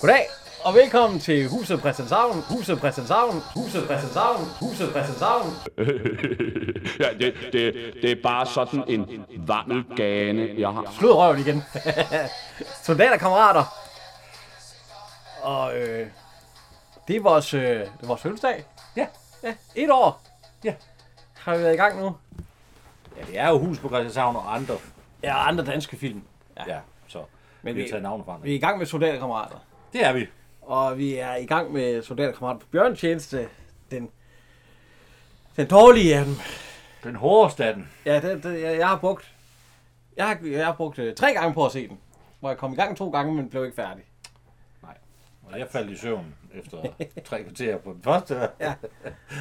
Goddag, og velkommen til Huset Christianshavn, Huset Christianshavn, Huset Christianshavn, Huset Christianshavn. Ja, det, det, det er bare sådan en vammelgane, jeg har. Slå røven igen. Soldater, kammerater. Og øh, det er vores, øh, det er vores fødselsdag. Ja. Ja, et år Ja. har vi været i gang nu. ja, det er jo Hus på Christianshavn og andre. Ja, og andre danske film. Ja, så Men Men vi vi- har taget navne fra Vi er i gang med Soldater, kammerater. Det er vi. Og vi er i gang med Soldater, kammerater på bjørntjeneste. Den, den dårlige af dem. Den hårdeste af den. Ja, det, det, jeg, jeg har brugt... Jeg har, jeg har brugt øh, tre gange på at se den. Hvor jeg kom i gang to gange, men blev ikke færdig. Og jeg faldt i søvn efter tre kvarter på den første. Ja.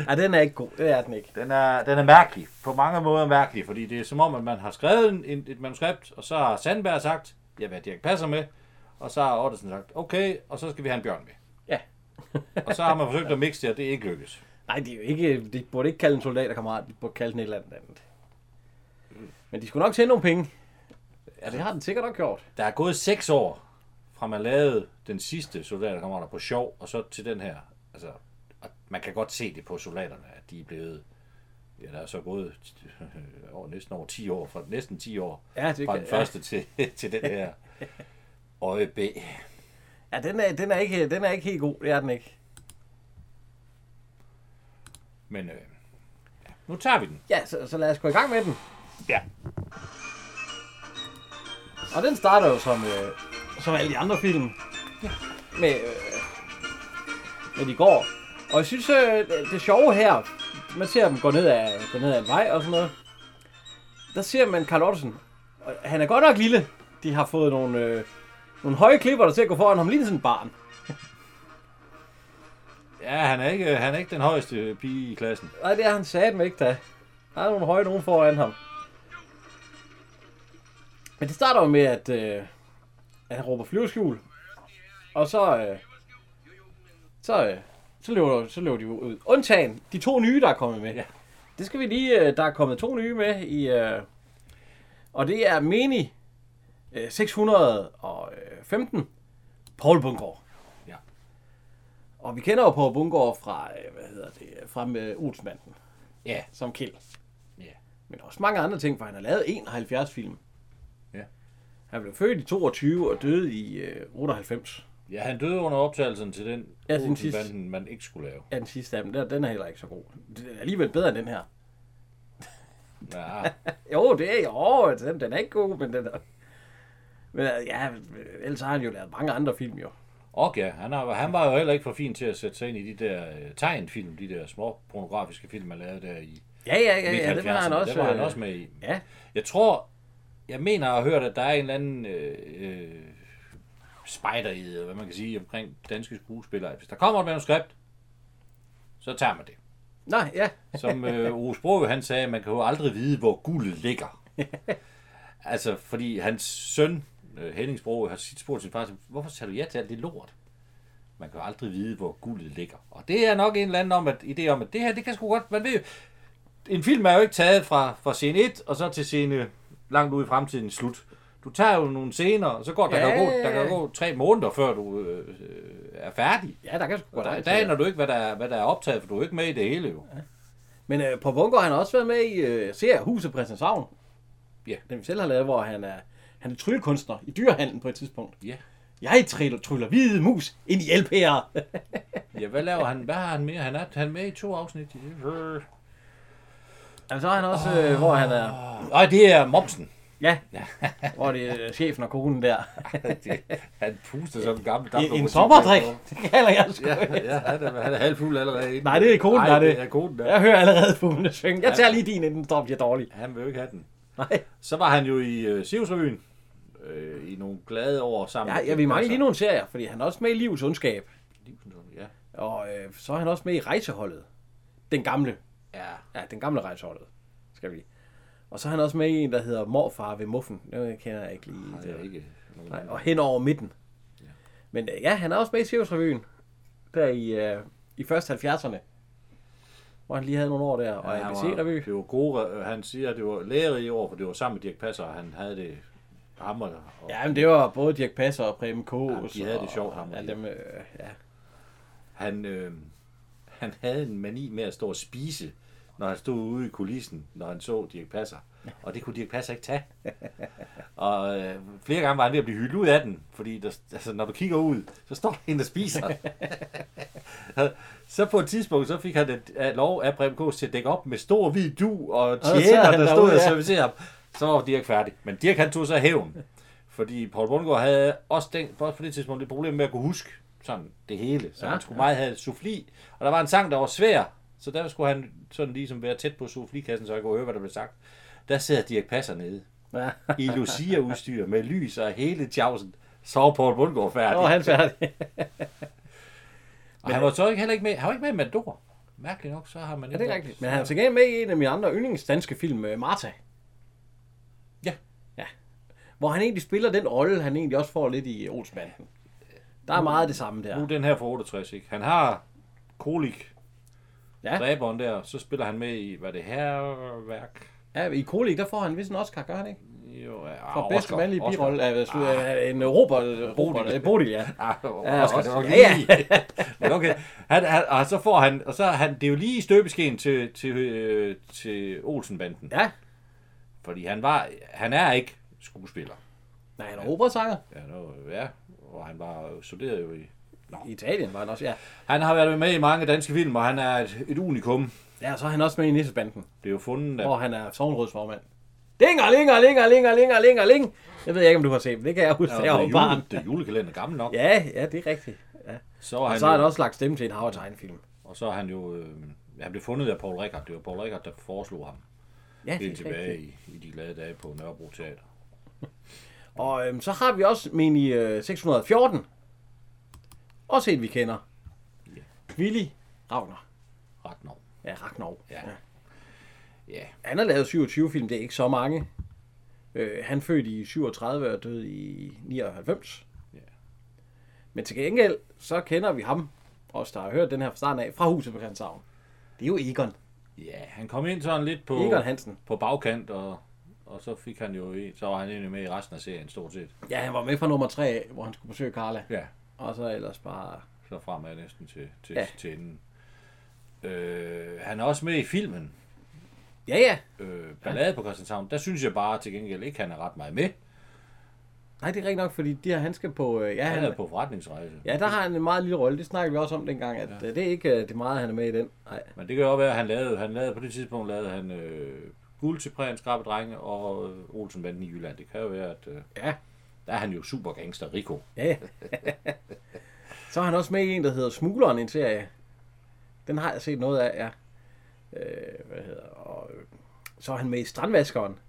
Ej, den er ikke god. Det er den ikke. Den er, den er mærkelig. På mange måder mærkelig, fordi det er som om, at man har skrevet en- en, et manuskript, og så har Sandberg sagt, ja, hvad Dirk passer med, og så har Ottesen sagt, okay, og så skal vi have en bjørn med. Ja. og så har man forsøgt at mixe det, og det er ikke lykkes. Nej, det er jo ikke... De burde ikke kalde en soldaterkammerat. De burde kalde den et eller andet andet. Men de skulle nok tjene nogle penge. Mm. Ja, det har den sikkert nok gjort. Der er gået seks år, fra man lavede den sidste soldaterkammerater på sjov, og så til den her. Altså, og man kan godt se det på soldaterne, at de er blevet... Ja, der er så gået øh, over, næsten over 10 år, fra næsten 10 år, Ja, det fra kan- den ja. første til, til den her. Øje B. Ja, den er, den er, ikke, den er ikke helt god. Det er den ikke. Men øh, ja, nu tager vi den. Ja, så, så lad os gå i gang med den. Ja. Og den starter jo som, øh, som alle de andre film. Med, øh, med de går. Og jeg synes, øh, det sjove her, man ser dem gå ned ad, gå ned ad en vej og sådan noget. Der ser man Carl Ottesen. Og han er godt nok lille. De har fået nogle, øh, nogle høje klipper, der til at gå foran ham. Lige sådan et barn. Ja, han er, ikke, han er ikke den højeste pige i klassen. Nej, det er han satme ikke, da. Der er nogle høje nogen foran ham. Men det starter jo med, at, øh, at han råber flyveskjul. Og så, øh, så, øh, så, løber, så løber de jo ud. Undtagen de to nye, der er kommet med. Ja. Det skal vi lige... Øh, der er kommet to nye med i... Øh, og det er Mini øh, 615. Paul Bungård. Ja. Og vi kender jo Paul Bungård fra, øh, hvad hedder det, fra med Olsmanden Ja. som Kjeld. Ja. Men også mange andre ting, for han har lavet 71 film. Ja. Han blev født i 22 og døde i øh, 98. Ja, han døde under optagelsen til den Ja, den sidste. Olsen-banden, man ikke skulle lave. Ja, den sidste af dem, der, den er heller ikke så god. Det er alligevel bedre end den her. Ja, Jo, det er jo, altså, den, den er ikke god, men den er... Men øh, ja, ellers har han jo lavet mange andre film jo. Og ja, han, har, han var jo heller ikke for fin til at sætte sig ind i de der øh, tegnfilm, de der små pornografiske film, man lavede der i Ja, ja, ja, ja, midt det var han 70'erne. også. Det var han øh, også med i. Ja, Jeg tror, jeg mener at have hørt, at der er en eller anden øh, øh, spider eller hvad man kan sige, omkring danske skuespillere. Hvis der kommer et manuskript, så tager man det. nej, ja. Som øh, Ove Brogø, han sagde, man kan jo aldrig vide, hvor guldet ligger. altså, fordi hans søn, øh, Henning Brogø, har sit spurgt sin far, hvorfor tager du ja til alt det lort? Man kan jo aldrig vide, hvor guldet ligger. Og det er nok en eller anden om, at, idé om, at det her, det kan sgu godt, man ved jo, en film er jo ikke taget fra, fra scene 1, og så til scene langt ud i fremtiden slut. Du tager jo nogle scener, og så går der, Ja, kan jo gå, ja, der kan ja. jo gå tre måneder, før du øh, øh, er færdig. Ja, der kan sgu Og godt der, nok der aner du ikke, hvad der, er, hvad der er optaget, for du er jo ikke med i det hele jo. Men øh, på Bunker har han også været med i øh, serien Huset Prinsenshavn. Ja. Den vi selv har lavet, hvor han er, han er tryllekunstner i dyrehandlen på et tidspunkt. Ja. Jeg tryller, tryller hvide mus ind i LP'er. Ja, hvad laver han? Hvad har han mere? Han er, han er med i to afsnit. Jamen, så er han også, øh, hvor han er, Nej, det er Momsen. ja, hvor det er chefen og konen der. han puster som en gammel En, en sommerdrik, det kalder jeg sgu. Ja, ja han, er, han er halvfuld allerede. inden. Nej, det er konen, der er Nej, det. det er konen, der. Jeg hører allerede fuglene synge. Jeg tager lige din, inden den står bliver dårlig. Han vil jo ikke have den. Nej. Så var han jo i øh, Sivsrevyen øh, i nogle glade år sammen. Ja, ja, vi mangler lige nogle serier, fordi han er også med i Livets Ondskab. nu. Ja. Og øh, så er han også med i Rejseholdet. Den gamle. ja. Ja, den gamle rejseholdet. Skal vi. Og så er han også med i en, der hedder Morfar ved Muffen. Det kender jeg ikke lige. Det er ikke nogen. Nej, og hen over midten. Men øh, ja, han er også med i Cirkusrevyen. Der i, øh, i først 70'erne. Hvor han lige havde nogle år der. Og han ABC var- Revy. Det var gode, øh, han siger, at det var lærerige år, for det var sammen med Dirk Passer, og han havde det ham og, og Ja, men det var både Dirk Passer og Preben Kås. Jamen, de havde og- det sjovt, ham og Ja, de. dem, øh, ja. han, øh, han havde en mani med at stå og spise, når han stod ude i kulissen, når han så Dirk Passer. Og det kunne Dirk Passer ikke tage. Og øh, flere gange var han ved at blive hyldet ud af den, fordi der, altså, når du kigger ud, så står der en, der spiser. så på et tidspunkt, så fik han et, et lov af Preben Kås til at dække op med stor hvid du og sad tjener, han der stod derude, og ja. servicerede ham. Så var Dirk færdig. Men Dirk han tog så hævn. Fordi Paul Bundgaard havde også, den, også på det tidspunkt lidt problem med at kunne huske sådan det hele. Så ja, Ja, han skulle ja. meget have souffli. Og der var en sang, der var svær. Så der skulle han sådan ligesom være tæt på soufflikassen, så jeg kunne høre, hvad der blev sagt. Der sidder Dirk Passer nede ja. i Lucia-udstyr med lys og hele tjavsen, så var Poul Bundgaard færdig. Nå, er han færdig. og han var så ikke heller ikke med, han var ikke med i Matador. Mærkeligt nok, så har man Ja, det er rigtigt. Men han er til gengæld med i en af mine andre yndlingsdanske film, øh, Martha. Ja. Ja. Hvor han egentlig spiller den rolle, han egentlig også får lidt i Olsbanden. Der er meget af det samme Nu der. er den her fra 68, ikke? Han har kolik, Ja. ja. dræberen der, så spiller han med i, hvad er det her værk? Ja, I Kolik, der får han vist en Oscar, gør han ikke? Jo, ja, For ah, bedste Oscar, mandlige Oscar. birolle af ah. en Robert, Robert øh, Bodil, ja. Ah, Ja, Oscar, det Oscar. var nok Ja, lige. Men okay. Han, han, og så får han, og så er han, det er jo lige i støbeskeen til, til, øh, til Olsenbanden. Ja. Fordi han var, han er ikke skuespiller. Nej, han er operasanger. Ja, nu, ja. Og han var studeret jo i... I Italien var han også, ja. Han har været med i mange danske film, og han er et, et unikum. Ja, og så er han også med i Nissebanden, Det er jo fundet af... hvor han er sovnrådsformand. Dinger, linger, linger, linger, linger, linger, ling. Jeg ved ikke, om du har set dem. Det kan jeg huske, da jeg var det, barn. jule, det er julekalender gammel nok. Ja. Ja, ja, det er rigtigt. Ja. Så er Og han, så har jo, han også lagt stemme til en Howard tegnefilm. og så er han jo... Øh, han blev fundet af Paul Rickard. Det var Paul Rickard, der foreslog ham. Ja, Helt tilbage i, i de glade dage på Nørrebro Teater. Og øhm, så har vi også Mini øh, 614. Også en, vi kender. Ja. Willy Ragnar. Ret nok. Ja, Ragnar. Ja. Ja. Han har lavet 27 film, det er ikke så mange. Øh, han født i 37 og døde i 99. Ja. Men til gengæld, så kender vi ham, os der har hørt den her fra starten af, fra huset på Christianshavn. Det er jo Egon. Ja, han kom ind sådan lidt på, Egon Hansen. på bagkant, og, og så fik han jo... i- Så var han egentlig med i resten af serien, stort set. Ja, han var med fra nummer 3, af, hvor han skulle besøge Carla. Ja. Og så ellers bare... Så fremad næsten til, til, ja. Ja. til enden. Øh, han er også med i filmen. Ja, ja. øh, ballade på Christianshavn, der synes jeg bare til gengæld ikke, han er ret meget med. Nej, det er rigtigt nok, fordi de her, han skal på... Øh, ja, Han han, er på forretningsrejse. ja, der har han en meget lille rolle. Det snakker vi også om dengang, at ja. det er ikke øh, det meget, han er med i den. Nej. Men det kan jo være, at han lavede, han lavede på det tidspunkt lavede han øh, guld til Prægen, Skrabe Drenge og øh, Olsen Banden i Jylland. Det kan jo være, at øh, Ja. der er han jo super gangster Rico. Ja, ja. så er han også med i en, der hedder Smugleren, en serie. Den har jeg set noget af, ja. Øh, hvad hedder, og, øh, så er han med i Strandvaskeren.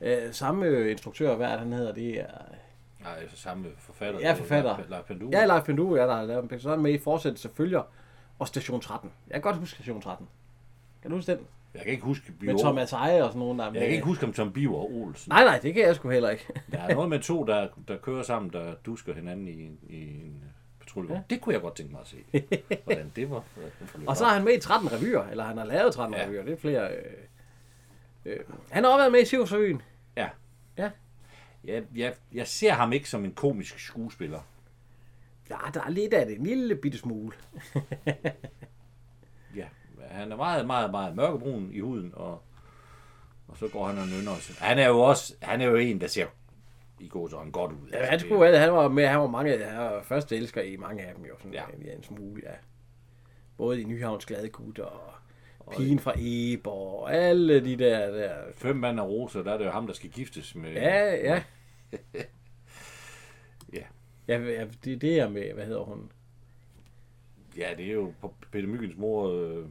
Øh, samme øh, instruktør, hvad er det, han hedder, det er... Nej, altså samme forfatter. Ja, forfatter. Leif- Leif Panduro. Ja, Leif Panduro, ja, der har lavet dem. Så er han med i Fortsættelse Følger og Station 13. Jeg kan godt huske Station 13. Kan du huske den? Jeg kan ikke huske Biver. Med Thomas Eje og sådan nogen, der er med. Jeg kan ikke huske, om Tom Biver og Olsen. Nej, nej, det kan jeg sgu heller ikke. Der er noget med to, der, der kører sammen, der dusker hinanden i, en- i en patruljevogn. Ja. Det kunne jeg godt tænke mig at se. Hvordan det var. hvordan det forløb. Og så er han med i 13 revyer, eller han har lavet 13 Ja. ja. revyer. Det er flere... Øh, øh. Han har også været med i Sivsøen. Ja. Ja. Jeg, jeg, jeg ser ham ikke som en komisk skuespiller. Ja, der er lidt af det. En lille bitte smule. Ja. Han er meget, meget, meget mørkebrun i huden, og, og så går han og nynner os. Han er jo også, han er jo en, der ser i god sådan godt ud. Ja, Altså, han, det- skulle, være- han var med, han var mange han var første elsker i mange af dem jo. Sådan, Ja. ja. en, en smule, ja. Både i Nyhavns Glade Gut og Pigen fra Eborg og alle de der... der. Fem mand og roser, der er det jo ham, der skal giftes med... Ja, ja. Ja. Ja, ja, det er det jeg med, hvad hedder hun? ja det er jo P- Peter Myggens mor, øh,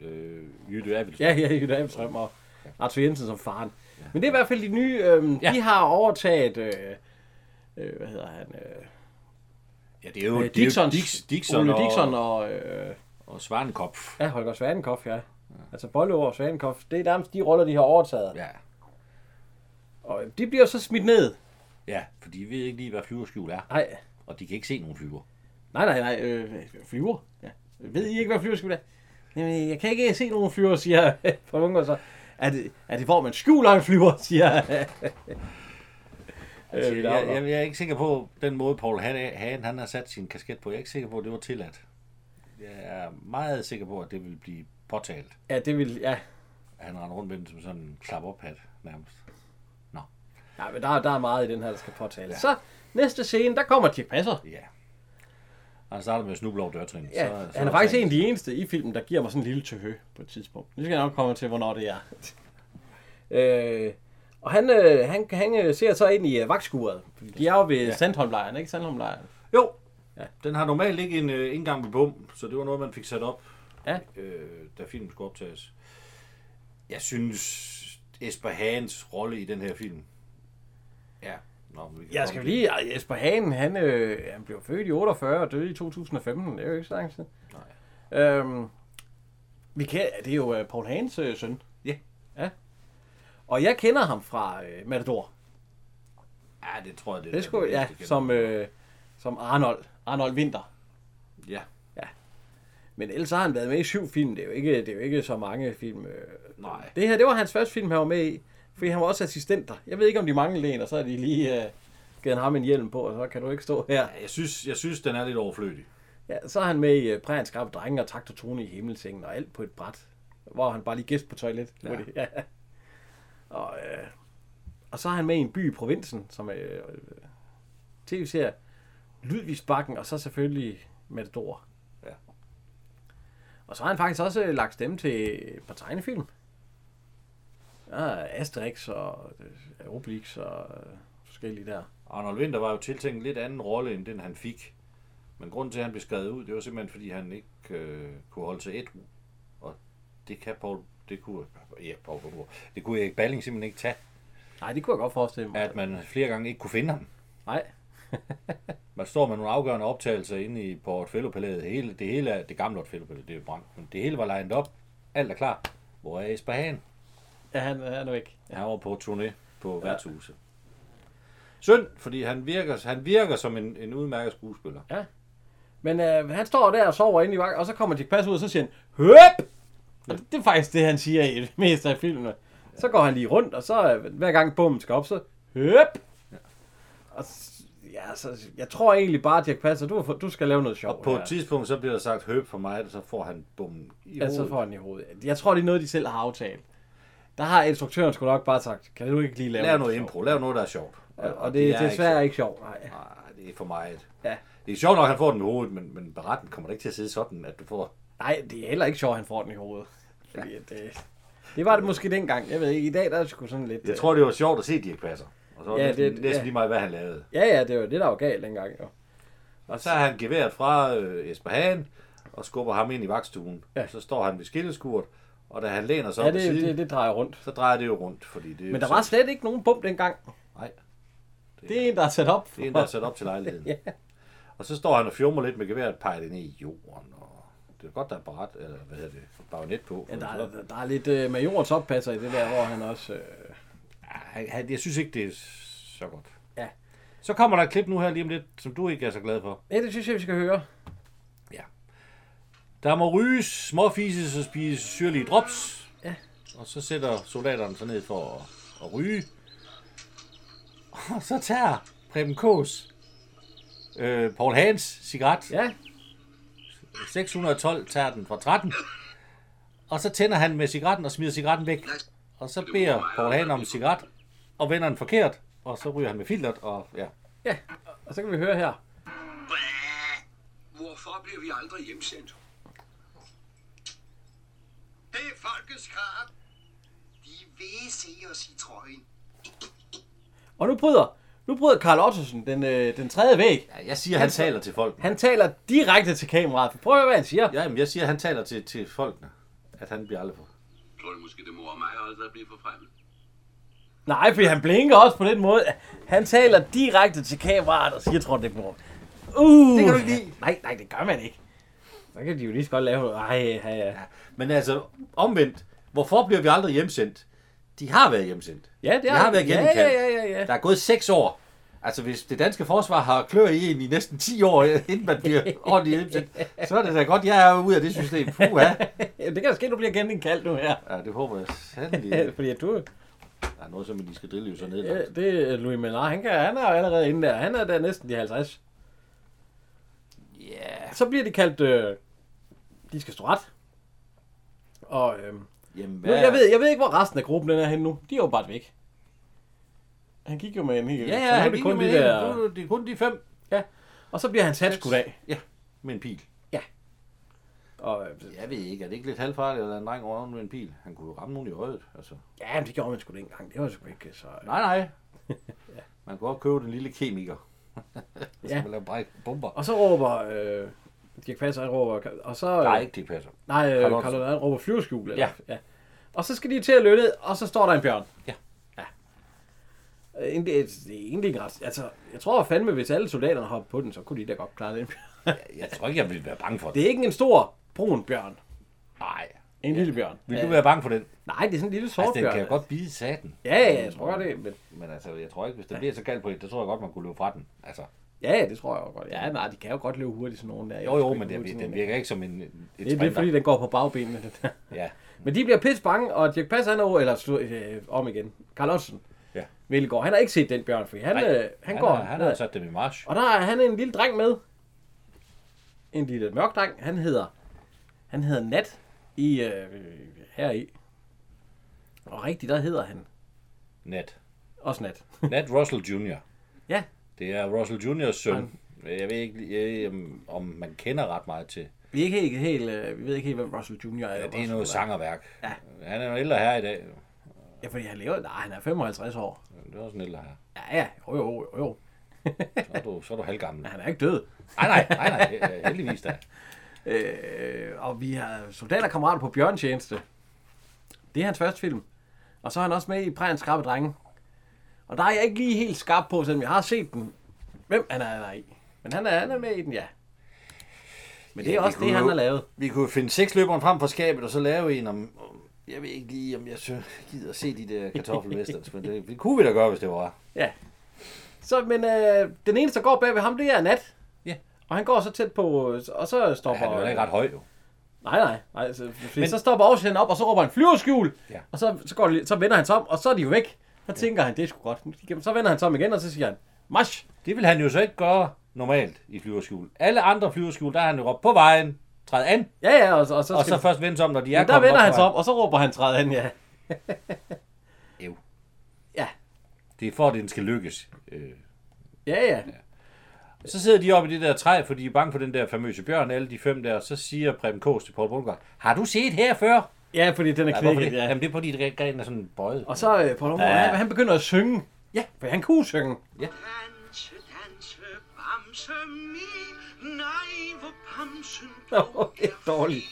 øh, Jytte Abels. Ja, ja, Jytte Almstrøm og Arthur Jensen som faren. Men det er i hvert fald de nye, øhm, Ja. ja. de har overtaget, øh, øh, hvad hedder han, øh, ja det er jo, det er jo Dixons, Dix, Dixon, Ole og, Dixon og, øh, og Svarnkopf. ja, Holger Svanenkopf, ja. Altså Bolle og Svanenkopf, det er nærmest de roller, de har overtaget. Ja. Ja. Og de bliver så smidt ned. ja, for de ved ikke lige, hvad flyverskjul er, Nej, og de kan ikke se nogen flyver. nej, nej, nej øh, flyver. Ja. Ved I ikke, hvad flyver skal være? Jamen, jeg kan ikke se nogen flyver, siger Paul Unger så. Er det, er det hvor man skjuler en flyver, siger Altså, jeg, Øh, Laura. jeg, jeg, er ikke sikker på den måde, Paul Han, han, han har sat sin kasket på. Jeg er ikke sikker på, at det var tilladt. Jeg er meget sikker på, at det vil blive påtalt. Ja, det vil... Ja. At han render rundt med den som sådan en klap op hat nærmest. ja men der, der er meget i den her, der skal påtales. Ja. Så næste scene, der kommer Dirk Passer. Ja. Og han starter med at snuble over dørtrin. Ja, så, han er faktisk en af de eneste i filmen, der giver mig sådan en lille tøhø på et tidspunkt. Nu skal jeg nok komme til, hvornår det er. øh, og han, øh, han, han øh, ser så ind i øh, vagtskuret. De er jo ved ja. Sandholmlejren, ikke? Sandholmlejren. Jo, ja. den har normalt ikke en øh, indgang ved bum, så det var noget, man fik sat op, Ja. øh, da filmen skulle optages. Jeg synes, Esper Hagens rolle i den her film... Ja, Nå, men vi kan Jeg komme skal til- lige... Ej, Jesper Hagen, han, øh, han blev født i 48 og døde i 2015. Det er jo ikke så lang tid. Nej. Øhm, vi kan, det er jo øh, Paul Hagens øh, søn. Ja. ja. Og jeg kender ham fra øh, Matador. Ja, det tror jeg, det er. Det den skulle, ja, eneste kender. som, øh, som Arnold. Arnold Winter. Ja, Men ellers har han været med i syv film. Det er jo ikke, det er jo ikke så mange film. øh. nej. Det her, det var hans første film, han var med i. Fordi han var også assistent der. Jeg ved ikke, om de manglede en, og så har de lige øh, givet ham en hjelm på, og så kan du ikke stå her. Ja, Jeg synes, jeg synes, den er lidt overflødig. Ja, så er han med i uh, Præren Skarpe Drenge og Takt og Tone i Himmelsengen og alt på et bræt. Hvor han bare lige gæst på toilet. Ja. Det, ja. Og, øh, og så er han med i en by i provinsen, som er øh, tv-serie. Ludvigsbakken og så selvfølgelig Matador. Ja. Og så har han faktisk også øh, lagt stemme til et par tegnefilm. Ja, Asterix og øh, Obelix og øh, forskellige der. Arnold Winter var jo tiltænkt en lidt anden rolle, end den han fik. Men grunden til, at han blev skrevet ud, det var simpelthen, fordi han ikke øh, kunne holde sig ædru. Og det kan Paul, det kunne, ja, Paul, Bunker. det kunne Erik Balling simpelthen ikke tage, Nej, det kunne jeg godt forestille mig. at man flere gange ikke kunne finde ham. Nej. Man står med nogle afgørende optagelser inde i Portfellopalæet. Hele, det hele er, det gamle Portfellopalæ, det er jo brændt, men det hele var lined op. Alt er klar. Hvor er Esper Hagen? Ja, han, han er væk. Han var på turné på ja. værtshuset. Synd, fordi han virker, han virker som en, en udmærket skuespiller. Men øh, han står der og sover inde i vagten, og så kommer Dirk Passer ud, og så siger han, Høp! Og det, det er faktisk det, han siger i det meste af filmen. Så går han lige rundt, og så øh, hver gang bommen skal op, så Høp! Og s- ja, så, jeg tror egentlig bare, Dirk Passer, du, har fået- du skal lave noget sjovt. Og på et her. tidspunkt, så bliver der sagt høb for mig, og så får han bum i Ja, hovedet. så får han i hovedet. Jeg tror, det er noget, de selv har aftalt. Der har instruktøren sgu nok bare sagt, kan du ikke lige lave Lav noget sjovt?" impro, lav noget, der er sjovt. Ja, og det, det er desværre ikke sjovt. Nej. Nej, det er for meget. Ja. Det er sjovt nok, at han får den i hovedet, men, men beretten kommer da ikke til at sidde sådan, at du får... Nej, det er heller ikke sjovt, at han får den i hovedet. Fordi at, øh, det var det måske dengang. Jeg ved ikke, i dag der er det sgu sådan lidt... Jeg øh, tror, det var sjovt at se Dirk Passer. Og så var Ja, ja, det, det- næsten, næsten ja. lige meget, hvad han lavede. Ja, ja, det var det, der var galt dengang. Jo. Og så har han geværet fra øh, Esper Hagen, og skubber ham ind i vagtstuen. Ja. Så står han ved skilleskurt, og da han læner sig Ja, op på det, siden, det, det drejer rundt. så drejer det jo rundt, fordi det er Men jo der var så- slet ikke nogen bum dengang. Nej, Det er en, der er sat op. det er en, der er sat op til lejligheden. Ja. Og så står han og fjummer lidt med geværet, peger det ned i jorden, og det er godt, der er baret, eller hvad hedder det, bagnet på. Ja, der, er- der, der er lidt øh, majorens oppasser i det der, hvor han også... Øh, Ej, han- jeg synes ikke, det er så godt. Ja. Så kommer der et klip nu her lige om lidt, som du ikke er så glad for. ja, det synes jeg, vi skal høre. Der må ryges, småfises og spises syrlige drops. Ja. Og så sætter soldaterne sig ned for at, at ryge. Og så tager Preben Kås, øh, Paul Hans cigaret. Ja, 612 tager den fra 13. Og så tænder han med cigaretten og smider cigaretten væk. Og så beder Paul Hagen om en cigaret, og vender den forkert, og så ryger han med filteret, og ja. ja. Og så kan vi høre her. Hvorfor bliver vi aldrig hjemsendt? Det er folkets krav. De vil se os i trøjen. Og nu bryder, nu bryder Karl Ottesen den, øh, den tredje væg. ja jeg siger, han taler til folk. Han taler direkte til kameraet. Prøv at høre, hvad han siger. Ja, jamen, jeg siger, han taler til, til folkene, at han bliver aldrig på. Tror du måske, det morer mig aldrig at blive forfremmet? Nej, for han blinker også på den måde. Han taler direkte til kameraet og siger, tror det er mor. Uh, det kan du ikke lide. Nej, nej, det gør man ikke. Så kan de jo lige så godt lave... Ej, ja, ja. Men altså, omvendt, hvorfor bliver vi aldrig hjemsendt? De har været hjemsendt. Ja, det de har har de. været Ja, genindkaldt. ja, ja, ja, ja. Der er gået 6 år. Altså, hvis det danske forsvar har klør i en i næsten 10 år, inden man bliver ordentligt hjemsendt, så er det da godt, jeg er ude af det system. Puha. Ja, det kan da ske, du bliver genindkaldt nu her. Ja, det håber jeg sandelig. Fordi at du, Der er noget, som de skal drille jo så ned. Ja, Ja. det er Louis Menard. Han, kan, han er jo allerede inde der. Han er der næsten de 50. Ja. Yeah. Så bliver de kaldt... Øh, de skal stå ret. Og øh, Jamen, nu, hvad? jeg, ved, jeg ved ikke, hvor resten af gruppen den er henne nu. De er jo bare væk. Han gik jo med en hel... Ja, så nu ja, er han det gik kun kun med de de der... Det er kun de fem. Ja. Og så bliver han sat skudt af. Ja, med en pil. Og, øh, Jeg ved ikke, er det ikke lidt halvfarligt at lade en dreng røven med en pil? Han kunne jo ramme nogen i øjet, altså. ja, men det gjorde man sgu da ikke engang. Det var sgu ikke så... Nej, nej. Man kan godt købe den lille kemiker. Ja. ja. Som lave bræk bomber. Og så råber... Øh, Dirk Passer han råber... Og så... øh, Nej, ikke det passer. Nej, øh, Carl Otto. Carl Otto råber flyverskjul. Eller? Ja. ja. Og så skal de til at løbe, og så står der en bjørn. Ja. ja. Øh, egentlig- Det er egentlig ikke ret. Altså, jeg tror fandme, hvis alle soldaterne hopper på den, så kunne de da godt klare den bjørn. Jeg tror ikke, jeg ville være bange for det. Det er ikke en stor brun bjørn. Nej. En lille bjørn. Vil du Øh, være bange for den? Nej, det er sådan en lille sort Altså, den bjørn. kan jo godt bide saten. Ja, ja, jeg tror godt det. Men... Men altså, jeg tror ikke, hvis det bliver så galt på det, der tror jeg godt, man kunne løbe fra den. Altså, Ja, ja, det tror jeg også godt. Ja, nej, de kan jo godt løbe hurtigt, sådan nogen der. jo, jo, men det, den den virker ikke som en, en Det er lidt fordi, den går på bagbenene. Den der. Ja. Men de bliver pisse bange, og Dirk Passer han er over, eller slu- øh, om igen, Carl Ottsen. Ja. Villegård, han har ikke set den bjørn, fordi han, Nej, øh, han, Han, går... har, han altså- har sat dem i march. Og der er han en lille dreng med. En lille mørk dreng. Han hedder, han hedder Nat i, øh, her i. Og rigtigt, der hedder han Nat. også Nat. Nat Russell Jr. ja, Det er Russell Jr.'s søn. Jeg ved ikke, jeg, om- om man kender ret meget til. vi, er ikke helt, helt, øh, vi ved ikke helt, hvem Russell Jr. er. Ja, det er Russell noget er. sangerværk. Ja. Han er jo en ældre her i dag. Ja, fordi han lever, nej, han er 55 år. Det er også en ældre her. Ja, ja, jo, jo, jo, jo. Så er du, så er du halvgammel. Men han er ikke død. Nej, nej, nej, nej. Heldigvis da. Øh, og vi har soldaterkammerater på bjørntjeneste. Det er hans første film. Og så er han også med i Prægens Skrappe Drenge. Og der er jeg ikke lige helt skarp på, selvom jeg har set den, hvem han er, han er i. Men han er, han er med i den, ja. Men det er Ja, ja, vi også det, kunne han jo- har lavet. Vi kunne finde seksløberen frem for skabet, og så lave en om... om- Jeg ved ikke lige, om jeg så gider at se de der kartoffelwesterns, men det, det kunne vi da gøre, hvis det var. Ja. Så, men øh, den eneste, der går bag ved ham, det er Nat. Ja. Og han går så tæt på, øh, og så stopper... Han er jo ikke ret høj, jo. Nej, nej. nej så, men... så stopper Aarhusen op, og så råber han flyverskjul, ja. Ja. og så, så, går, det lidt- så vender han sig om, og så er de jo væk. Så tænker han, det er sgu godt. Nu gik jeg- Så vender han sig om igen, og så siger han, marsch! Det vil han jo så ikke gøre normalt i flyverskjul. Alle andre flyverskjul, der er han jo op på vejen, træd an, Ja, ja, og, så- og så, og skal så først vende sig om, når de er men der kommet vender han på sig op, og så råber han træde an, ja. vejen. Ew. Ja, Det er for, at den skal lykkes. Øh, ja, ja. Så sidder de oppe i det der træ, for de er bange for den der famøse bjørn, alle de fem der, og så siger Preben Kås til Paul Bundgaard, har du set her før? Ja, fordi den er Nej, hvorfor knækket, det? ja. Jamen det er fordi, det grenen er sådan bøjet. Og så øh, Paul Rumgaard, Ja. han, han begynder at synge. Ja, for han kunne synge. Danse, danse, bamse, mi. Nej, hvor bamsen Nå, det er dårligt.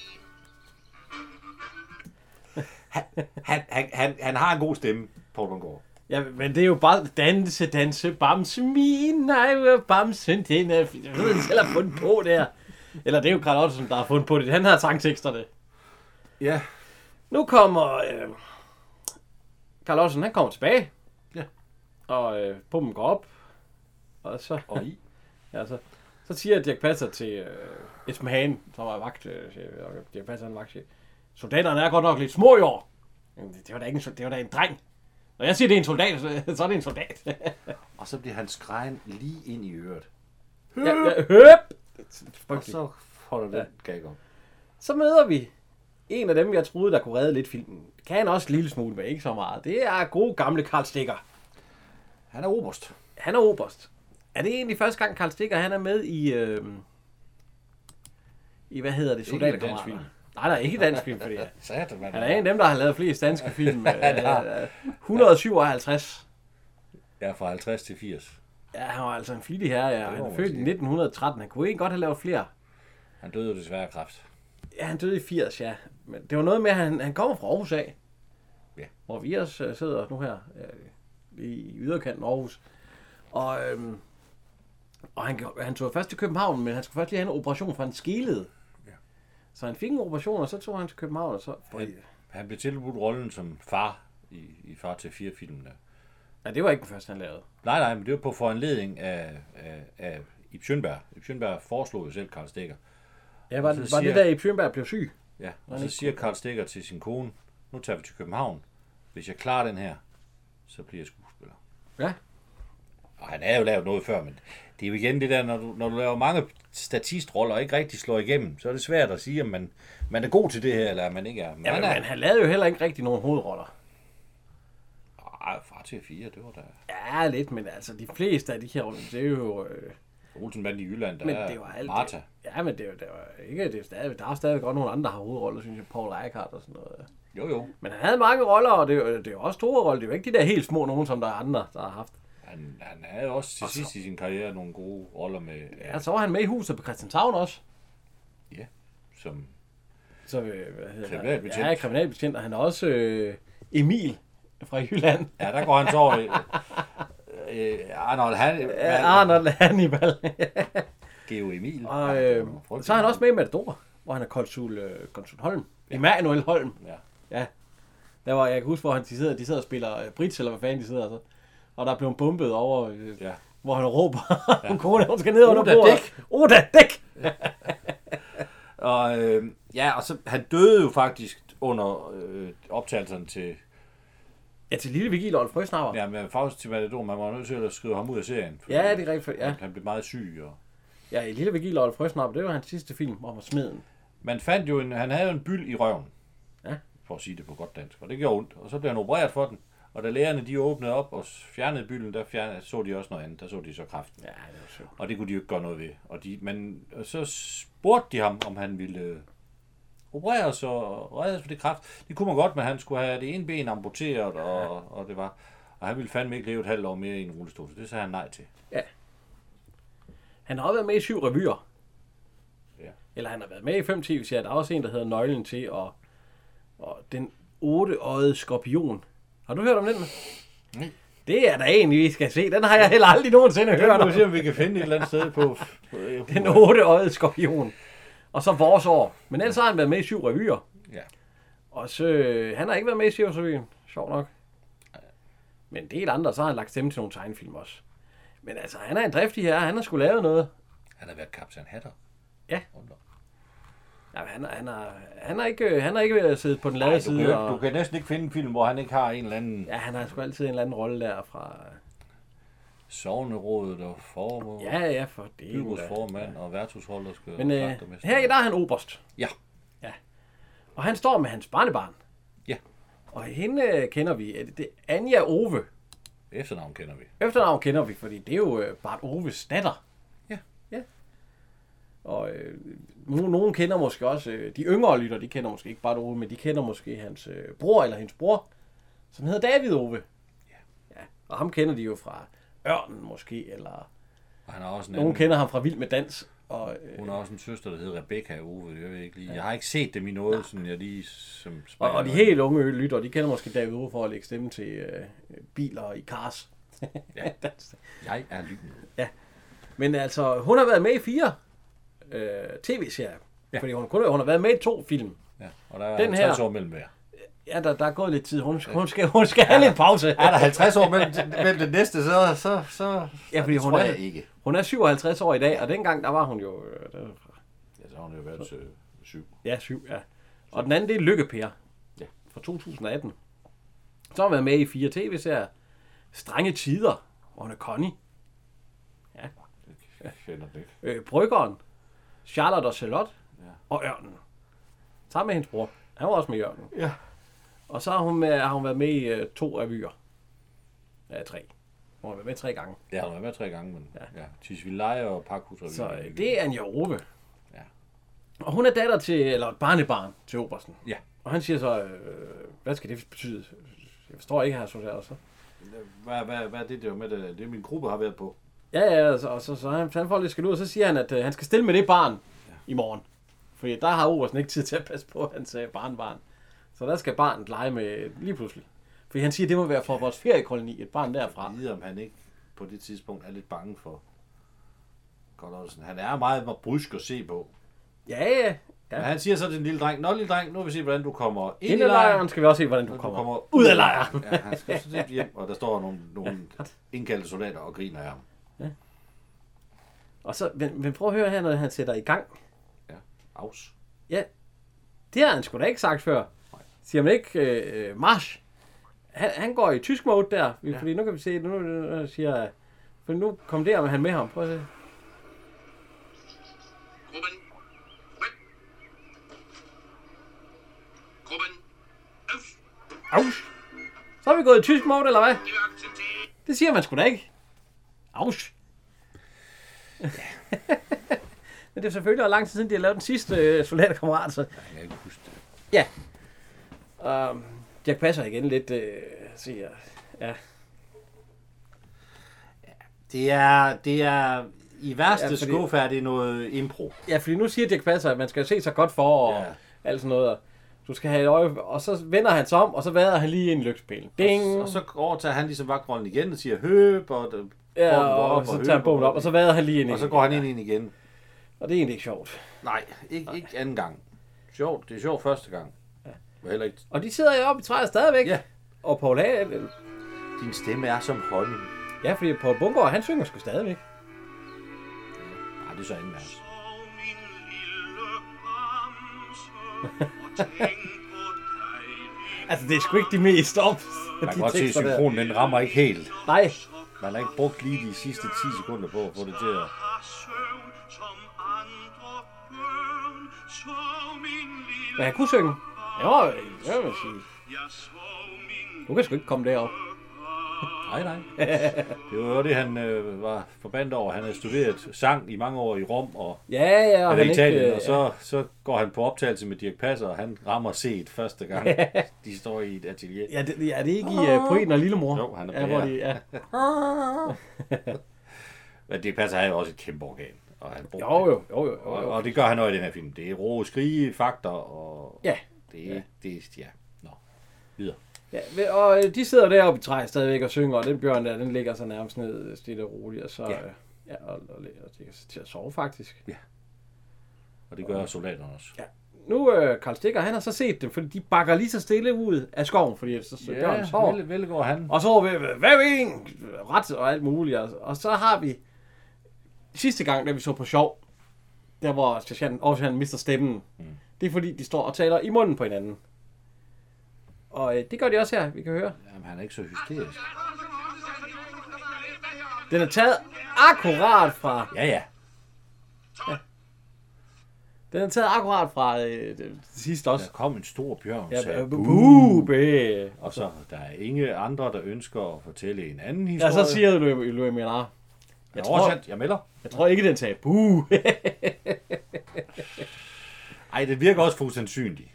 Han, han, han, han har en god stemme, Paul Bundgaard. Ja, men det er jo bare danse, danse, bamse, min, nej, hvor bamsen, den er... Jeg ved, han selv har fundet på der. Eller det er jo Carl Ottesen, der har fundet på det. Han har sangteksterne. Ja. Nu kommer... Øh, Carl Olsen, han kommer tilbage. Ja. Og øh, pumpen går op. Og så, Og i. ja, så, så siger Dirk Passer til øh, Esben Hagen, som var vagt, øh, chef, og Dirk Passer han er vagtchef. Soldaterne er godt nok lidt små i år. Jamen, Det var da ikke en, sol- det var da en dreng. Når jeg siger, det er en soldat, så, så er det en soldat. Og så bliver han skrejen lige ind i øret. ja, ja, høp! Og så holder den gag op. Så møder vi en af dem, jeg troede, der kunne redde lidt filmen. Kan han også en lille smule, men ikke så meget. Det er gode gamle Karl Stikker. Han er oberst. Han er oberst. Er det egentlig første gang, Karl Stikker han er med i... Øh, I hvad hedder det? Ikke i dansk Soldaterkammerater? film. Nej, nej, ikke i dansk film, fordi han Satan, man. er en af dem, der har lavet flest danske film. Øh, øh, 157. Ja, fra 50 til 80. Ja, han var altså en flittig herre, ja. Han må er man født i sige. 1913. Han kunne egentlig godt have lavet flere. Han døde jo desværre af kræft. Ja, han døde i 80, ja. Men det var noget med, at han, han kommer fra Aarhus af. Ja. Hvor vi også øh, sidder nu her øh, i yderkanten af Aarhus. Og, øhm, og han, gjorde- han tog først til København, men han skulle først lige have en operation, for han skilede. Ja. Ja. Så han fik en operation, og så tog han til København, og så... Han, han blev tilbudt rollen som far i, i Far til 4 filmen der. Ja, det var ikke den første, han lavede. Nej, nej, men det var på foranledning af, af, af Ib Schønberg. Ib Schønberg foreslog jo selv Karl Stikker. Ja, var, så det, var siger- det der i Pjørnberg blev syg? Ja, og så siger Karl Stikker til sin kone, nu tager vi til København. Hvis jeg klarer den her, så bliver jeg skuespiller. Ja. Og han har jo lavet noget før, men det er jo igen det der, når du, når du laver mange statistroller og ikke rigtig slår igennem, så er det svært at sige, om man, man er god til det her, eller om man ikke er. Men Jamen, han er, men han lavede jo heller ikke rigtig nogen hovedroller. Ej, far til fire, det var da... Ja, lidt, men altså de fleste af de her roller, det er jo... Øh, Olsen vandt i Jylland, der men er det var alt Martha. Ja, men det var, det var ikke... Det er stadig, der er stadig godt nogle andre, der har hovedroller, synes jeg. Paul Eichhardt og sådan noget. Jo, jo. Men han havde mange roller, og det, er jo- det er jo også store roller. Det er jo ikke de der helt små nogen, som der er andre, der har haft. Han, han havde også til sidst i sin karriere nogle gode roller med, Ja, så var han med i huset på Christianshavn også. ja, som Så, øh, hvad hedder Kriminalbetjent. Det? Ja, kriminalbetjent, og han er også øh, Emil fra Jylland. Ja, der går han så over i... Øh, Arnold, han... Ja, Arnold Hannibal. Geo Emil. og, Ja, det var øh, nogle frygtelige- så er han også med i Matador, hvor han er konsul, øh, konsul Holm. Ja. Emanuel Holm. Ja. Ja. Der var, jeg kan huske, hvor han, de, sidder, de sidder og spiller øh, Brits, eller hvad fanden de sidder. Så. Og der er blevet bombet over, øh, Ja. ja. hvor han råber, ja. kone, hun skal ned under Oda bordet. Oda dæk! Og, øh, ja, og så, han døde jo faktisk under øh, optagelserne til... Ja, til Lille Vigil og Olf Frøsnapper. Ja. Ja, men faktisk til Matador, man var nødt til at skrive ham ud af serien. fordi ja, det er rigtigt. Ja, Han blev meget syg, og... ja i Lille Vigil og Olf Frøsnapper, det var hans sidste film om smeden. Man fandt jo en... Han havde jo en byld i røven. Ja. For at sige det på godt dansk. Og det gjorde ondt. Og så blev han opereret for den. Og da lægerne de åbnede op og fjernede bylden, der fjernede, så de også noget andet. Der så de så kraften. Ja, det var sjovt. Og det kunne de jo ikke gøre noget ved. Og, de, men, og så spurgte de ham, om han ville øh, opereres og reddes for det kraft. Det kunne man godt, men han skulle have det ene ben amputeret, og, og det var... Og han ville fandme ikke leve et halvt år mere i en rullestol, så det sagde han nej til. Han har også været med i syv revyer. Ja. Eller han har været med i fem tv-serier. Der er også en, der hedder Nøglen til, og, og den otteøjede skorpion. Har du hørt om den? Nej. Det er der en, vi skal se. Den har jeg heller aldrig nogensinde hørt Nu om. må vi se, om vi kan finde et eller andet sted på... på øh, Den otteøjede skorpion. Og så vores år. Men ellers har han været med i syv revyer. Ja. Og så, øh, han har ikke været med i Cirkusrevyen. Sjov nok. Men en del andre, så har han lagt stemme til nogle tegnefilm også. Men altså, han er en driftig herre. Han har skulle lave noget. Han har været kaptajn Hatter. Ja. Hold da op. Nej, han, er- han, er, han, er ikke, han er ikke siddet på den Ej, lade du, kan, jo side. ikke- du Og, kan næsten ikke finde en film, hvor han ikke har en eller anden ja. ja, han har sgu altid en eller anden rolle der fra... sovnerådet og formand, ja, Ja, ja, for det. byråds er da- formand og værtshusholderske Men og øh, slagtermester. her der er han oberst, Ja, og han står med hans barnebarn. Ja. Og hende øh, kender vi. Er Det det er Anja Ove. efternavn kender vi. Efternavn kender vi, fordi det er jo øh, Bart Oves datter. Ja. Ja. Og øh, no- nogen kender måske også, øh, de yngre lytter, de kender måske ikke Bart Ove, men de kender måske hans øh, bror eller hendes bror, som hedder David Ove. Ja. ja. Og ham kender de jo fra Ørnen måske, eller Og han har også en nogen anden, kender ham fra Vild med Dans. Og, øh, Hun har også en søster, der hedder Rebecca Ove, jeg ved ikke lige. Jeg har ikke set dem i noget, sådan jeg lige som og, springer og de over. helt unge lytter, de kender måske David Ove for at lægge stemme til øh, biler i Cars. Ja. Dans. Jeg er lyn. Men altså, hun har været med i fire øh, tv-serier. Ja. Fordi hun, kun, hun har været med i to film. Ja. Og der er Den Den her. 50 her. år mellem hver. Ja, der, der er gået lidt tid. Hun, hun skal, hun skal have lidt pause. Er der 50 år mellem, mellem det næste, så... så, så Ja, fordi det hun tror er, jeg ikke. hun er 57 år i dag, og dengang der var hun jo... øh, der- Ja, så har hun jo været øh, syv. Ja, syv, ja. Og den anden, det er Lykkepær. Ja. Fra 2018. Så har hun været med i fire tv-serier. Strenge Tider, hvor hun er Connie. Jeg kender det ikke. øh, Bryggeren, Charlotte og Charlotte Ja. ja. og Ørnen. Sammen med hendes bror. Han var også med i Ørnen. Ja. Og så har hun, med, har hun været med i øh, to revyer. Ja, tre. Hun har været med tre gange. Det har hun været tre gange, men ja. ja. Tisvilleje og Pakhus Revy. Så øh, det er Anja Ove. Ja. Og hun er datter til, eller et barnebarn til Obersten. Ja. Og han siger så, øh, hvad skal det betyde? Jeg forstår ikke, her så så. Hvad, hvad, hvad er det, det var med det? Det min gruppe har været på. Ja, ja, og så, og så, så han, han får lidt skal ud, og så siger han, at øh, han skal stille med det barn ja. i morgen. Fordi der har Obersten ikke tid til at passe på hans øh, barnbarn. Så der skal barnet lege med lige pludselig. Fordi han siger, at det må være fra vores feriekoloni, et barn derfra. vide, om han ikke på det tidspunkt er lidt bange for Godt Olsen. Han er meget brysk at se på. Ja, ja. Ja. Men ja. han siger så til den lille dreng, Nå lille dreng, nu vil vi se, hvordan du kommer ind, Ind i lejren skal vi også se, hvordan du og kommer, ud af lejren. Ja, han skal så lidt hjem, og der står nogle, nogle indkaldte soldater og griner af ham. Og så, men, men prøv at høre her, når han sætter i gang. Ja. Aus. Ja, det har han sgu da ikke sagt før. Siger man ikke øh, øh, march? han, han går i tysk mode der, ja. fordi nu kan vi se, nu, nu nu siger jeg, for nu kom der med han med ham. Prøv at se. Gruppen. Gruppen. Gruppen. Øf. Aus. Så er vi gået i tysk mode, eller hvad? Det er accepteret. Det siger man sgu da ikke. Aus. Men det er selvfølgelig også lang tid siden, de har lavet den sidste øh, soldaterkammerat, så Jeg kan ikke huske det. Ja. Um, Jack passer igen lidt, øh, siger Ja, Det er, det er i værste Ja, ja, fordi- fordi... skuffe er det noget impro. ja fordi nu siger Jack Passer, at man skal se sig godt for, og ja. Ja. alt sådan noget. og Du skal have et øje, og så vender han sig om, og så vader han lige i en lygtspil. Ding! Og så overtager han ligesom vagtrollen igen og siger høb, og der- ja, bolden går og, op, og så høb, tager han bogen op, og så vader han lige ind i og så den. går han ind, ind igen. Og det er egentlig ikke sjovt. Nej, ikke, ikke anden gang. Sjovt, det er sjovt første gang. Ja. Heller ikke. Og de sidder jo oppe i træet stadigvæk. Ja. Og Paul A, Din stemme er som honning. ja, fordi Paul Bungård, han synger sgu stadigvæk. Nej, det er så anden gang. Sov, min lille bamse, og tænk på dejlig Altså, det er sgu ikke de mest op. Man kan godt se, at synkronen den rammer ikke helt. Nej, Man har ikke brugt lige de sidste 10 sekunder på at få det til at... søvn, som andre børn. Sov, min lille men han kunne synge. Jo, jeg vil sige. Jeg sov, min Du kan sgu ikke komme derop. Nej, nej. Det var jo det, han øh, var forbandet over. Han havde studeret sang i mange år i Rom og Ja, ja, og Eller Italien, øh, og så, så går han på optagelse med Dirk Passer, og han rammer set første gang. de står i et atelier. Ja, det, ja, det er ikke i uh, Poeten og Lillemor. Jo, han er ja, bager. hvor de, ja. Men Dirk Passer er jo også et kæmpe organ. Og, han bruger Jo, det. jo, jo, jo, jo, Og, jo. og det gør han også i den her film. Det er rå skrige, fakter, og Ja. det er... Ja. Det, er- ja. Nå. Videre. ja ved- og øh, de sidder deroppe i træet stadigvæk og synger, og den bjørn der, den ligger så nærmest ned øh, stille og roligt, og så Ja. ja. Ja, og, og, og det er til at sove faktisk. Og det gør soldaterne også. Ja. Nu, øh, Karl Stikker, han har så set dem, fordi de bakker lige så stille ud af skoven, fordi så, så ja, bjørnen sover. vel, velgår han. Og så var vi, hvad er en ret og alt muligt. Og, og så har vi sidste gang, da vi så på sjov, der hvor sergeanten også han mister stemmen. Mm. Det er fordi, de står og taler i munden på hinanden. Og øh, det gør de også her, vi kan høre. Jamen, han er ikke så hysterisk. Den er taget akkurat fra, Ja, ja. den er taget akkurat fra øh, det sidste også. Der kom en stor bjørn, Ja, øh, sagde, ja, "Bu." bube. Og så, der er ingen andre, der ønsker at fortælle en anden Ja, historie. så siger du, Louis Mianar. jeg, tror- tror... jeg melder. Jeg tror ikke, den sagde bu. Ej, det virker også for usandsynligt.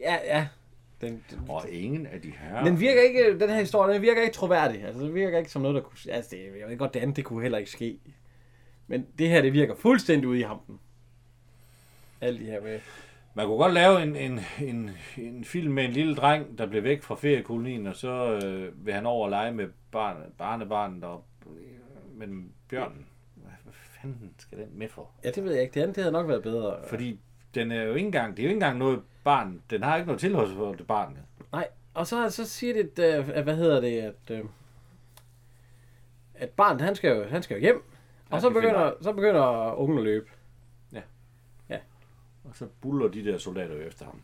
ja, ja. Den, den, Og ingen af de her... Den virker ikke, øh, den her historie, den virker ikke troværdig. Altså, den virker ikke som noget, der kunne... Altså, det, jeg ved godt, det andet, det kunne heller ikke ske. Men det her, det virker fuldstændig ude i hampen. Alt det her med... Man kunne godt lave en, en, en, en film med en lille dreng, der blev væk fra feriekolonien, og så øh, vil han over og lege med barn, barnebarnet og men bjørnen. Hvad hvad fanden skal den med for? Ja, det ved jeg ikke. Det andet, det havde nok været bedre. Fordi den er jo ikke engang, det er jo ikke engang noget barn. Den har ikke noget tilhørsforhold til barnet. Nej, og så, så siger det, at, øh, hvad hedder det, at... Øh, at barnet, han skal jo, han skal jo hjem. Og Ja, så det finder begynder, så begynder ungen at løbe. Og så buller de der soldater jo efter ham.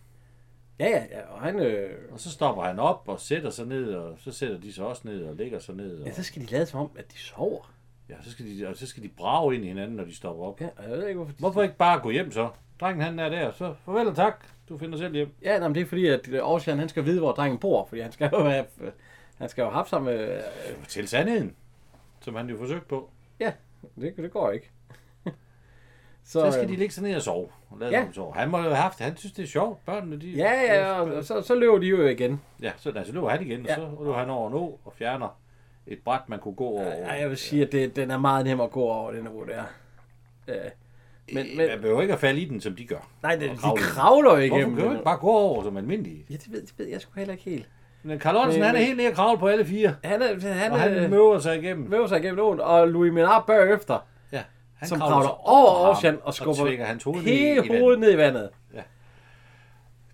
Ja, ja, ja, og han... Øh, Og så stopper han op og sætter sig ned, og så sætter de sig også ned og ligger sig ned. Og, ja, så skal de lade som om, at de sover. ja, så skal de, og så skal de brage ind i hinanden, når de stopper op. Ja, og jeg ved ikke, hvorfor de Hvorfor ikke bare gå hjem så? Drengen han er der, så farvel og tak. Du finder selv hjem. Ja, nej, men det er fordi, at Aarhusian, han skal vide, hvor drengen bor, fordi han skal jo have, øh, han skal jo have haft sammen med... Til sandheden, som han jo forsøgte på. Ja, det, det går ikke. så, Så skal øhm, de ligge sig ned og sove. Og lade Ja. ja. sove. Han må jo have haft, han synes det er sjovt, børnene de... øh, Ja, ja, og, og så, så løber de jo igen. ja så, altså, løber han igen, Ja. ja. og så løber han over nu og fjerner et bræt, man kunne gå over. Ja, jeg vil sige, at det, den er meget nem at gå over, den niveau der. Øh, men, men Man behøver ikke at falde i den, som de gør. nej, det, Og de kravle. kravler jo Hvorfor igennem. kan man den. ikke bare gå over som almindelig? Ja, det ved, det ved jeg sgu heller ikke helt. Men Carl Olsen, Men- han er helt nede og kravle på alle fire. Han, er, han, øh, Og han han møver sig igennem. møver sig igennem åen, og Louis Menard bagefter, Ja, han som kravler kravler sig over ham Aarhusian og skubber og tvinger hans hoved ned i hele vandet. hovedet ned i vandet.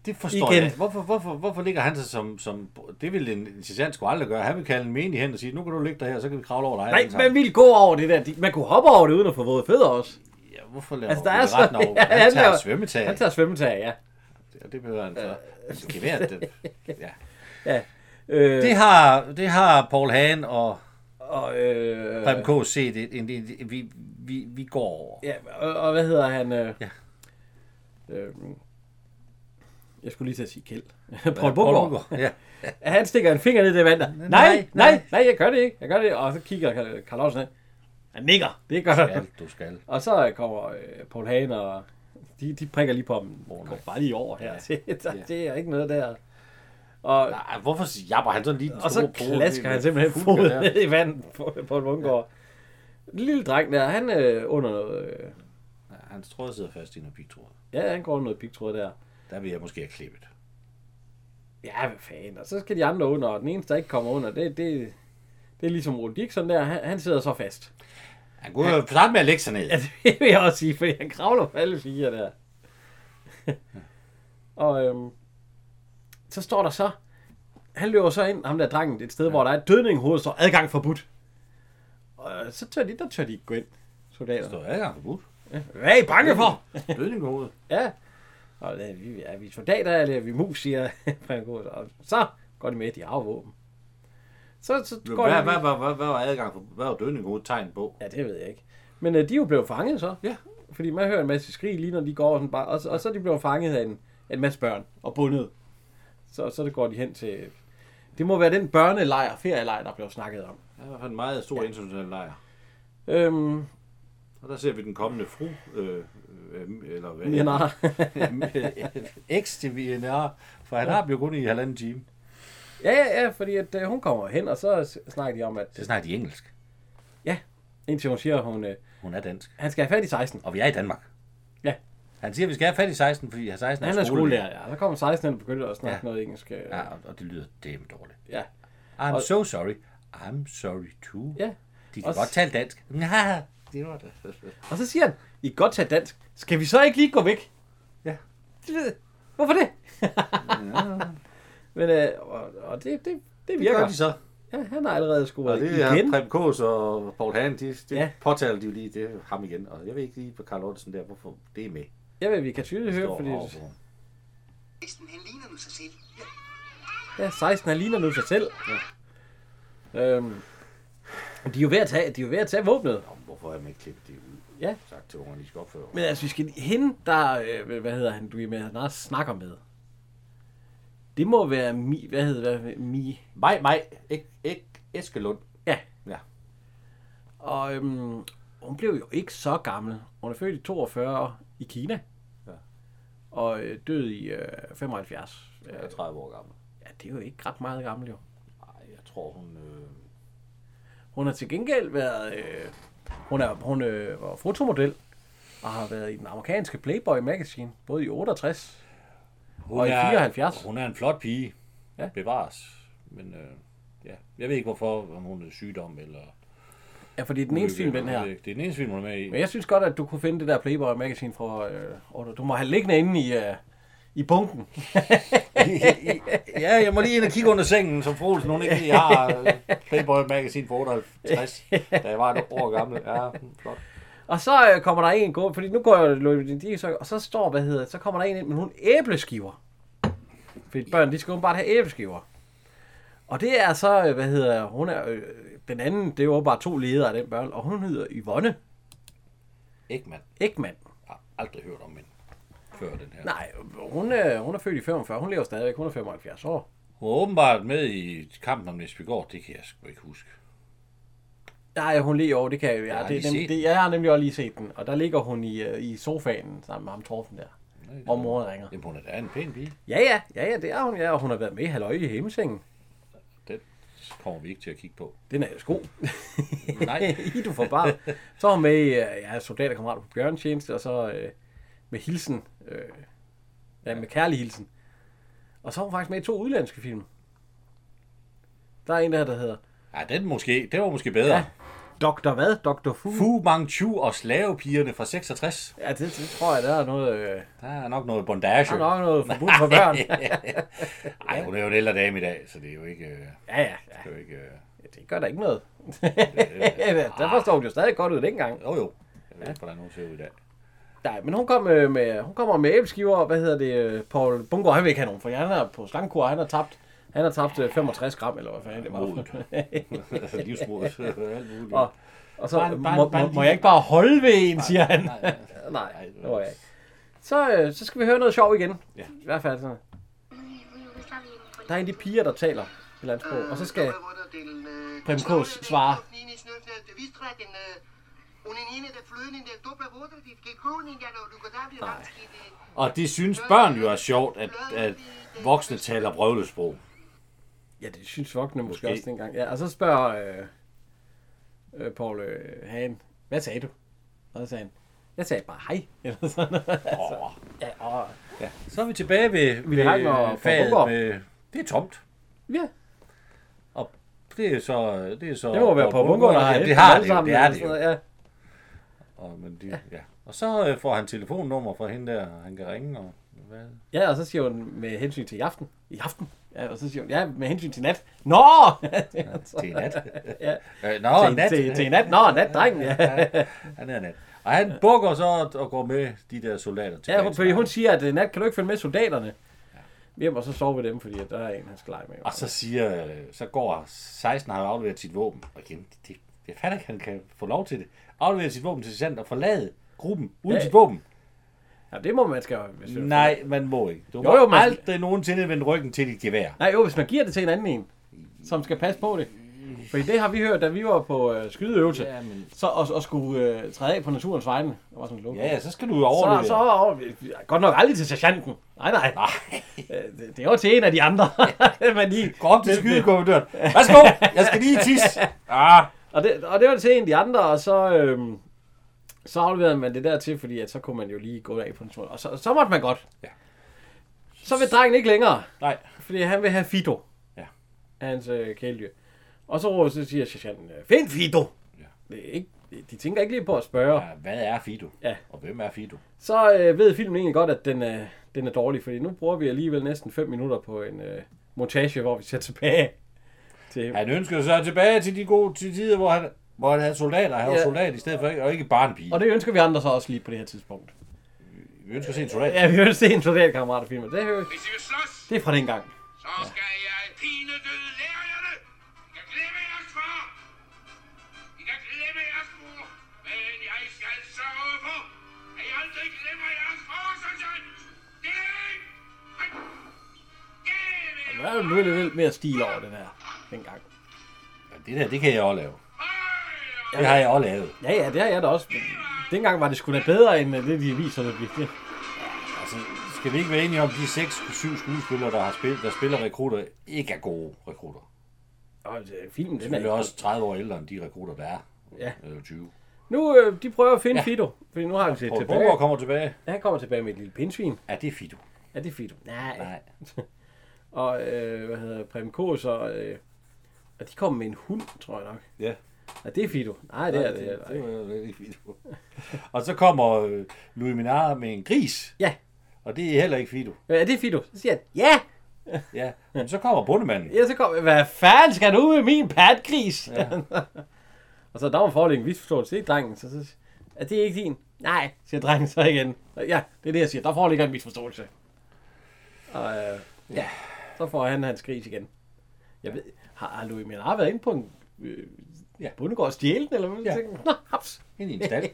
Det forstår Igen. igen. jeg. ikke. Hvorfor, hvorfor, hvorfor ligger han sig som... som det ville en sergeant skulle aldrig gøre. Han vil kalde en menig hen og sige, nu kan du ligge der her, så kan vi kravle over dig. Nej, alle man sammen." ville gå over det der. De- Man kunne hoppe over det, uden at få våde fødder også. Ja, hvorfor laver Altså, altså, der er så... ret over? Ja, han, tager svømmetag. Han tager svømmetag, ja. Altså, Ja, det behøver han så. Øh. Gevær, det. Ja. Øh, Det har, det har Paul Hahn og og, øh, Preben K. set. Et, en, en, en, vi, vi, vi går over. ja, og, og, hvad hedder han? Øh, Ja. Øh, jeg skulle lige til at sige Kjeld. Paul Bukgaard. Ja. Han stikker en finger ned i det vand. der. Nej, nej, nej, nej. nej, jeg gør det ikke. Jeg gør det. ikke. Og så kigger Karl- Karl Olsen af. Han nikker. Det gør han. Skal, du skal. Og så kommer øh, Paul Hagen, og de, de prikker lige på dem. Oh, kom bare lige over her. Ja. der, det er ikke noget der. Og, Ej, hvorfor jabber han sådan lige den og så store pole klasker ned han med simpelthen fulker foden der? ned i vandet på, på en bundgård. Ja. Lille dreng der, han øh, under noget... Øh, Ja, Hans tråd sidder fast i noget pigtråd. ja, han går under noget pigtråd der. Der vil jeg måske have klippet. Ja, hvad fanden. Og så skal de andre under, og den eneste, der ikke kommer under, det, det, det er ligesom Rudi Dixon der. Han, han sidder så fast. Han kunne jo starte med at lægge sig ned. Ja, det vil jeg også sige, for han kravler på alle fire der. og øhm, så står der så, han løber så ind, ham der drengen, et sted, ja. hvor der er et dødning i hovedet, står adgang forbudt. Og øh, så tør de, der tør de ikke gå ind, soldater. Står adgang forbudt. Hvad er I bange for? Blødning i hovedet. ja. Og det er, vi, er vi soldater, eller er vi mus, siger Frank Aas. Og så går de med, de har våben. Så, så Hvad, går de... hvad, hvad, hvad, hvad, var adgang for, hvad var dødning i hovedet tegn på? Ja, det ved jeg ikke. Men øh, de er jo blevet fanget så. Ja. Fordi man hører en masse skrig lige når de går over sådan bare, og, så- og så er de blevet fanget af en, af en masse børn og bundet. Så, så det går de hen til... Det må være den børnelejr, ferielejr, der blev snakket om. Det var i hvert fald en meget stor ja. international lejr. Øhm, Og der ser vi den kommende fru, øh, øh, eller hvad? ja, nej. Eks til VNR, for han har blevet kun i halvanden time. ja, ja, ja, fordi at, øh, hun kommer hen, og så s- snakker de om, at Så snakker de engelsk. indtil hun siger, at hun, øh, Hun er dansk. han skal have fat i 16. Og vi er i Danmark. Ja. Han siger, at vi skal have fat i 16, fordi 16 Han er skolelærer, ja. Så kommer 16 og begynder at snakke ja. Ja. noget engelsk. Øh, ja. Ja, og- og det lyder dem dårligt. ja. I'm Og- so sorry. I'm sorry too. ja. De kan og s- godt tale dansk. Ja, det var det. Og så siger han, I kan godt tage dansk. Skal vi så ikke lige gå væk? Ja. Det ved jeg. Hvorfor det? Men, øh, og, og det, det, det Det virker. gør de så. Ja, han har allerede Og scoret det igen. er Prem Kås og Paul Hahn, de, de Ja. ja. påtaler de jo lige det er ham igen. Og jeg ved ikke lige på Karl Ottesen der, hvorfor det er med. Jeg ved, vi kan tydeligt høre, Står fordi overfor. Næsten, han ligner nu sig selv. Ja. ja, 16 han ligner nu sig selv. Ja. Øhm, de er jo ved at tage, de er jo ved at tage våbnet. Nå, men hvorfor har man ikke klippet det ud? Ja. Sagt til ungerne, de skal opføre. Men altså, vi skal hende, der, øh, hvad hedder han, du er med, han også snakker med. Det må være Mi, hvad hedder det, Mi. Mig, mig. Ikke, ikke Eskelund. Ja, Ja. Og øhm, hun blev jo ikke så gammel. Hun er født i 42 i Kina. Ja. Ja. Og øh, død i øh, 75. Ja. Jeg er 30 år gammel. ja, det er jo ikke ret meget gammel jo. Ej, jeg tror, hun... Øh... Hun har til gengæld været... Øh, hun er, hun øh, var fotomodel og har været i den amerikanske Playboy Magazine, både i 68. Hun Og i 74. Hun er en flot pige. Ja. Ja. Bevares. Men øh, ja, jeg ved ikke hvorfor, om hun er sygdom eller... Ja, fordi den eneste film, den her. Det er den eneste film, hun er med i. Men jeg synes godt, at du kunne finde det der Playboy Magazine fra... Øh, og du- du må have liggende inde i, øh, i bunken. ja, jeg må lige ind og kigge under sengen, som Froelsen, hun ikke lige har øh, Playboy Magazine for 58, da jeg var et år gammel. Ja, flot. Og så øh, kommer der en gå, fordi nu går jeg løbet din så, og så står, hvad hedder det, så kommer der en ind med nogle æbleskiver. Fordi børn, de skal åbenbart have æbleskiver. Og det er så, øh, hvad hedder, hun er, øh, den anden, det er jo åbenbart to ledere af den børn, og hun hedder Yvonne Ekman. Ekman. Jeg har aldrig hørt om hende før den her. Nej, hun, øh, hun er født i 45, hun lever stadigvæk, hun er 75 år. Hun er åbenbart med i kampen om Nesbygård, det kan jeg sgu ikke huske. Nej, hun lever over, det kan jeg jo. Ja, har det, er lige nem, set det, jeg har nemlig også lige set den, og der ligger hun i, øh, i sofaen sammen med ham Torfen der, hvor mor ringer. Jamen, hun er da en pæn pige. Ja, ja, ja, ja, det er hun, ja, og hun har været med i Halløj i Hemmesengen. Den kommer vi ikke til at kigge på. Den er ellers god. Nej. I du får bare. Så var hun med i, øh, ja, soldaterkammerater på bjørntjeneste, og så øh, med hilsen. Øh, ja, med kærlig hilsen. Og så var hun faktisk med i to udlandske film. Der er en der, der hedder Ja, den måske, det var måske bedre. Ja. Dr. hvad? Dr. Fu? Fu Manchu og slavepigerne fra 66. Ja, det, det, tror jeg, der er noget... Øh, Der er nok noget bondage. der er nok noget forbudt for børn. Nej, hun er jo en ældre dame i dag, så det er jo ikke... øh, Ja, ja, ja. Det er jo ikke øh, Det gør da ikke noget. der forstår hun jo stadig godt ud dengang. jo, jo. Jeg ved ikke, hvordan hun ser ud i dag. Nej, men hun, kom, øh, med, hun kommer med æbleskiver, og hvad hedder det, øh, Paul Bunker, han vil ikke have nogen, for han er på slangkur, han har tabt. Han har tabt øh, 65 gram, eller hvad fanden det var. Modet. Altså, livsmodet. Alt muligt. og, og så, Bare- bare- må, bare må, må lige- jeg ikke bare holde ved en, siger han. Nej, nej, Nej, det det var må jeg ikke. Så, øh, så skal vi høre noget sjov igen. Ja. I hvert fald sådan. Der er en af de piger, der taler et eller andet sprog, og så skal... Preben Kaas svare. Og det synes børn jo er sjovt, at, at voksne taler brøvlesprog. Ja, det synes voksne måske Måske. også dengang. Ja, og så spørger øh, øh, Paul øh, Hagen, hvad sagde du? Og så sagde han, jeg sagde bare hej. Eller sådan noget. Åh. Ja, og, Så er vi tilbage ved, ved Hagner og faget Bunker. med... Det er tomt. ja. Og det er så... Det, er så Det må være på Paul bunker, der Bunker. har Ja, hæftet det har alle det jo. sammen, Det er eller det sådan jo. noget, Ja. Og, men de, ja. og så øh, får han telefonnummer fra hende der, han kan ringe. Og, hvad? Ja, og så siger hun med hensyn til i aften. I aften. Ja, og så siger hun, ja, med hensyn til nat. Nå! Til nat. ja. Øh, nå, til, nat. Til, til nat. Nå, nat, drengen. Ja, ja, Han er nat. Og han bukker så og- og går med de der soldater tilbage. ja hun, til fordi hun lejren. siger, at øh, nat kan du ikke følge med soldaterne. Hjem, og så sover vi dem, fordi at der er en, han skal lege med. Og så siger, øh, så går 16 har afleveret sit våben. Og igen, det, det, jeg fatter ikke, han kan få lov til det. Afleverer sit våben til sergeant og forlade gruppen uden Ja. sit våben. Ja, det må man skal jo... hvis jeg- Nej, man må ikke. Du må Jo, jo, man- aldrig nogensinde vende ryggen til dit gevær. Nej, jo, hvis man giver det til en anden en, som skal passe på det. Fordi det har vi hørt, da vi var på øh, skydeøvelse, Ja, men- så, og, og skulle øh, træde af på naturens vegne. Der var sådan en lukke. Ja, ja, så skal du jo så, overleve. så over, godt nok aldrig til sergeanten. Nej, nej. nej. Det, det var til en af de andre. Men lige, Gå op til skydekommandøren. Værsgo, jeg skal lige tisse. Ah, og, det, og det var til en af de andre, og så, øhm, så afleverede man det der til, fordi at så kunne man jo lige gå af på en tur. Og så, så måtte man godt. Ja. Så vil drengen ikke længere. nej. Fordi han vil have Fido. Ja. Af hans øh, kæledyr. Og så råber så siger sergeanten, øh, find Fido! Ja. Det er ikke, de tænker ikke lige på at spørge. Ja. Ja, Hvad er Fido? Ja. Og hvem er Fido? Så øh, ved filmen egentlig godt, at den, øh, den er dårlig, fordi nu bruger vi alligevel næsten 5 minutter på en øh, montage, hvor vi ser tilbage til Han ønskede sig tilbage til de gode til tider, hvor han, hvor han havde soldater. Han var Ja. soldat i stedet for, ikke- og ikke barnepige. Og det ønsker vi andre så også lige på det her tidspunkt. Vi ønsker at se en soldat. Ja, vi ønsker se en soldatkammeratfilm, og det, er jo- Hvis I vil slås, det er fra den gang. så skal jeg pine døde lærerne. I kan glemme jeres far. I kan glemme jeres mor. Men jeg skal sørge for, at I aldrig glemmer jeres far, sergeant. Det er ikke. Der er jo nu lidt mere stil over den her dengang. Ja, Det der, det kan jeg også lave. Det har jeg også lavet. Ja, ja, det har jeg da også. Men dengang var det sgu da bedre, end øh, det, de viser, det bliver. Altså, skal vi ikke være enige om, at de 6-7 skuespillere, der, har spil, der spiller rekrutter, ikke er gode rekrutter? Og øh, filmen, den er Det ikke er også 30 år ældre end de rekrutter, der er. Ja. Eller 20. Nu, øh, de prøver at finde ja. Fido, fordi nu har han set Poul tilbage. Bunker kommer tilbage. Han kommer tilbage med et lille pindsvin. Ja, det er Fido. Er det Fido? Nej. Nej. Og, øh, hvad hedder Prem Kås og, øh, og de kommer med en hund, tror jeg nok. Ja. Er det Fido? Nej, det er det. heller det ikke. var ikke Fido. Og så kommer øh, Louis Minard med en gris, Ja, og det er heller ikke Fido. er det Fido? Så siger han, ja! Ja, men så kommer bundemanden. Ja, så kommer hvad fanden skal du med min patgris? Ja. og så der var forlæggen misforståelse, det er drengen. Så, så er det ikke din? Nej, siger drengen så igen. Og Ja, det er det, jeg siger. Der foreligger en misforståelse. Og øh, ja, så får han hans gris igen. Jeg ved, har, har Louis Menard været inde på en øh, Ja. ja. bundegård og stjæle den, eller hvad? Ja. Ja. Nå, haps. Ind i en stald.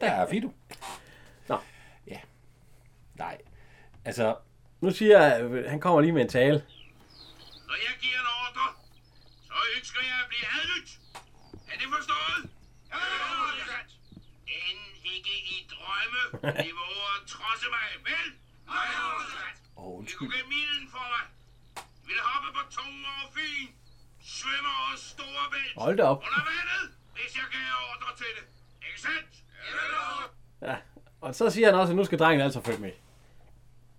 Der er Fido. Nå. Ja. Nej. Altså, Nu siger jeg, øh, han kommer lige med en tale. Når jeg giver en ordre, så ønsker jeg at blive adlydt. Er det forstået? Ja, sergeant. End ikke i drømme, de våger at trodse mig, vel? Nej, sergeant. åh, I kunne undskyld. gemme ilden for mig. I ville hoppe på tungen over Fyn. Svømme over Storebælt. Hold da op. Under vandet, hvis jeg gav ordre til det. Ikke sandt? Ja, Ja. Og så siger han også, at nu skal drengen altså følge med.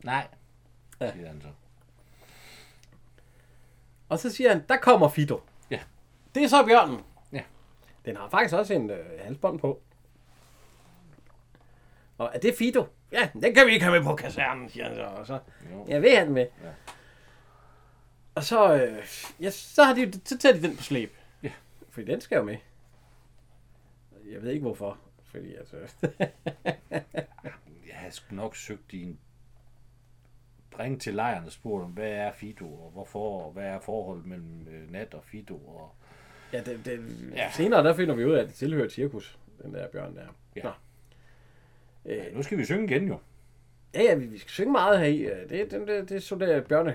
Nej. Siger han så. Og så siger han, der kommer Fido. Ja. Det er så bjørnen. Ja. Den har faktisk også en øh, halsbånd på. Og er det Fido? Ja, den kan vi ikke have med på kasernen, siger han så. Og så Jo. jeg vil have den med. Ja. Ja. Og så, øh, ja, så, har de, jo- så tager de den på slæb. Ja. Fordi den skal jo med. Jeg ved ikke hvorfor. Fordi altså... Jeg havde sgu nok søgt i en ringet til lejren og spurgt om, hvad er Fido, og hvorfor, og hvad er forholdet mellem øh, Nat og Fido, og Ja, det, det, ja. Senere der finder vi ud af, at det tilhører et cirkus, den der bjørn der. Ja. Nå. Øh, nu skal vi synge igen jo. ja, ja, vi, vi skal synge meget her i. øh, Det, den, det, det er sådan der bjørne.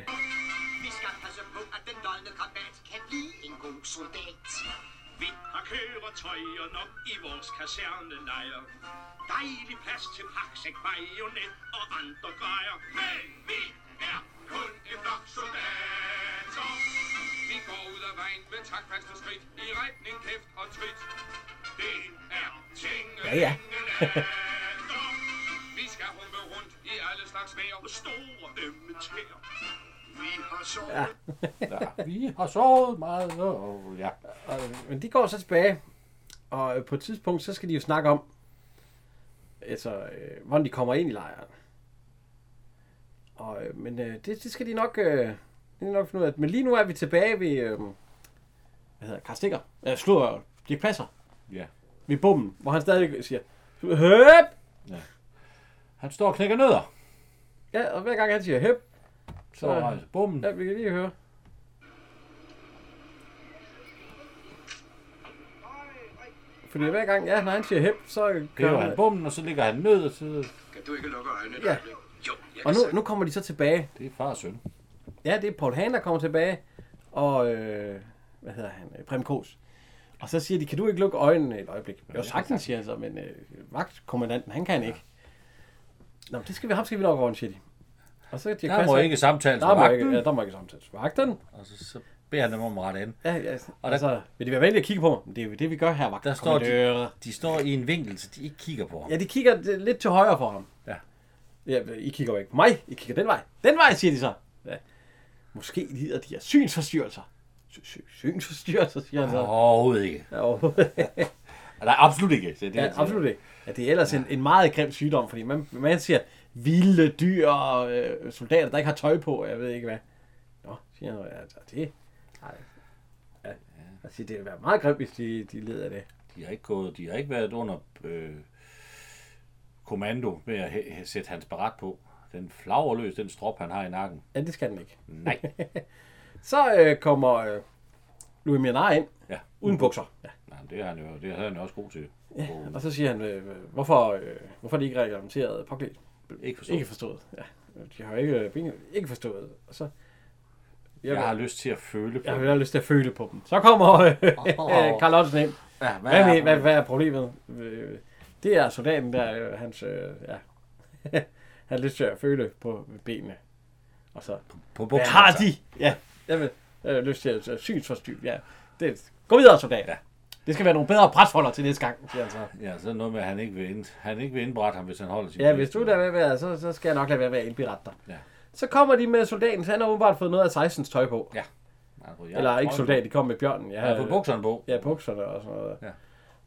Vi skal passe på, at den nøgne krabat kan blive en god soldat. Vind og køretøjer nok i vores kasernelejr. Dejlig plads til paksæk, bajonet og andre grejer. Men vi er kun en flok soldater. Vi går ud af vejen med takfaste skridt i retning kæft og trit. Det er tingene. Ja, ja. vi skal humpe rundt i alle slags vejr og store ømme tæer. Vi har så Ja. Ja, vi har sovet meget, og ja. Og, men de går så tilbage, og øh, på et tidspunkt, så skal de jo snakke om, altså, øh, hvordan de kommer ind i lejren. Og, øh, men øh, det, det skal de nok, øh, det skal de nok finde ud af. Men lige nu er vi tilbage ved, øh, hvad hedder Karl Stikker? Øh, slår de passer. ja. ved bommen, hvor han stadig siger, høp! Han står og knækker nødder, Ja, og hver gang han siger høp, så rejser bommen. ja, vi kan lige høre. Fordi hver gang, ja, når han siger høp, så Kører kører han han. bommen, og så ligger han ned, og så Kan du ikke lukke øjnene? et Ja. øjeblik? Jo, jeg Og kan nu, nu kommer de så tilbage. det er far og søn. Ja, det er Paul Hahn, der kommer tilbage, og øh, hvad hedder han, Øh, Prem Kås. Og så siger de, kan du ikke lukke øjnene et øjeblik? Jo, sagtens, siger han så, men øh, vagtkommandanten, han kan ikke. Nå, men det skal vi, ham skal vi nok orientere. Og så Dirk Der må Passer- ikke samtale Der med må ikke, vagten, ja, der må ikke samtales. Vagten? og så, så beder han dem om at rette ind. Ja, ja. Og Og der- der, altså, vil de være venlige at kigge på mig? Men Det er jo det, vi gør her, vagten. Der står Kommandør. de, de står i en vinkel, så de ikke kigger på ham. Ja, de kigger øh, lidt til højre for ham. Ja. ja I kigger jo ikke på mig. I kigger den vej. Den vej, siger de så. Ja. Måske lider de af synsforstyrrelser. Sy- sy- Synsforstyrrelser, siger han så. Overhovedet ikke. Ja, overhovedet. Nej, absolut ikke. Det er det, ja, jeg siger. absolut ikke. Ja, det er ellers en, en meget grim sygdom, fordi man, man siger vilde dyr og øh, soldater, der ikke har tøj på, og jeg ved ikke hvad. Nå, siger han, ja, altså, det... Nej. Ja, altså, det ville være meget grimt, hvis de, de led af det. De har ikke, gået, de har ikke været under øh, kommando med at hæ- hæ- sætte hans barat på. Den flager løs, den strop, han har i nakken. Ja, det skal den ikke. Nej. Så øh, kommer øh, Louis Mianar ind, Mm. Ja, uden bukser. Ja. Nej, men det er han jo, det er han jo også god til. Ja. Og så siger han, øh, hvorfor, øh, hvorfor er de ikke reglementeret påklædt? Ikke forstået. Ikke forstået. Ja. De har jo ikke, øh, ben- ikke forstået. Og så, jeg, Jeg har jeg, lyst til at føle på jeg det. har lyst til at føle på dem. Så kommer øh, Åh. oh. Carl Ottesen ind. Ja, hvad, Hvad, med, er- hvad, hvad er problemet? Øh, Det er soldaten der, øh, hans, øh, ja, han har lyst til at føle på benene. Og så, På Hvad bukserne, har altså. de? Ja, jeg vil øh, lyst til at øh, synsforstyr. Ja. Det, gå videre, soldat. Ja. Ja. Det skal være nogle bedre presholder til næste gang, siger han så. Ja, så er det noget med, at han ikke vil, ind, han ikke vil indberette ham, hvis han holder sin Ja, kæft. hvis du lader være med at være, så, så skal jeg nok lade være med at indberette dig. Ja. Så kommer de med soldaten, så han har åbenbart fået noget af 16's tøj på. Ja, Nej, på- jeg- Eller ikke Hold- soldat, de kom med bjørnen. Ja, Ja, på bukserne på. Ja, bukserne og sådan noget. Ja. Ja.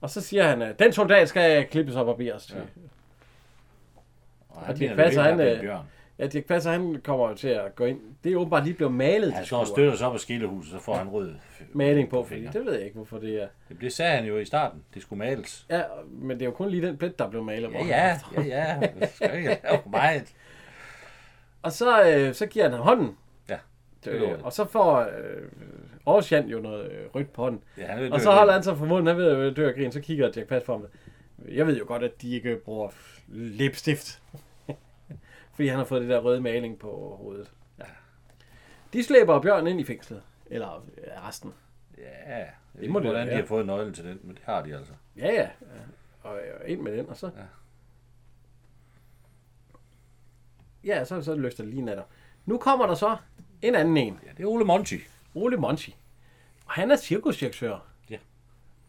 Og så siger han, øh, den soldat skal klippes og barberes. Ja. Og han de mener, det passer, ikke, han, at det er øh, bjørn. ja, Dirk Passer, han kommer jo til at gå ind. Det er åbenbart lige blevet malet. Han de står og skruer. støtter sig op af skillehuset, så får han rød f- Maling på, fordi fingre. det ved jeg ikke, hvorfor det er. Jamen, Det sagde han jo i starten. Det skulle males. Ja, men det er jo kun lige den plet, der blev malet. Ja, hvor- ja, ja, ja. Det skal ikke lave for meget. Og så, øh, så giver han ham hånden. Ja, det er Øh, lort. og så får øh, Aarhusian jo noget øh, rødt på hånden. Ja, han er ved at og dø så af holder grin. han sig for munden, han ved at være dø af grin, så kigger Jack Pass på ham. Jeg ved jo godt, at de ikke bruger læbstift. Fordi han har fået det der røde maling på hovedet. Ja. De slæber Bjørn ind i fængslet. Eller øh, resten. Ja, jeg ved må ikke, det hvordan de være. har fået nøglen til den, men det har de altså. Ja, ja. Og øh, ind med den, og så... Ja, ja så, så løfter det lige natter. Nu kommer der så en anden en. Ja, det er Ole Monti. Ole Monti. Og han er cirkusdirektør. Ja.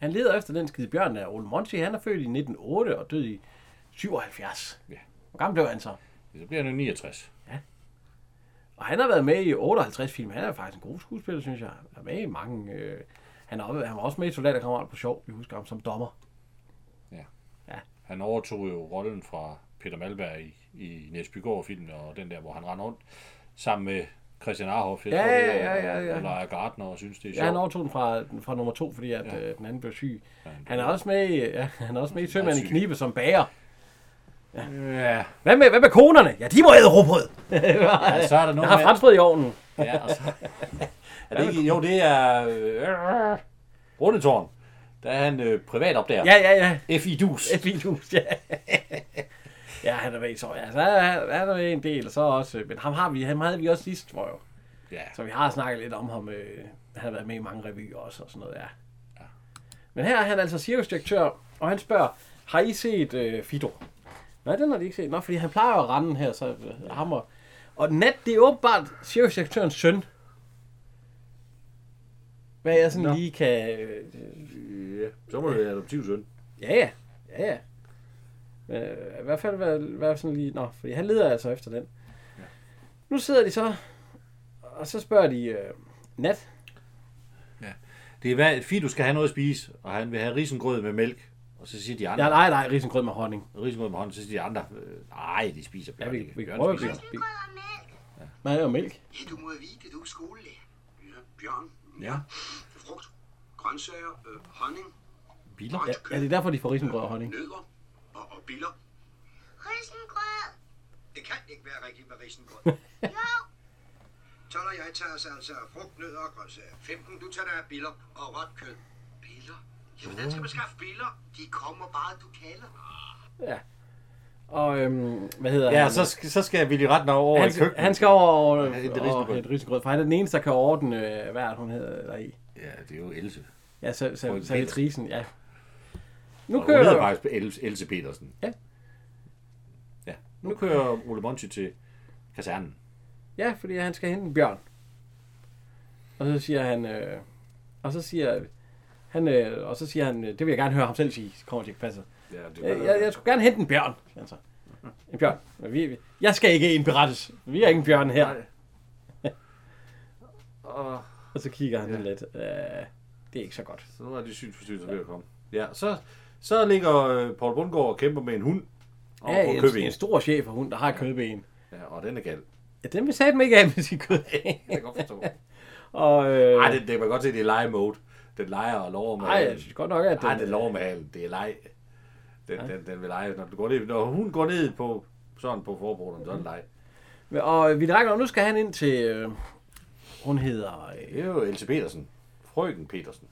Han leder efter den skide bjørn der. Ole Monti, han er født i 1908 og død i 77. Ja. Hvor gammel blev han så? Så bliver han jo 69. Og han har været med i 58 film. Han er faktisk en god skuespiller, synes jeg. Han er med i mange... Øh... Han, er, han var også med i Soldaterkammerater på Sjov. Vi husker ham som dommer. Han overtog jo rollen fra Peter Malberg i, i Næsbygård-filmen, og den der, hvor han render rundt sammen med Christian Arhoff. Jeg Ja, tror, det ja, er, ja, ja, ja. Og Leia Gardner, og synes, det er Ja, han sjovt. overtog den fra, fra nummer to, fordi at, ja. øh, den anden blev syg. Han er også med i, ja, han er også med i Sømand i syg. Knibe som bager. Ja. Hvad med, hvad med konerne? Ja, de må æde råbrød. ja, så er der Jeg noget har franskbrød i ovnen. med... Ja, og så... er det ikke... Jo, det er... Øh, Rundetårn. Der er han øh, privat opdager. Ja, ja, ja. F.I. Dus. Et fint hus, ja. ja, han er væk, så ja. Så er, er der en del, og så også... øh, Men ham, har vi, ham havde vi også sidst, tror jeg. Ja. Så vi har snakket lidt om ham. Øh, han har været med i mange revyer også og sådan noget, ja. Men her er han altså cirkusdirektør, og han spørger, har I set øh, Fido? Nej, den har de ikke set. Nå, fordi han plejer at rende her, så øh, ham og... Og Nat, det er åbenbart cirkusdirektørens søn. Hvad jeg sådan Nå. lige kan... Øh, ja. Så må det være adoptivsøn. Ja, ja. Ja, ja. Men, øh, I hvert fald være, være sådan lige... Nå, fordi han leder altså efter den. Ja. Nu sidder de så, og så spørger de... Øh, Nat? Det er hvad, Fido skal have noget at spise, og han vil have risengrød med mælk. Og så siger de andre, Ja, nej, nej, risengrød med honning. risengrød med hånden, så siger de andre, øh, nej, de spiser Ja, bjørn. vi, ikke. vi kan Bjørn prøve at spiser blive... Brød og mælk. Nej, det er jo mælk. Ja, du må vide, du er skolelærer. Ja, bjørn. Ja. Frugt, grøntsager, øh, honning, biler. Ja, ja, det er derfor, de får risengrød og honning. nødder og, og biller. Risengrød. Det kan ikke være rigtigt med risengrød. Jo. Toller jeg tager os altså af frugt, nødder og grøntsager. 15, du tager dig af biller og råt kød. Biller? Ja, hvordan skal man skaffe biller? De kommer bare, du kalder. Og øhm, hvad hedder Ja, han? så, skal- så skal Willy Ratner over i han, køkkenet. han skal over og, og hente risengrød. hente risengrød, for han er den eneste, der kan ordne, øh, hvad er det, hun hedder der i. Ja, det er jo Else. Ja, så, så, Hun så, er så Peter. trisen, ja. Nu Hun hedder kører... faktisk Else, Else Petersen. Ja. Ja. Nu kører Ole Monty til kasernen. Ja, fordi han skal hente en bjørn. Og så siger han... Øh, og så siger han... Øh, og så siger han... øh, Det vil jeg gerne høre ham selv sige, kommer til ikke passer. Øh, Ja, det Jeg, jeg, jeg skulle gerne hente en bjørn, siger han så. En bjørn. Men vi, vi, jeg skal ikke indberettes. Vi er ingen bjørn her. Nej. Og Og så kigger han ja. lidt. Øh, det er ikke så godt. så nu er de synsforstyrrelser ved at komme. Ja, så, så ligger øh, Paul Bundgaard og kæmper med en hund. Og Ja, på en, Købing. en stor chef og hund, der har et kødben. Ja, og den er gal. Ja, den vil satme ikke af med sit kødben. Jeg kan godt forstå. Og, øh, Ej, det, det kan man godt se, det er lege-mode. Den leger og lover med ej, jeg halen. synes godt nok, at den... Ej, den lover med halen. Det er leg. Den, den, den vil lege. Når, du går ned, når hun går ned på sådan på forbrugeren, så er det leg. Og vi drækker, nu skal han ind til... Øh, hun hedder... Det Øh, er jo Else Petersen. Frøken Petersen.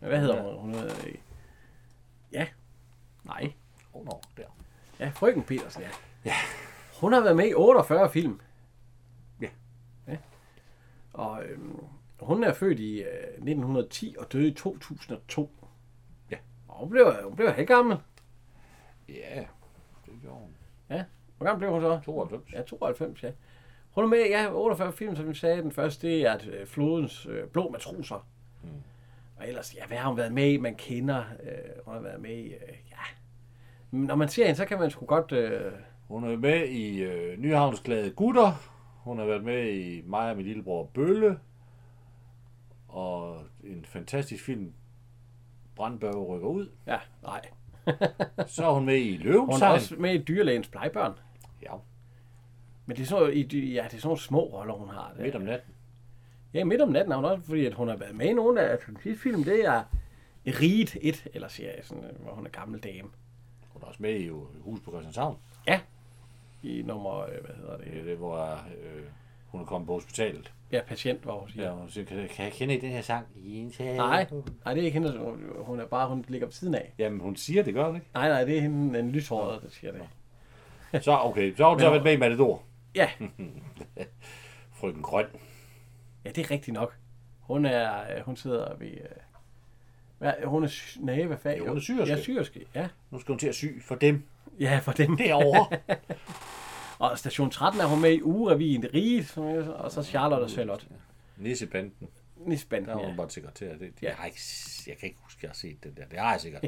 hvad hedder hun? Hun hedder... Øh, ja. Nej. Oh, no, der. Ja, Frøken Petersen, ja. ja. Hun har været med i 48 film. Ja. ja. Og øh, hun er født i øh, 1910 og døde i 2002. Ja. Og hun blev, hun blev helt gammel. Ja, det gjorde hun. Hvor gammel blev hun så? 92. Ja. Ja, 92, ja. Hun er med, ja, 48 film, som vi sagde. Den første, det er at, øh, Flodens øh, Blå Matroser. Mm. Og ellers, ja, hvad har hun været med i? Man kender, øh, hun har været med i, øh, ja. Men Når man ser hende, så kan man sgu godt... Øh, Hun er med i øh, Nyhavnsglade Gutter. Hun har været med i mig og min lillebror Bølle. Og en fantastisk film, Brandbørge rykker ud. ja, nej. Så er hun med i Hun er Løvensang. også med i Dyrlægens Plegebørn. Ja, Men det er sådan, i, dy- ja, det er sådan nogle små roller, hun har. Det. midt om natten. Ja, midt om natten har hun også, fordi at hun har været med i nogle af altså, den sidste film. Det er Riget 1, eller serie, sådan, øh, hvor hun er gammel dame. Hun er også med i øh, Hus på Christianshavn. Ja, i nummer, øh, hvad hedder Det er det? det, hvor øh, hun er kommet på hospitalet. Ja, patient, hvor hun siger. Ja, hun siger, kan, kan jeg kende den her sang? I en tale. Nej, nej, det er ikke hende, hun- hun er bare, hun ligger ved siden af. Jamen, hun siger det, gør hun ikke? Nej, nej, det er hende, den lyshårede, der siger det. Så okay, så har hun så været med i Matador. Ja, Hm. Frøken Grøn. ja, det er rigtigt nok. Hun er, øh, hun sidder ved, øh, hvad, hun er, sy- nej, hvad fag? Ja, hun er syerske. Ja, syerske, ja. Nu skal hun til at sy for dem Ja, for dem. derovre. Og station 13 er hun med i ugerevyen Rige, som jeg- og så Charlotte og Charlotte. Nissebanden. I Spanien, Der var hun ja. bare sekretær. Det, det, jeg, har ikke, jeg kan ikke huske, at jeg har set den der. Det har jeg sikkert.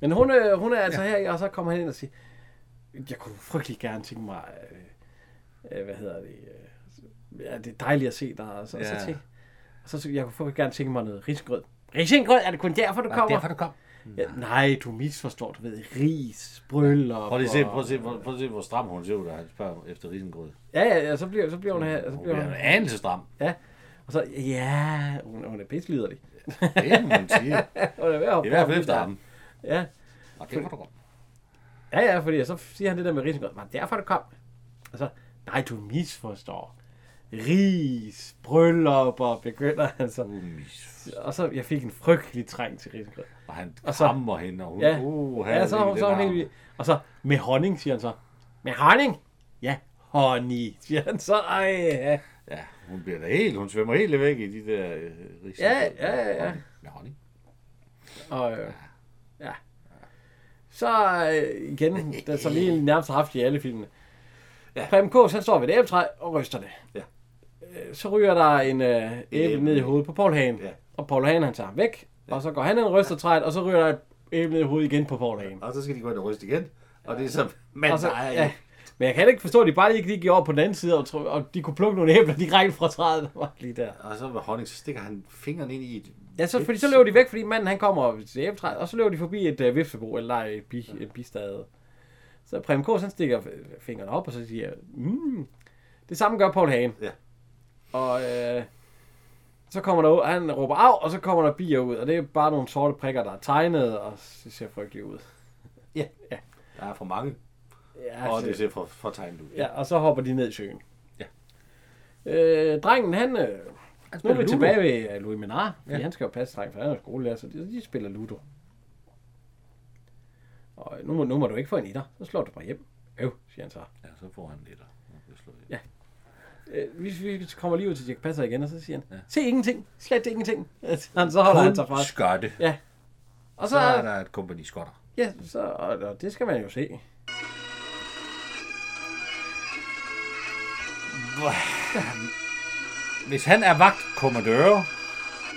Men hun, øh, hun er altså her, i, og så kommer han ind og siger, jeg kunne frygtelig gerne tænke mig, øh, øh, hvad hedder det, øh, ja, det er dejligt at se dig, og så, ja. Ja. så tænk, og så, så jeg kunne frygtelig gerne tænke mig noget risengrød. Risengrød, er det kun derfor, du kommer? du kom. Ja, nej, du misforstår, du ved, ris, bryllup. Prøv lige at se, og- prøv at se, prøv, prøv at se hvor stram hun ser ud, da han spørger efter risengrød. Ja, ja, ja, så bliver, så bliver hun her, så Hun bliver bliver hun en her. anelse stram. Ja, og så, ja, hun, hun er pisseliderlig. Det må man sige. Hun er ved at hoppe I hvert op fald lige efter der. ham. Ja, Og det var du godt. Ja, ja, fordi så siger han det der med risengrød. Var det derfor, du kom? Og så, nej, du misforstår. Ris, bryllupper, begynder han så. Og så, jeg fik en frygtelig træng til risengrød. Og han Og og så- så, krammer hende, og hun, Ja, uh, ja så, så, så er hun helt vild. Og så, med honning, siger han så. Med honning? Ja, honey, siger han så. Ej, ja. Ja, hun bliver da helt, hun svømmer helt væk i de der øh, rigs. Ja, ja, ja, ja. Med honning. Og, øh, ja. Så øh, igen, den som vi nærmest har haft i alle filmene. Ja. Preben Kås, han står ved et æbletræ og ryster det. Ja. Øh, Så ryger der en øh, æble æble. ned i hovedet på Paul Hagen. Ja. Og Paul Hagen, han tager ham væk. Og så går han ind og ryster træet, og så ryger der et æble ned i hovedet igen på Paul Hagen. Og så skal de gå ind og ryste igen. Og det er så, man Og så, nej, ja. Men jeg kan heller ikke forstå, at de bare lige gik over på den anden side, og, tro, og de kunne plukke nogle æbler direkte fra træet. Der var lige der. Og så med honning, så stikker han fingeren ind i et... Ja, så, fordi så løber de væk, fordi manden han kommer til æbletræet, og så løber de forbi et øh, vifsebo, eller nej, et, bi, et bistade. Så Prem K, han stikker f- fingrene op, og så siger, mm. Det samme gør Paul Hagen. Ja. Og øh, så kommer der ud, han råber af, og så kommer der bier ud, og det er bare nogle sorte prikker, der er tegnet, og det ser frygteligt ud. Der er for mange, Ja, og det ser for, for tegnet ud. ja, og så hopper de ned i søen. Ja. Øh, drengen, han... Øh, nu er vi Ludo. tilbage ved øh, Louis Menard, fordi ja. han skal jo passe drengen, for han er jo skolelærer, så de, de spiller Ludo. Og øh, nu, må- nu må du ikke få en etter, så slår du bare hjem. Øv, siger han så. ja så får han lidt. og- og bliver slået ihjel. Ja. Øh, vi, vi kommer lige ud til Dirk Passer igen, og så siger han, ja. se ingenting, slet ingenting. Han, så holder han sig fra. Kun skørte. Ja. Og så, Så er der et kompagni skotter. ja, så, og, og det skal man jo se. Hvis han er vagtkommandør,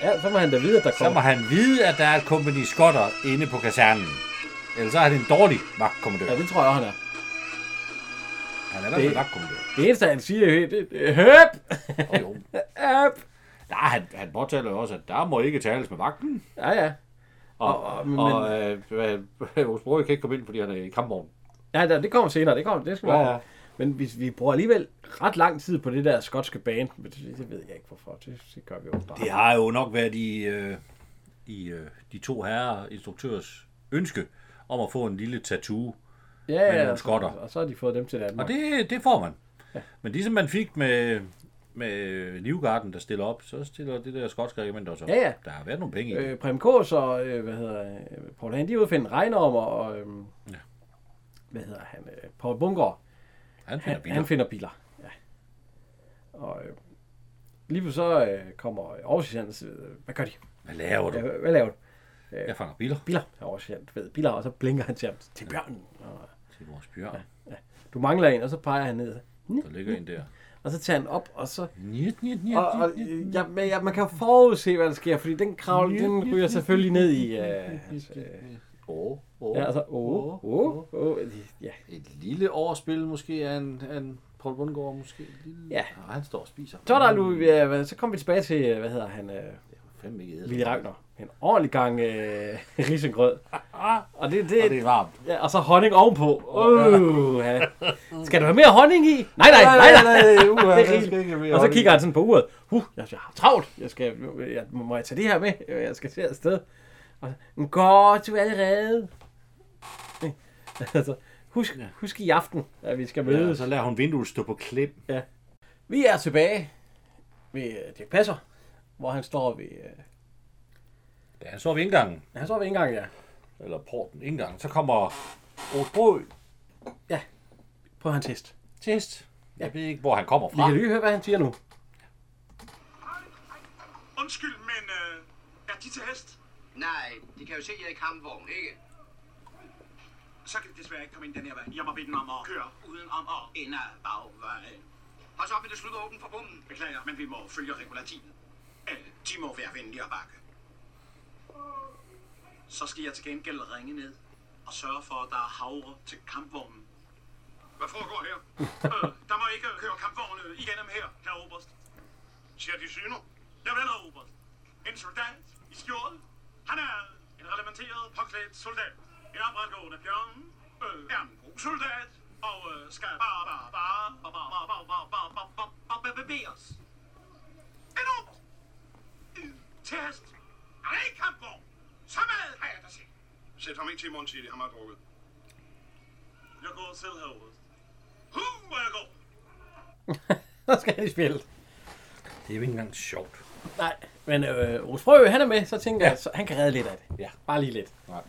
Ja, så må han da vide, at der så må kommer. han vide, at der er et kompagni skotter inde på kasernen. Ellers så er han en dårlig vagtkommandør. Ja, det tror jeg, han er. Han er i hvert fald det- vagtkommandør. Det eneste, han siger, det- det det- høp, Og jo. høp. Nej, han, han påtaler jo også, at der må ikke tales med vagten. Ja, ja. Og, Og- og, men- og øh, hvad- vores bror kan ikke komme ind, fordi han er i kampvogn. Ja, da- det kommer senere. Det, kommer, det skal vi Ja, ja, ja. Men vi, vi bruger alligevel ret lang tid på det der skotske band. Men det, det ved jeg ikke, hvorfor. Det, det gør vi jo bare. Det har jo nok været i, øh, i øh, de to herrer instruktørs ønske om at få en lille tattoo. ja, men ja, nogle skotter. Og, og så har de fået dem til Danmark. Og det, det får man. Men ligesom man fik med, med Livgarden, der stiller op, så stiller det der skotske regiment også op. Ja, ja. Der har været nogle penge i det. Øh, Prem Kås og, øh, hvad hedder øh, Paul Hagen, de er ude at finde regnormer, og, øh, ja. hvad hedder han, øh, Paul Bunker, Han finder han, biler. han finder biler. Ja. Og øh, lige pludselig så øh, kommer Aarhus øh, hvad gør de? Hvad laver du? Ja, hvad laver du? Jeg fanger biler Biler. Aarhus ved, biler, og så blinker han til ham, til bjørnen. Og, til vores bjørn. du mangler en, og så peger han ned. Der ligger en der. Og så tager han op, og så... Njet, njet, njet, Og, og, njet, njet. øh, ja, men, ja, man kan jo forudse, hvad der sker, fordi den kravl, den ryger selvfølgelig ned i... Øh, hans, øh, Åh, åh. ja, altså, åh, åh, åh, ja. Et lille overspil måske af en, af en Paul Bundgaard måske. Et Lille... Ja. Og han står og spiser. Så, er der, Louis- ja, hvad- så kom vi tilbage til, øh, hvad hedder han, øh, Fem ikke æder. Willy Ragnar. En ordentlig gang øh, risengrød. Ah, Og det, det, Og det er varmt. ja, og så honning ovenpå. Uh, ja. Skal du have mere honning i? Nej, nej, nej, nej. uha, Det er jeg rigeligt. skal ikke have mere og så honning. kigger han sådan på uret. Uh, jeg, jeg har travlt. Jeg skal, jeg, må jeg tage det her med? Øh, Jeg skal til afsted. Og, så, Godt, du er allerede. Øh, altså, husk, husk i aften, at vi skal Ja, og mødes. så lader hun vinduet stå på klip. Vi er tilbage ved øh, Dirk Passer, hvor han står ved... øh, Da han så ved indgangen, Han står ved indgangen, ja. eller porten indgangen, så kommer Rosbrø På hans hest. test. Jeg ved ikke, hvor han kommer Vi fra. kan lige høre, hvad han siger nu. Undskyld, men øh, er de til hest? Nej, de kan jo se, at jeg er i kampvogn, ikke? Så kan de desværre ikke komme ind den her vej. Jeg må bede dem om at køre uden om at Ind ad bagvejen. Og så vil det slutte åbent for bomben. Beklager, men vi må følge regulativen. Alle, de må være venlige og bakke. Så skal jeg til gengæld ringe ned og sørge for, at der er havre til kampvognen. Hvad foregår her? øh, der må ikke køre kampvogne igennem her, herre Oberst. Siger de syner? Jeg vil herre Oberst. En soldat i skjold. Han er en reglementeret, påklædt soldat. En opretgående bjørn. Øh, er en god soldat. Og øh, skal bare, bare, bare, bare, bare, bare, bare, bare, bare, bare, bare, bare, bare, bevæges. Enormt! Øh, Til hest. Han er ikke kampvogn. Så meget har jeg da set. Sæt ham ikke til i morgen tidlig. Han har drukket. Jeg går selv herovre. Huh, hvor jeg går. Så skal han i spil. Det er jo ikke engang sjovt. Nej, men øh, Rus Frø, han er med, så tænker ja. jeg, så han kan redde lidt af det. Ja. Bare lige lidt. Nej.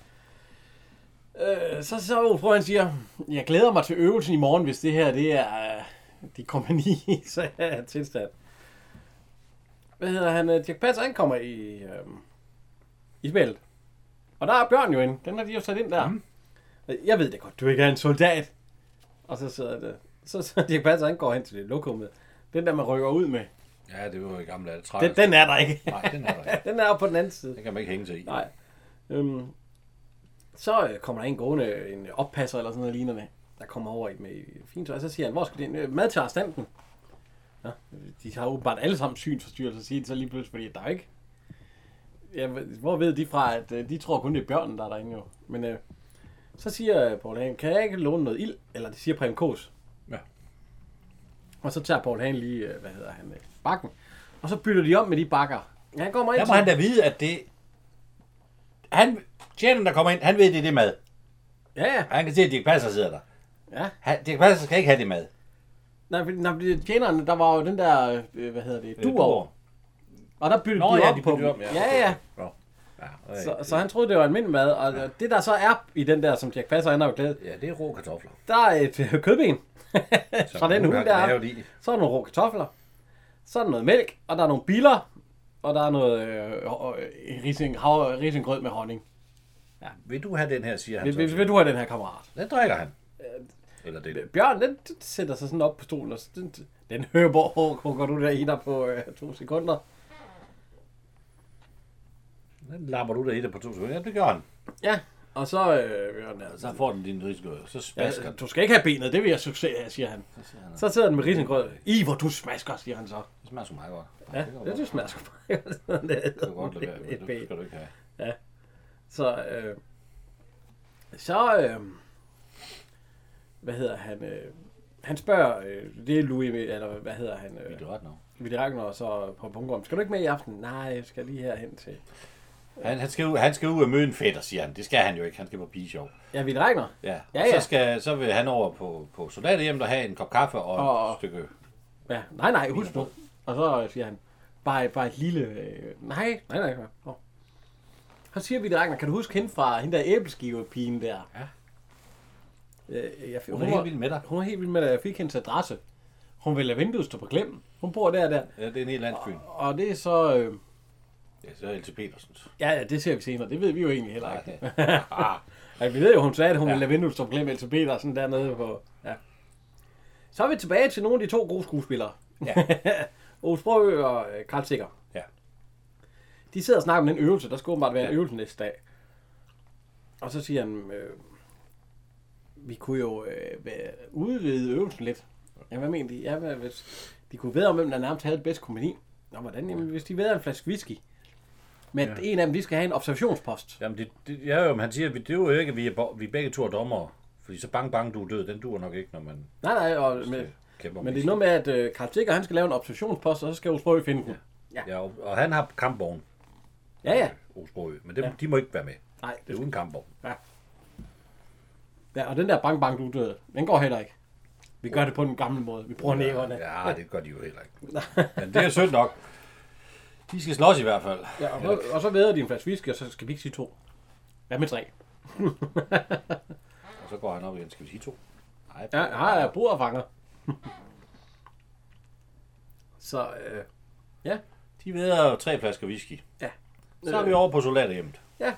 Øh, så så Rus Frø, han siger, jeg glæder mig til øvelsen i morgen, hvis det her, det er øh, de kompagni, så er tilstand. Hvad hedder han? Øh, Dirk Passer, han kommer i, øh, i spillet. Og der er Bjørn jo inde. Den har de jo sat ind der. Mm. Jeg ved det godt, du ikke er en soldat. Og så sidder det. Så, så Dirk Passer, han går hen til det lokummet. Den der, man rykker ud med. Ja, det var jo i gamle dage. Trækker. Den, den er der ikke. Nej, den er der ikke. Den er jo på den anden side. Den kan man ikke hænge sig i. Nej. Øhm, så øh, kommer der en gående, øh, en oppasser eller sådan noget lignende, der kommer over i med i fint tøj, så siger han, hvor skal den øh, mad til arrestanten? Nå, de har åbenbart alle sammen synsforstyrrelser, siger de så lige pludselig, fordi der er ikke... Ja, hvor ved de fra, at øh, de tror kun det er bjørnen, der er derinde jo. Men øh, så siger øh, Paul Hagen, kan jeg ikke låne noget ild? Eller det siger Preben Kås. Ja. Og så tager Paul Hagen lige, øh, hvad hedder han, øh, bakken. Og så bytter de om med de bakker. Ja, Han kommer ind Der må til- han da vide, at det... Han, tjeneren, der kommer ind, han ved, det er det mad. Ja, ja. Og han kan se, at Dirk Passer sidder der. Ja. Han, Dirk Passer skal ikke have det mad. Nej, fordi, nej, fordi tjeneren, der var jo den der, øh, hvad hedder det, Øh, duer. Og der byttede Nå, de ja, op de på byttede dem. om, ja. ja, ja. Nå. Ja, øh, Så, så han troede, det var almindelig mad. Og ja. det, der så er i den der, som Jack Passer han har jo klædet, ja, det er rå kartofler. der er et øh, kødben. Fra den hund der. er. Så er der nogle rå kartofler. Så er der noget mælk, og der er nogle biller. Og der er noget øh, øh, rising, hav, risengrød med honning. Vil du have den her, siger han Vil, så. vil, vil du Øh, have den her kammerat? Den drikker han. Eller det. Bjørn, den, den sætter sig sådan op på stolen, og så- den, den høber overkrukker du der i dig på øh, to sekunder. Den lapper du der i det på to sekunder. Ja, det gør han. Ja, og så øh, Bjørn, altså, Så får den din risiko. Så spasker Ja, den. Altså, du skal ikke have benet, det vil jeg succes, siger han. Så sidder den med risengrød. I, hvor du smasker, siger han så. Det smager så meget godt. Ja, det, kan du det, godt- det smasker bare. det det kan du godt lade være med. et Det ben. skal du ikke have. Så, øh, så, øh, hvad hedder han, øh, han spørger, øh, det er Louis, eller hvad hedder han, Det øh, er ret nok. Vidt Ragnar og så på Bungum. Skal du ikke med i aften? Nej, jeg skal lige herhen til. Han, han, skal, ud- han skal ud og møde en fætter, siger han. Det skal han jo ikke. Han skal på pigeshow. Ja, Vidt Ragnar. Ja. Ja, ja, ja. ja. Så, skal, så vil han over på, på soldaterhjem og have en kop kaffe og, og Og- et stykke... Ja, nej, nej, husk nu. Og så siger han, bare, bare et lille... Øh, nej, nej, nej. nej. Nå. Så siger vi det, Ragnar, kan du huske hende fra hende der æbleskivepigen der? Ja. Øh, jeg, fik- Hun er helt vild med dig. Hun var helt vild med dig. Jeg fik hendes adresse. Hun vil lade vinduet stå på klem. Hun bor der og der. Ja, det er en helt landsby. Og det er så... Øh, Ja, så er Else Petersens. ja, ja, det ser vi senere. Det ved vi jo egentlig heller ikke. Nej, Ja, vi ved jo, hun sagde, at hun ja. ville lade vinduet stå på klem. LTB der sådan dernede på... Ja. Så er vi tilbage til nogle af de to gode skuespillere. Ja. Ove Sprogø og øh, Karl Sikker. Ja. De sidder og snakker om den øvelse. Der skal åbenbart være en Ja. øvelse næste dag. Og så siger han, øh, vi kunne jo øh, være- udvide øvelsen lidt. Ja, hvad mener de? Ja, hvad, hvis de kunne vide om, hvem der nærmest havde det bedste kompagni. Nå, hvordan? Jamen, hvis de ved en flaske whisky. Men ja. en af dem, de skal have en observationspost. Jamen, det, det, ja, jo, men han siger, at vi- det er jo ikke, at vi, er, bo- vi er begge to er dommere. Fordi så bang, bang, du er død. Den dur nok ikke, når man Nej, nej, og med, kæmper. men med det er noget med, at øh, Karl Sikker, han skal lave en observationspost, og så skal Osbrøg finde den. sådan. Ja, og, og han har kampvogn, Ja, ja. Osbroø. Men dem, ja. de må ikke være med. Nej, Det er uden kampvogn. ja, og den der bang bang, du døde, den går heller ikke. Vi gør det på den gamle måde. Vi bruger næverne. Ja, ja, det gør de jo heller ikke. men det er sødt nok. De skal slås i hvert fald. Ja, og, så, og så væder de en flaske whisky, og så skal vi ikke sige to. Hvad med tre? Og så går han op igen. Skal vi sige to? Nej. Ja, jeg har jeg bord og fanger. så, øh, De veder jo tre flasker whisky. Ja. Så er vi over på soldaterhjemmet. øh,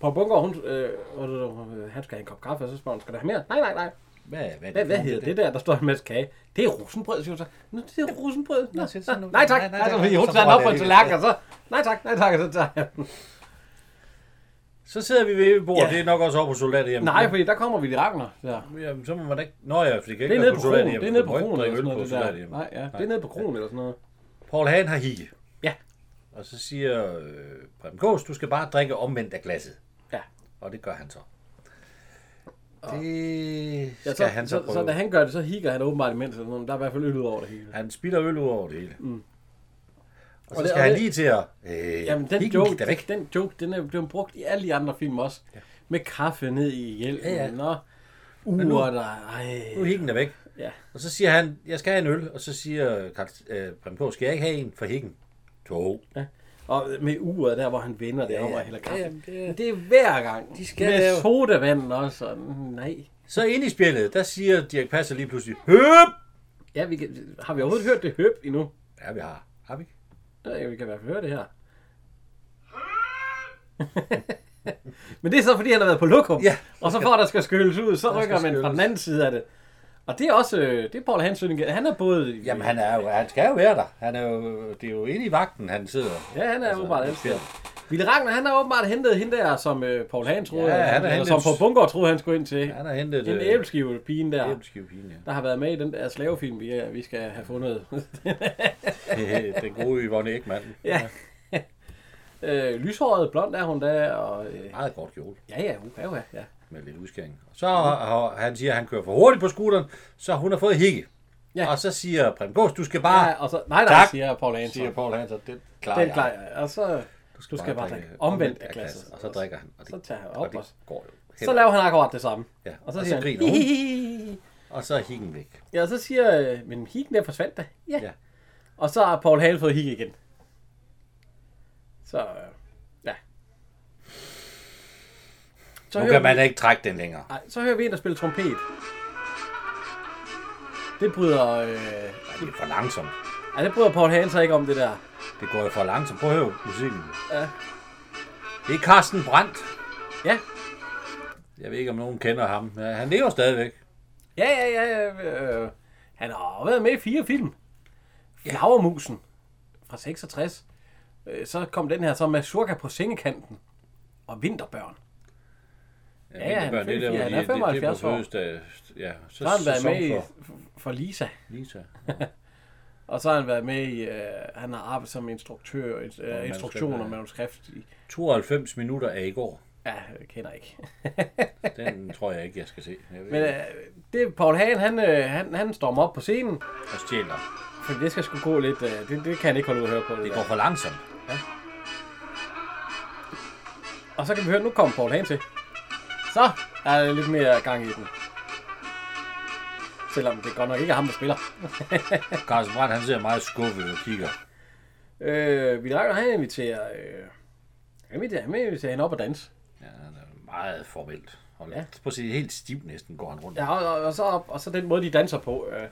på bunker, hun, øh, og det- øh, han skal have en kop kaffe, og så spørger hun, skal der have mere? Nej, nej, nej. Hvad, hvad, er det Hvad, for hvad en, hedder der? det der, der står en masse kage? Det er rosenbrød, siger hun så. Nå, det er rosenbrød. Nå, så sådan nå, noget. nej tak. Nej, nej, Altså, nej, fordi nej, hun så tager den bruger op på jeg en det tallerken, og så... Nej tak, nej tak, og så tager jeg den. Så sidder vi ved bordet. Ja. Ja. Det er nok også over på soldaterhjemmet. Nej, fordi der kommer vi i Ragnar. Der. Jamen, så må man da ikke... Nå ja, for det kan Det ikke er være nede på kronen. soldaterhjemmet. Det er nede på Du må kronen eller sådan noget. Det der. Nej, ja. Det er nede på kronen eller ikke drikke øl på soldaterhjemmet. sådan noget. Paul Hagen har hikke. Ja. Og så siger øh, Preben Gås, du skal bare drikke omvendt af glasset. Ja. Og det gør han så. Det skal ja ja, så, han så, så, prøve. så, da han gør det, så hikker han åbenbart imens. Eller sådan. noget. Der er i hvert fald øl ud over det hele. Han spilder øl ud over det hele. Mm. Og så det- skal og han det- lige til at... Øh, Jamen, den hikken joke, gik der væk. den joke, den er blevet brugt i alle de andre film også. Ja. Med kaffe ned i hjelmen. Ja, Ja, ja. ja. Nå. nu- Uret, der... Ej. Nu er hikken er væk. Ja. Og så siger han, jeg skal have en øl. Og så siger Karl, øh, Preben Kaahr, skal jeg ikke have en for hikken? To. Og med uret der, hvor han vender det ja, Ja, om ja. og hælder kaffe. Ja, jamen, det er- det... det er hver gang. De skal med lave- sodavand også. Og... Nej. Så ind i spillet, der siger Dirk Passer lige pludselig, høp! Ja, vi kan... har vi overhovedet hørt det høb endnu? Ja, vi har. Har vi? ikke? Ja, vi kan i hvert fald høre det her. Men det er så, fordi han har været på lokum. Ja. Og så for, at der skal skylles ud, så Der rykker skal man fra skylles. den anden side af det. Og det er også, øh, det er Paul Hansen, han er både... Jamen, han, er jo, han skal jo være der. Han er jo, det er jo inde i vagten, han sidder. Ja, han er altså, åbenbart det ansat. Ville Ragnar, han har åbenbart hentet hende der, som øh, Paul Hahn troede, Ja, han har eller hentet- som på Bungård troede, han skulle ind til. Han har hentet en øh, æbleskive pigen der, æbleskivepine, ja. der har været med i den der slavefilm, vi, øh, vi skal have fundet. den gode Yvonne Ekman. ja. øh, lyshåret, blond er hun da, og... Øh, Meget kort kjole ja, ja, hun er jo, ja. med lidt udskæring. Så har, han siger, at han kører for hurtigt på scooteren, så hun har fået hikke. Ja. Ja. Og så siger Preben Gås, du skal bare... ja. og så, nej, nej, Ah, Tak, siger Paul Hahn. siger Paul Ah, Hansen, den klarer Den klarer jeg. Og så... Du skal, bare drikke omvendt af glasset. Og så drikker han. Og det, Så tager han og op det også. går jo. Så laver han akkurat det samme. Ja, Og så, og så siger han, griner hun. "Hihihihi." Og så er hikken væk. Ja, og så siger, øh, men hikken der forsvandt da. Ja. Ja. ja. Og så har Paul Hale fået hik igen. Så, øh, ja. Så Nu hører, kan man... man ikke trække den længere. vi, ej, så hører vi en, der spiller trompet. Det bryder, øh, Ej, det er for langsomt. ej, det bryder Paul Hale sig ikke om, det der. Det går jo for langsomt. Prøv at høre musikken. Ja. Det er Carsten Brandt. Ja, Jeg ved ikke, om nogen kender ham. Ja, han lever stadigvæk. ja, ja, ja. ja, Øh, han har været med i fire film. Flagermusen fra 66. Øh, så kom den her så med Surka på sengekanten. Og Vinterbørn. Ja, ja, han er det der, 75, hvor han de- er det- det 75 år. fødselsdag. Ja, så, Så har han været sæson med i, for for Lisa. Lisa. Og så har han været med i, øh, han har arbejdet som instruktør, øh, instruktion og ja. manuskript. i- 92 minutter af i går. Ja, jeg kender ikke. Den tror jeg ikke, jeg skal se. Jeg ved, Men ikke. øh, det er Paul Hagen, han, øh, han, han stormer op på scenen, og stjæler. for det skal sgu gå lidt, øh, det, det kan han ikke holde ud at høre på. Det Det der. går for langsomt. Og så kan vi høre, nu kommer Paul Hagen til. Så er der lidt mere gang i den. Selvom det godt nok ikke er ham, der spiller. Carsten Brandt, han ser meget skuffet og kigger. Øh, vi lager, han inviterer, øh, han inviterer, han inviterer hende op og danse. Ja, han er meget formelt. Hold ja. Ja. Prøv at se, helt stiv næsten går han rundt. Ja, og, og, og, så, op- og så den måde, de danser på. Øh,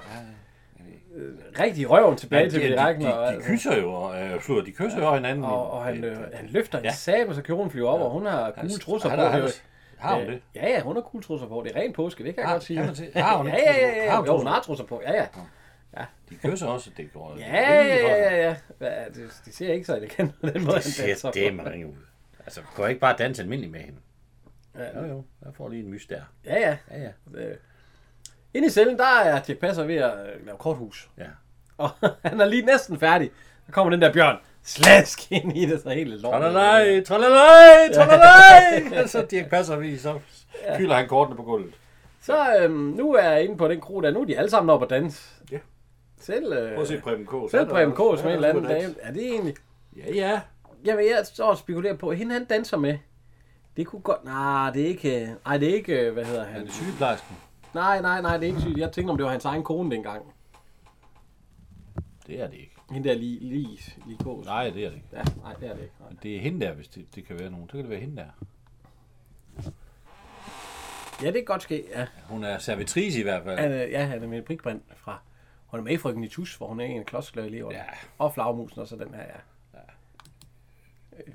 øh, rigtig røven tilbage de, til de, Willy de, Ragnar. de, de altså. kysser jo, og, øh, slutter, de kysser jo hinanden. og, og han, Det- øh, han løfter ja. Ja. en sabe, så kjolen flyver op, og hun har gule trusser på. Han, han, det er jo- har hun Øh, det? Ja, ja, hun har gule trusser på. Det er ren påske, det kan jeg Har- godt sige. kan man se- har hun ja, ikke ja, trusser på? ja, ja. Har hun Jo, hun trusser har trusser på. Ja, ja. De kysser også, det går. det Ja, er rimelig ja, godt. ja, ja. Hvad, det, det ser ikke så elegant ud, den måde, Det han danser ser på. det ringe ud. Altså, kan jeg ikke bare danse almindelig med hende? Ja. Jo, jo. Jeg får lige en mys der. Ja, ja. Ja, ja. Øh, Inde i cellen, der er Dirk Passer ved at øh, lave korthus. ja. Og han er lige næsten færdig. Der kommer den der bjørn. Slask ind i det, så helt lort. Tralalaj, tralalaj, tralalaj! Og så Dirk Passer vi, så hylder han kortene på gulvet. Så øhm, nu er jeg inde på den kro der. Nu er de alle sammen oppe at danse. Ja. Selv, øh, Prøv at se Preben Kås. selv Han er Preben også- Kås han med er en eller anden også på dans. dame. Er det egentlig... Ja, ja. Jamen, jeg står og spekulerer på, hende han danser med. Det kunne godt... Nej, det er ikke... øh, Nej, det er ikke... øh, Hvad hedder Han han? er sygeplejersken. Nej, nej, nej, det er ikke sygt. Jeg tænkte, om det var hans egen kone dengang. Det er det ikke. Hende der lige, lige, lige Kås. Nej, det er det ikke. Ja, nej, det er det ikke. Nej. Det er hende der, hvis det, det kan være nogen. Så kan det være hende der. Ja, det kan godt ske, ja. Hun er servitrice i hvert fald. Han, øh, ja, han er med prikbrand fra... Hun er med i Frøken i Tus, hvor hun er en klodsklaverelever. Ja. Og flagmusen og så den her, ja.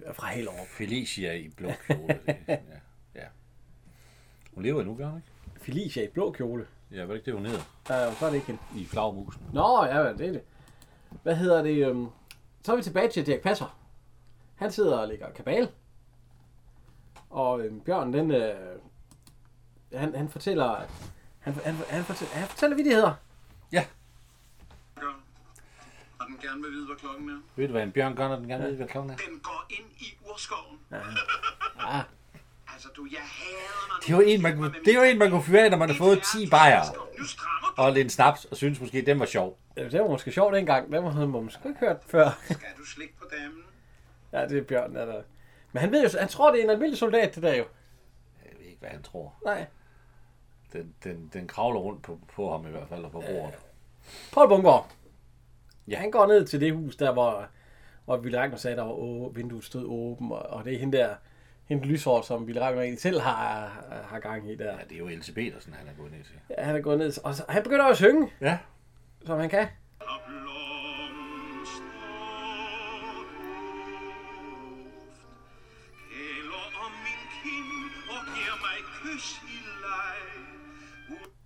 Øh, Fra helt over. Felicia i blå kjole. det- ja. ja. Hun lever endnu, gør hun ikke? Felicia i blå kjole. Ja, var det ikke det, hun hedder? Øh, så er det ikke hende. I flagmusen. Nå, ja, ja, det er det. Hvad hedder det? Øhm? Så er vi tilbage til Dirk Passer. Han sidder og ligger kabal. Og øhm, Bjørn, den, øh, han, han fortæller, han, han, han, fortæller, han fortæller vidigheder. Ja. Og den gerne vil vide, hvad klokken er. Ved du, hvad en bjørn gør, når den gerne ved, hvad klokken er? Den går ind i urskoven. Ja. Altså, du, jeg hader, når Det er jo en, man kunne, det er jo en, man kunne fyre af, når man har fået 10 bajer Nu strammer du. og lidt snaps, og synes måske, den var sjov. Øh, Det var måske sjovt dengang. Den havde man måske ikke hørt før. Skal du slikke på damen? ja, det er Bjørn, der, der. Men han ved jo, han tror, det er en almindelig soldat, det der jo. hvad han tror. Nej. Den, den, den kravler rundt på, på ham i hvert fald, og på bordet. Paul Bunker. Ja. Ja. Han går ned til det hus, der hvor, hvor Ville Ragnar sagde, der var å, vinduet stod åben, og, og det er hende der, hende lyshår, som Ville Ragnar egentlig selv har, har gang i der. Ja, det er jo LC Petersen, han er gået ned til. Ja, han er gået ned, og så, han begynder at synge, Ja. som han kan. Og blomster Gælder om min kind og giver mig et kys i leg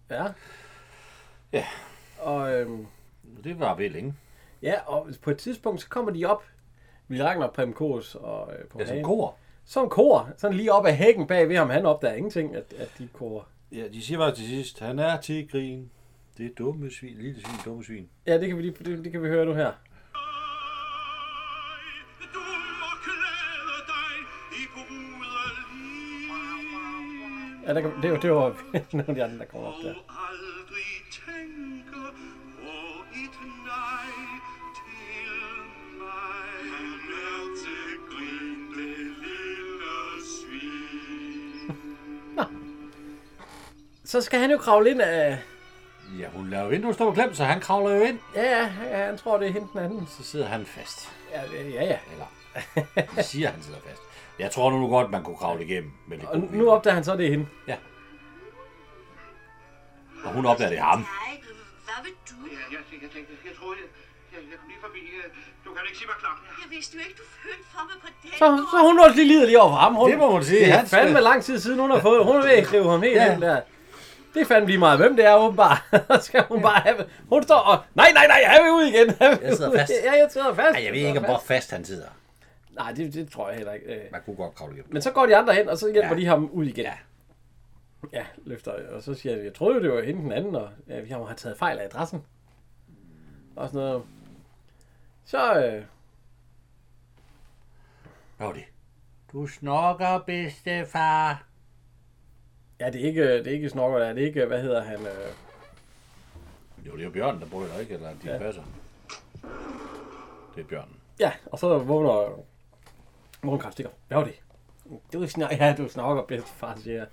Ja. Ja. Og, øhm, Det var ved længe. ja, og på et tidspunkt, så kommer de op, Ville Ragnar, Prem Kås og øh, på Ja, som hagen. kor. Som kor. Sådan lige op ad hækken bagved ham. Han opdager ingenting, at, at de kor. Ja, de siger bare til sidst, han er til grin. Det er dumme svin, lille svin, dumme svin. Ja, det kan vi, lige, det, det kan vi høre nu her. Ej, Du må klæde dig i broderlig Ja, der, kan- det, var, det var nogle af de andre, der kom op der. Og aldrig tænker på et nej til mig Han er til grin, det lille svin Så skal han jo kravle ind af... Ja, hun laver vinduet stå og klem, så han kravler jo ind. Ja, ja, ja, han tror, det er hende den anden. Så sidder han fast. Ja, ja, ja. Eller, de siger, han sidder fast. Jeg tror nu godt, man kunne kravle igennem. Men det Og nu- nu opdager han så, det er hende. og hun opdager det er ham. Nej, hvad vil du? Ja, jeg, jeg, jeg, jeg, jeg troede, jeg, jeg, jeg kom lige forbi øh, Du kan ikke sige mig klart Jeg vidste jo ikke, du følte for mig på den Så, så hun også lige lider lige over for ham. Hun, Det må man sige. Det er Han skal- fandme lang tid siden, hun har fået. Hun er ved at skrive ham helt Ja. ind der. Det er fandme lige meget, hvem det er åbenbart. Så skal hun bare have... Hun står og... Nej, nej, nej, jeg vil ud igen. vil Jeg sidder ud." fast. Ja, jeg sidder fast. Ej, jeg ved ikke, hvor fast han sidder. Nej, det, det tror jeg heller ikke. Øh, Man kunne godt kravle igennem. Men så går de andre hen, og så hjælper ja. Ja. de ham ud igen. Ja. Ja. ja, løfter. Og så siger jeg, jeg troede, det var hende den anden, og ja, vi har jo taget fejl af adressen. Og sådan noget. Så, øh, Hvad var det? Du snokker, bedstefar. ja, det er ikke, det er ikke snokker, det er ikke, hvad hedder han, øh, Jo, det er jo bjørnen, der bryder, ikke? Eller de ja. passer. Det er bjørnen. ja, og så vågner morgenkraft stikker. Hvad var det? Det var snak, ja, du snakker bedst, far, siger,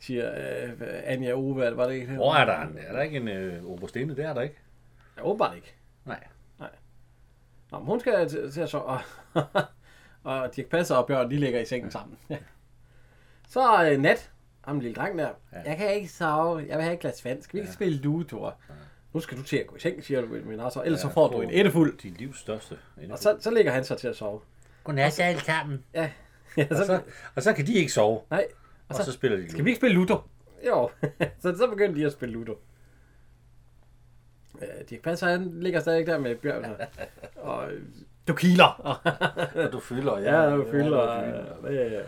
siger øh, Anja Ove, eller var det ikke det? Hvor er der en? Er der ikke en øh, oberstene der, er der ikke? Ja, åbenbart ikke. Nej. Nå, men hun skal til, til at sove, og, og Dirk Passer og Bjørn, de ligger i sengen sammen. Ja. Så øh, nat, ham lille dreng der, ja. jeg kan ikke sove, jeg vil have et glas vand, skal vi ikke ja. spille ludo, Tore? Ja. Nu skal du til at gå i seng, siger du, min altså, ellers ja, så får du en ættefuld. Din livs største. Og så, så ligger han så til at sove. Godnat alle sammen. Ja, ja så, Og så, og så kan de ikke sove. nej, Og så, og så spiller de Skal vi ikke spille Ludo? Jo, så, så begyndte de at spille Ludo. Øh, Dirk Passer, han ligger stadig der med Bjørn. og- Og øh, du kiler. ludo. Og du fylder, Ja, du fylder. øh,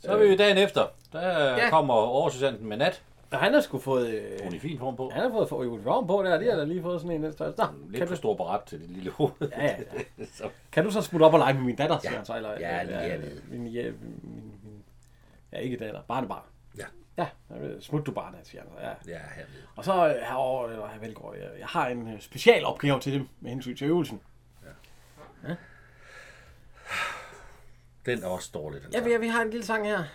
Så er vi jo dagen efter. Der Ja. ja. kommer oversæsanden med nat. Og han har sgu fået... Øh, Hun er i fin form på. han har fået for uniform på der, de har da lige fået sådan en den størrelse. Nå, Lidt kan for du, stor barat til det lille hoved. Ja, ja, Så- kan du så smutte op og lege med min datter, siger han så, eller, Ja, lige eller- hernede. min, ja, min, min, ja, ikke datter, barnebarn. Ja. Ja, jeg ved, smut du barnet, siger han så, ja. ja, hernede. Og så øh, herovre, eller her Velgaard, jeg, jeg har en øh, specialopgave til dem med hensyn til øvelsen. Den er også dårlig, den Ja, vi, ja, vi har en lille sang her. Han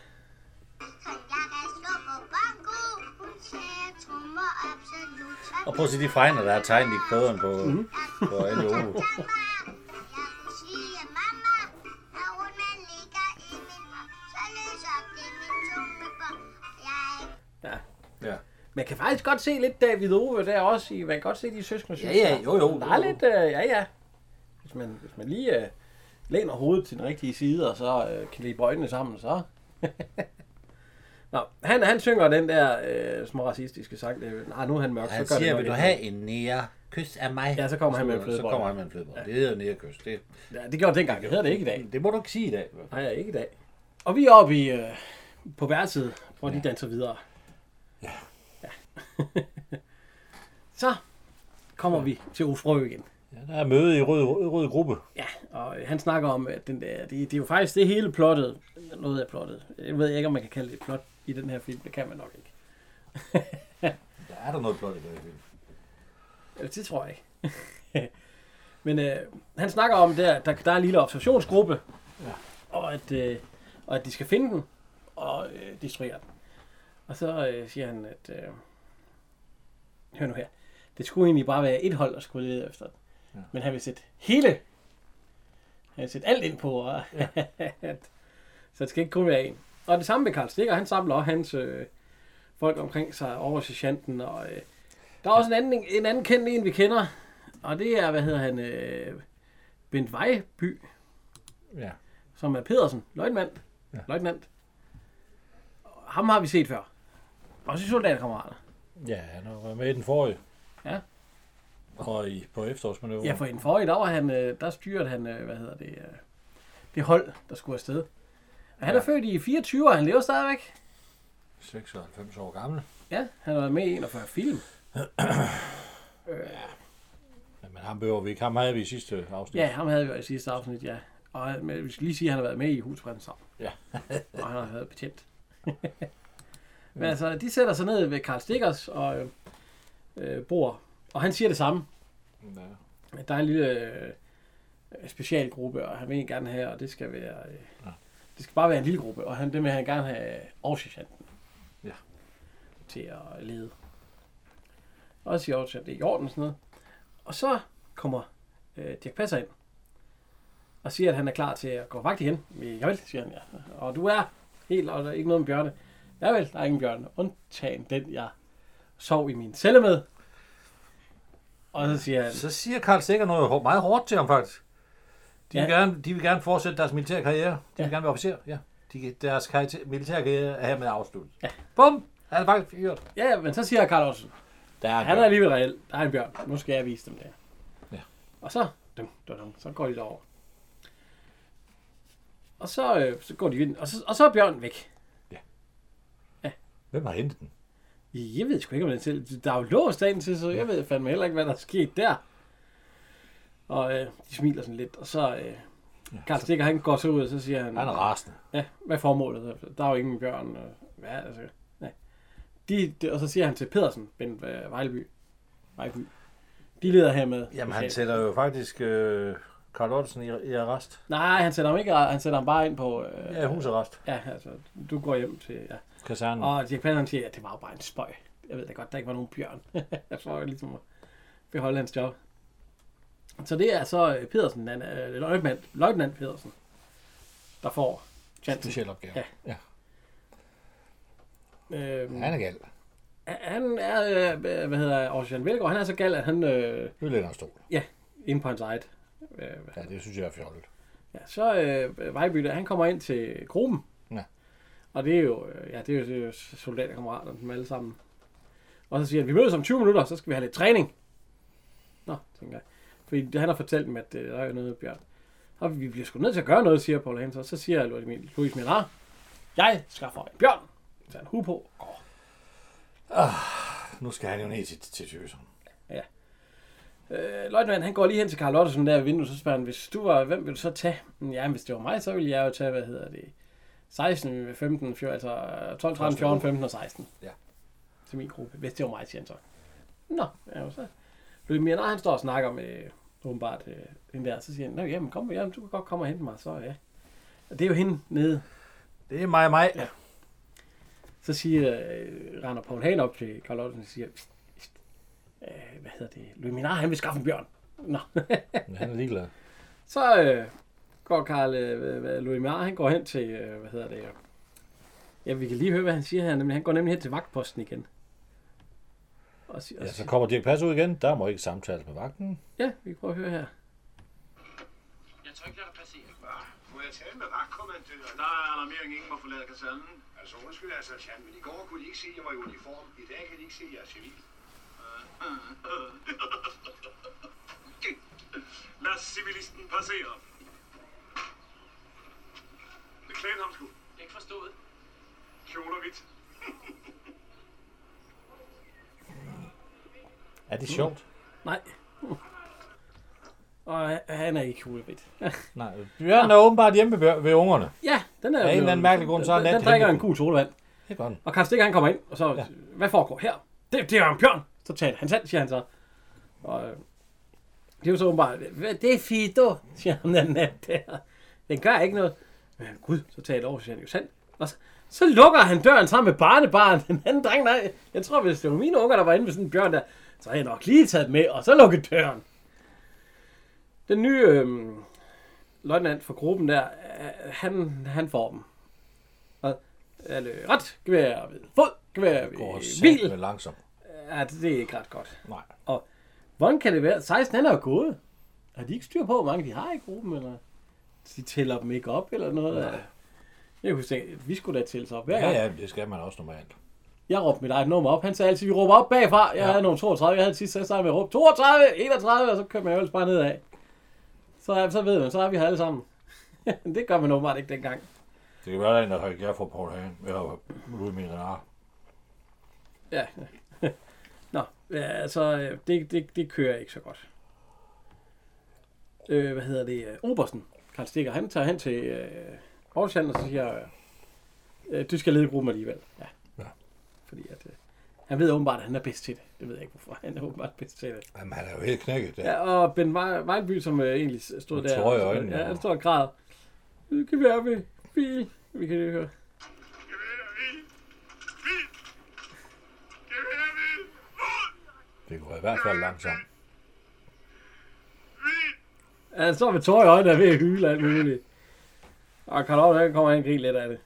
lader at slå på bongo. Hun sagde trommer absolut. Og prøv at se de fregner, der er tegnet i koderen på, Mhm. mm. på alle uger. Mamma, jeg vil sige mamma, når hun man ligger i min, så løser det min tunge på. Jeg er Ja. Ja. Man kan faktisk godt se lidt David Ove der også. I, man kan godt se de søskende synes ja, jeg. jo, jo, Der er jo, jo. lidt, øh, ja, ja. Hvis man, hvis man lige øh, læner hovedet til den rigtige side, og så øh, kan lige øjnene sammen, så... Nå, han, han synger den der øh, små racistiske sang. Det, nej, nu er han mørk, Han så gør siger, det vil du nok have en nære kys af mig? Ja, så kommer han med en Så- flødebolle. Så kommer han med en flødebolle. Ja. Det hedder nære kys. Det, ikke. Ja, det gjorde det dengang. Det hedder det ikke i dag. det må du ikke sige i dag. Nej, ikke i dag. Og vi er oppe i, øh, på værelset, hvor ja. de danser videre. Ja. ja. så kommer vi til Ufrø igen. Ja, der er møde i rød, rød gruppe. Ja, og øh, han snakker om, at den der, det, det er jo faktisk det hele plottet. Noget af plottet. Jeg ved ikke, om man kan kalde det et plot i den her film. Det kan man nok ikke. Der er der noget blot i det her film. Eller, Det tror jeg ikke. Men øh, han snakker om, der, der, der er en lille observationsgruppe, ja. og, at, øh, og at de skal finde den. Og og øh, destruerer den. Og så øh, siger han, at øh, hør nu her, det skulle egentlig bare være et hold, der skulle lede efter den. Ja. Men han vil sætte hele, han vil sætte alt ind på, og, ja. så det skal ikke kun være en. Og det samme med Karl Stikker, han samler også hans øh, folk omkring sig over sergeanten, og øh, der er også en anden, en anden kendt en, vi kender, og det er, hvad hedder han, øh, Bent Vejby, Ja. som er Pedersen, løjtnant. Ja. løjtnant. Ham har vi set før. Også i soldaterkammerater. Ja, han har været med i den forrige. Ja. Og i, på efterårsmanøvren. Ja, for i den forrige, der, var han, øh, der styrede han, øh, hvad hedder det, øh, det hold, der skulle afsted. Og han er født i 24, og han lever stadigvæk. 96 år gammel. Ja, han har været med i 41 film. Men ham behøver vi ikke. Ham havde vi i sidste afsnit. Ja, ham havde vi jo i sidste afsnit, ja. Og han- men vi skal lige sige, at han har været med i Husbrændens Havn. Ja. og han har været betjent. men altså, de sætter sig ned ved Karl Stikkers og øh, øh, bor. Og han siger det samme. Ja. at der er en lille øh, specialgruppe, og han vil egentlig gerne have, og det skal være... Øh, ja. Det skal bare være en lille gruppe, og han, det vil han gerne have oversergeanten Ja. til at lede. Og så siger oversergeanten, det er i orden og sådan noget. Og så kommer øh, Dirk Passer ind og siger, at han er klar til at gå vagt igen. Javel, siger han, ja. Og du er helt, og der er ikke noget om bjørne. Javel, der er ingen bjørne, undtagen den, jeg sov i min celle med. Og så siger han, Så siger Karl Sikker noget hår- meget hårdt til ham, faktisk. De, ja. vil, Ja. gerne, de vil gerne fortsætte deres militære karriere. De ja. Ja. vil gerne være officer. Ja. De, deres karri- militære karriere er hermed afsluttet. Ja. Bum! Han er faktisk fyret. Ja, men så siger Carl Olsen, Der er han er alligevel reelt. Der er en bjørn. Nu skal jeg vise dem det. Ja. Og så, dum, dum, dum, så går de derover. Og så, øh, så går de ind, og så, og så er bjørnen væk. Hvem har hentet den? Jeg ved sgu ikke, om den selv... Der er jo låst dagen til, så jeg ved fandme heller ikke, hvad der er sket der. Og øh, de smiler sådan lidt, og så... Øh, Karl Stikker, han går så ud, og så siger han... Han er rasende. Ja, hvad er formålet? Der er jo ingen bjørn. og Hvad er det? altså? Ja. De, de, og så siger han til Pedersen, Bent øh, Vejleby. Vejleby. De leder hermed. Jamen, han sætter jo faktisk øh, Karl Olsen i, i arrest. Nej, han sætter ham ikke. Han sætter ham bare ind på... Øh, Ja, husarrest. ja, altså, du går hjem til... Ja. Kasernen. Og Dirk Passer, han siger, at det var jo bare en spøj. Jeg ved da godt, der ikke var nogen bjørn. jeg tror jo ligesom at beholde hans job. Så det er så øh, Pedersen, han, er- øh, løjtnant, løjtnant Pedersen, der får chancen. Speciel opgave. Ja. ja. Øhm, Han er gal. Han er, øh, hvad hedder Ocean Velgaard, han er så gal, at han øh, Nu lægger han stol. inde på hans eget. Øh, Ja, det synes jeg er fjollet. ja, så øh, Vejby, der, han kommer ind til gruppen. Ja. Og det er jo, øh, ja, det er jo, det er jo soldaterkammeraterne, dem alle sammen. Og så siger han, vi mødes om 20 minutter, så skal vi have lidt træning. Nå, tænker jeg. Fordi han har fortalt dem, at øh, der er jo noget, Bjørn. Og vi bliver sgu nødt til at gøre noget, siger Paul Hansen. Og så siger Louis Mil- Louis Millard, jeg skaffer en bjørn. Så tager han hue på. Nu skal han jo ned til, til tøseren. Øh, Løjtnant, han går lige hen til Karl Ottesen der ved vinduet, så spørger han, hvis du var, hvem vil du så tage? Ja, hvis det var mig, så ville jeg jo tage, hvad hedder det, 16, 15, 14, altså øh, 12, 13, 14, 15 og 16. Ja. Til min gruppe, hvis det var mig, siger han så. Nå, ja, så. Louis Mierner, han står og snakker med, åbenbart, øh, den der, så siger han, Nå, jamen, kom, jamen, du kan godt komme og hente mig, så ja. Og det er jo hende nede. Det er mig og mig. Ja. Så siger, øh, render Paul Hagen op til Karl Ottesen og siger, pst, pst, øh, hvad hedder det, Louis Mierner, han vil skaffe en bjørn. Nå. Men han er ligeglad. Så øh, går Karl øh, Louis Mar, han går hen til, øh, hvad hedder det, øh, ja, vi kan lige høre, hvad han siger her, nemlig, han går nemlig hen til vagtposten igen. Og siger, Ja, ja, så kommer Dirk Pass ud igen. Der må ikke samtales med vagten. ja, vi kan prøve at høre her. Jeg tror ikke, der er passere. Må jeg tale med vagtkommandøren? Der er alarmering, ingen må forlade kasernen. Altså undskyld, altså, Jan, men i går kunne de ikke se, at jeg var i uniform. I dag kan de ikke se, at jeg er civil. Lad civilisten passere. Det klæder ham sgu. Ikke forstået. Kjole og hvidt. Er det sjovt? Nej. Og øh, han er ikke hulebit. Nej, Bjørn er åbenbart hjemme ved, ved ungerne. ja, den er Af en jo- eller anden mærkelig grund, så er den, han den, nat- drikker en hentet. gul solvand. Det gør han. Og Karl Stikker, han kommer ind, og så, ja. hvad foregår her? Det, det er jo en bjørn. Så tager han selv, siger han så. Og øh, det er jo så åbenbart, "Hvad- det er Fido, siger han den nat der. Den gør ikke noget. Men gud, så tager det over, siger han jo sandt. Og så, så lukker han døren sammen med barnebarn. Den anden dreng, nej. Jeg tror, hvis det var mine unger, der var inde ved sådan en bjørn der, så havde jeg nok lige taget dem med, og så lukket døren. Den nye øh, løjtnant for gruppen der, øh, han, han får dem. Og er det ret gevær ved fod, gevær ved Går bil. satme langsomt. Ja, det, det er ikke ret godt. Nej. Og hvordan kan det være? 16 han er jo gået. Har de ikke styr på, hvor mange de har i gruppen, eller de tæller dem ikke op, eller noget? Nej. Jeg kunne sige, vi skulle da tælles op hver Ja, gang. ja, det skal man også normalt. Jeg råbte mit eget nummer op. Han sagde altid, vi råber op bagfra. Jeg ja. havde nogle 32. Jeg havde sidst så startede med at råbe 32, 31, og så kører man jo ellers bare nedad. Så, så ved man, så er vi her alle sammen. det gør man åbenbart ikke dengang. Det kan være, at der er en, der er fra Paul Hagen. Ja, Louis Mirenard. Ja. Nå, ja, altså, øh, det, det, det kører ikke så godt. Øh, hvad hedder det? øh, Obersten, Karl Stikker, han tager hen til øh, Aarhus Handel, og så siger, øh, øh, du skal lede gruppen alligevel. Ja. Ja. Fordi at, øh, han ved åbenbart, at han er bedst til det. Det ved jeg ikke, hvorfor. Han er åbenbart bedst til det. Jamen, han er jo helt knækket der. Ja, og Ben Vej- Vejlby, som øh, egentlig stod Med der. tårer i og- øjnene, Ja, ja. han står og græder. Nu kan vi være med bil. Vi kan det høre. Det går i hvert fald langsomt. Ja, han står med tårer i øjnene og er ved at hyle og alt muligt. Og Karl Otto, han kommer han griner lidt af det.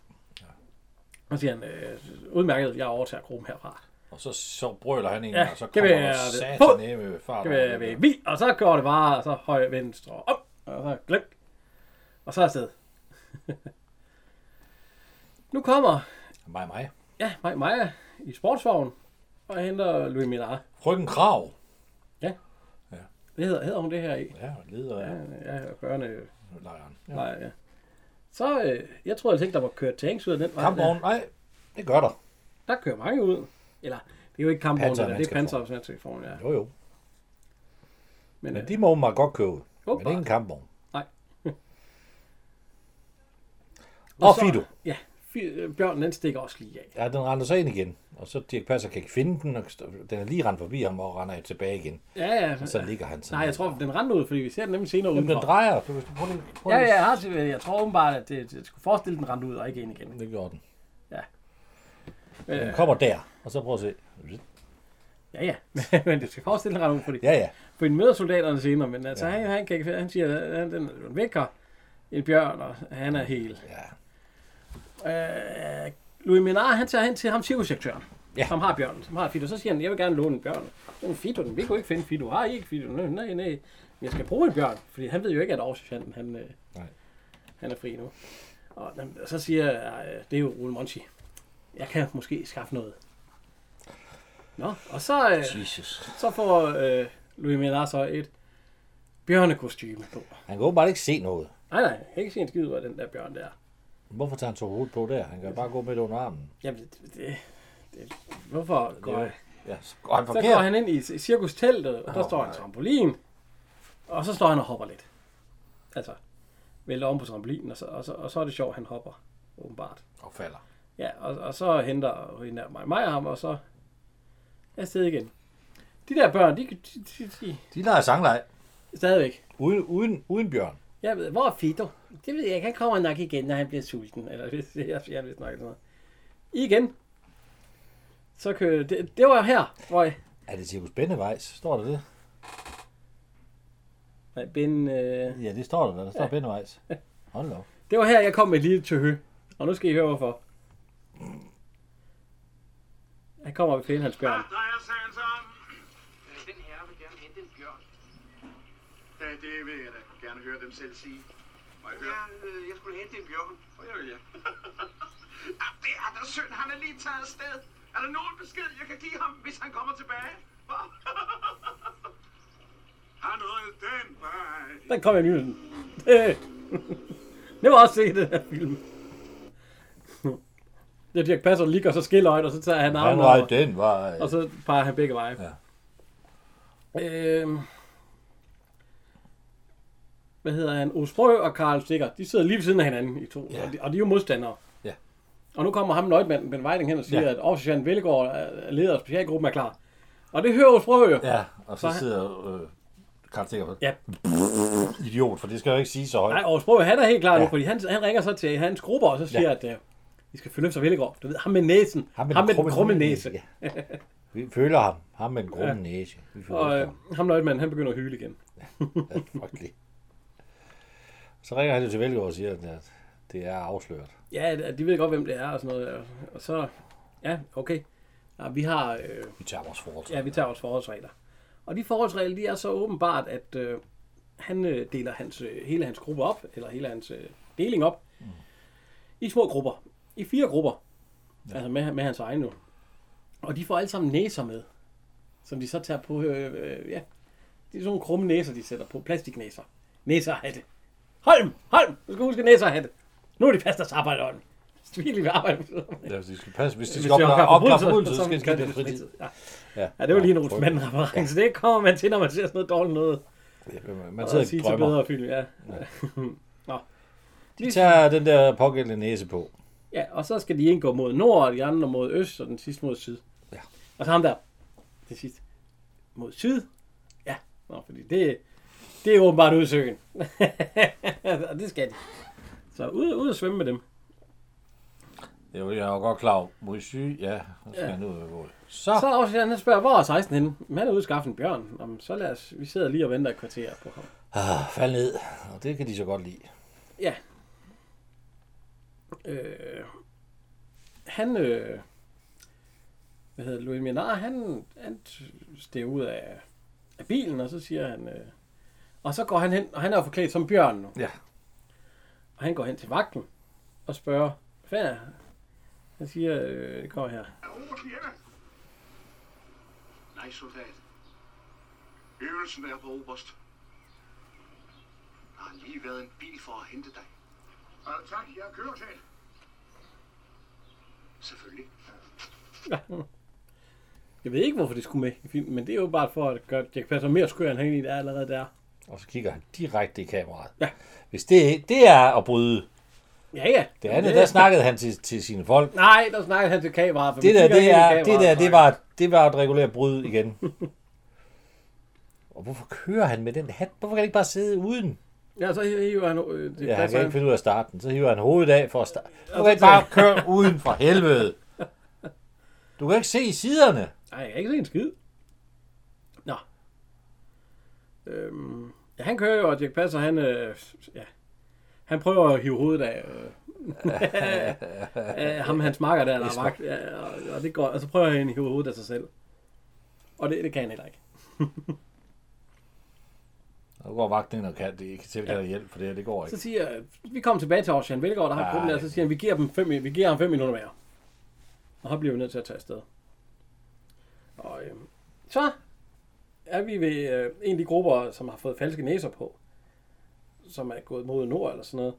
Og siger han, øh, udmærket, jeg overtager gruppen herfra. Og så, så brøler han en, Ja, ja, og så det kommer vil der jeg- Puh! satan ned med fart. Det vil, vil, vi, og så går det bare, og så højre venstre op, og så glem. Og så afsted. nu kommer, Mig, mig. ja, Maj Maja i sportsvognen, og henter Louis Millard. Frygten Krav. Det hedder, hedder hun det her i? Ja, leder af Ja, børne... lejren. Ja. Nej, ja. Så, øh, jeg tror altså ikke, der var kørt tanks ud af den vej. der. Kampvogn, nej, det gør der. Der kører mange ud. Eller, det er jo ikke kampvogn, Panser, det, der, man det er skal få. panser, man skal få, ja. Jo, jo. Men, Men øh, de må man godt købe. Men Åbenbart. ikke en kampvogn. Nej. Og så- Fido. ja, fi- øh, bjørnen den stikker også lige af. Ja, den render sig ind igen. Og så Dirk Passer kan ikke finde den. Og den er lige rendt forbi ham og render tilbage igen. Ja, ja. Og så ligger han sådan. Nej, jeg tror, den rendte ud, fordi vi ser den nemlig senere Jamen, den udenfor. drejer. Du, du, prøv lige, prøv Ja, lige. ja, jeg, har, set- jeg tror åbenbart, at det, jeg skulle forestille, den rendte ud og ikke ind igen. Det gjorde den. Ja. Øh. Den kommer der. Og så prøv at se. Ja, ja, men det skal forestille, den rendte ud, fordi Ja, ja. for en møder soldaterne senere, men altså, ja. han, han, kan, ikke- han siger, at han- den er vækker en bjørn, og han er hel. Ja. Øh, Louis Menard, han tager hen til ham cirkusdirektøren, ja. Ja. som har bjørnen, som har Fido. Så siger han, jeg vil gerne låne en bjørn. Den Fido, den, vi kunne ikke finde Fido. Har I ikke Fido? Nej, nej, nej. Men Jeg skal bruge en bjørn, fordi han ved jo ikke, at Aarhusianten, han, øh, Nej. han er fri nu. Og jamen, så siger jeg, øh, det er jo Rune Monchi. Jeg kan måske skaffe noget. Nå, og så, øh, Jesus. så får øh, Louis Menard så et bjørnekostyme på. Han kan åbenbart ikke se noget. Nej, nej, jeg kan ikke se en skid ud af den der bjørn der. Hvorfor tager han så hovedet på der? Han kan bare gå midt under armen. Jamen, det, det, det hvorfor går jeg? Ja, så går han Så går forkert. han ind i c- cirkusteltet, og der oh, står en trampolin. Og så står han og hopper lidt. Altså, vælter om på trampolinen, og så, og så, og så er det sjovt, han hopper, åbenbart. Og falder. Ja, og, og så henter hende der mig, mig og ham, og så er afsted igen. De der børn, de, de, de, de, De leger sangleg. de stadigvæk. Uden, uden, uden bjørn. Jeg ved, hvor er Fido? Det ved jeg ikke. Han kommer nok igen, når han bliver sulten. Eller hvis jeg siger, hvis nok sådan noget. I igen. Så kører det, det var her, hvor jeg... Er det Cirkus Bennevejs? Står der det? Nej, Ben... Øh, Ja, det står der. Der står ja. Bennevejs. Hold da op. Det var her, jeg kom med et lille tøhø. Og nu skal I høre, hvorfor. Han kommer op i pælen, hans bjørn. drejer sagen sig om? Den herre vil gerne hente en bjørn. Ja, det vil jeg da gerne høre dem selv sige. Må jeg høre? Ja, øh, jeg skulle hente en bjørn. Og jeg vil ja. Ah, det er da synd, han er lige taget afsted. Er der nogen besked, jeg kan give ham, hvis han kommer tilbage? Hva? Han rød den vej. Der kom jeg lige med den. Øh. Det var også set i den her film. Det er Dirk Passer, der ligger og så skiller øjet, og så tager han Han armen var over, den vej. og så peger han begge veje. Ja. Øhm. Hvad hedder han? Osprø og Karl Stikker, de sidder lige ved siden af hinanden i to, ja. og, de, og de er jo modstandere. Ja. Og nu kommer ham løjtmanden Ben Weiding hen og siger, ja. Ja. at officeren Vellegård, er- er øh, leder af specialgruppen, er klar. Og det hører Osprø jo. Ja, og så Så- sidder øh, Karl Sikker Ja. idiot, for det skal jeg jo ikke sige så højt. Nej, Osprø, han er helt klar ja. nu, Ja. fordi han, han ringer så til hans grupper, og så siger, ja. at øh, Vi skal følge efter Vellegaard. Du ved, ham med næsen. Ham med, ham med den krumme næse. Ja. Vi føler ham. Ham med den krumme ja. næse. Vi føler Og ham. øh, ham løjtmanden, han begynder at hyle igen. Ja, frygtelig. Så ringer han jo til Velgaard og siger, at det er afsløret. Ja, de ved godt, hvem det er og sådan noget. og- Og så, ja, okay. Ja, vi har, øh, Vi tager vores forhold. ja, vi tager vores forholdsregler. Og de forholdsregler, de er så åbenbart, at øh, han øh, deler hans, øh, hele hans gruppe op, eller hele hans øh, deling op, mm. i små grupper. I fire grupper. Ja. Altså med, med hans egen nu. Og de får alle sammen næser med, som de så tager på, øh, øh, ja, det er sådan nogle krumme næser, de sætter på. Plastiknæser. Næser af det. Holm! Holm! Du skal huske næser af det. Nu er de fast deres arbejde, Holm. Virkelig ved arbejde. Ja, hvis de skal passe. Hvis de Hvis skal de opklarer opklare opklare forbrydelser, forbrydelser, så skal så kan de de have få fritid. fritid. Ja, det var lige en Olsen manden reference. Det kommer man til, når man ser sådan noget dårligt noget. Ja, Man Og sidder sige og til drømmer. bedre film, ja. De tager den der pågældende næse på. ja. og så skal de indgå mod nord, og de andre mod øst, og den sidste mod syd. Ja. Og så ham der, det sidste, mod syd. Ja, Nå, fordi det, det er åbenbart udsøgen. og det skal de. Så ud, ud og svømme med dem. Det er jo, jeg er jo godt klar over. Mod syg, ja. Så skal Ja. han ud af mål. Så, Så er der også han der spørger, hvor er 16 henne? Men han er ude og skaffe en bjørn. Jamen, så lad os, vi sidder lige og venter et kvarter på ham. ah, fald ned. Og det kan de så godt lide. Ja. Øh, han, øh, hvad hedder det, Louis Minard, han, han stiger ud af, af bilen, og så siger han, øh, og så går han hen, og han er jo forklædt som bjørn nu. Ja. Og han går hen til vagten og spørger, hvad er han?" Han siger, øh, det går her. Robert Kirke. Nej, soldat. Øvelsen er på oberst. Der har lige været en bil for at hente dig. Og tak, jeg kører til. Selvfølgelig. Jeg ved ikke, hvorfor det skulle med i filmen, men det er jo bare for at gøre Jack Passer mere skør, end han egentlig er allerede der. Og så kigger han direkte i kameraet. Ja. Hvis det, det er at bryde Ja, ja. det andet, der snakkede han til, til sine folk. Nej, der snakkede han til kameraet. for Det man der, kigger det, ikke ind i er, kameraet. det der, det var, det var et regulært brud igen. Og hvorfor kører han med den hat? Hvorfor kan han ikke bare sidde uden? Ja, så hiver han... Øh, det Ja, han passer kan han. ikke finde ud af at starte den. Så hiver han hovedet af for at starte. Du kan ikke bare køre uden for helvede. Du kan ikke se siderne. Nej, jeg kan ikke se en skid. Nå. Øhm, ja, han kører jo, og Jack Passer, han... Øh, ja, han prøver at hive hovedet af... Øh, af ham, hans makker der, der er vagt. Ja, og, og, det går, og så prøver han at hive hovedet af sig selv. Og det, det kan han heller ikke. Nu går vagten ind og kan det ikke tilkalder hjælp for det her. Det går Så ikke. siger jeg, vi kommer tilbage til Ocean Velgaard, der har Ej. gruppen der, så siger han, vi giver, dem fem, vi giver ham 5 minutter mere. Og så bliver vi nødt til at tage afsted. Og øhm, så er vi ved øh, en af de grupper, som har fået falske næser på, som er gået mod nord eller sådan noget.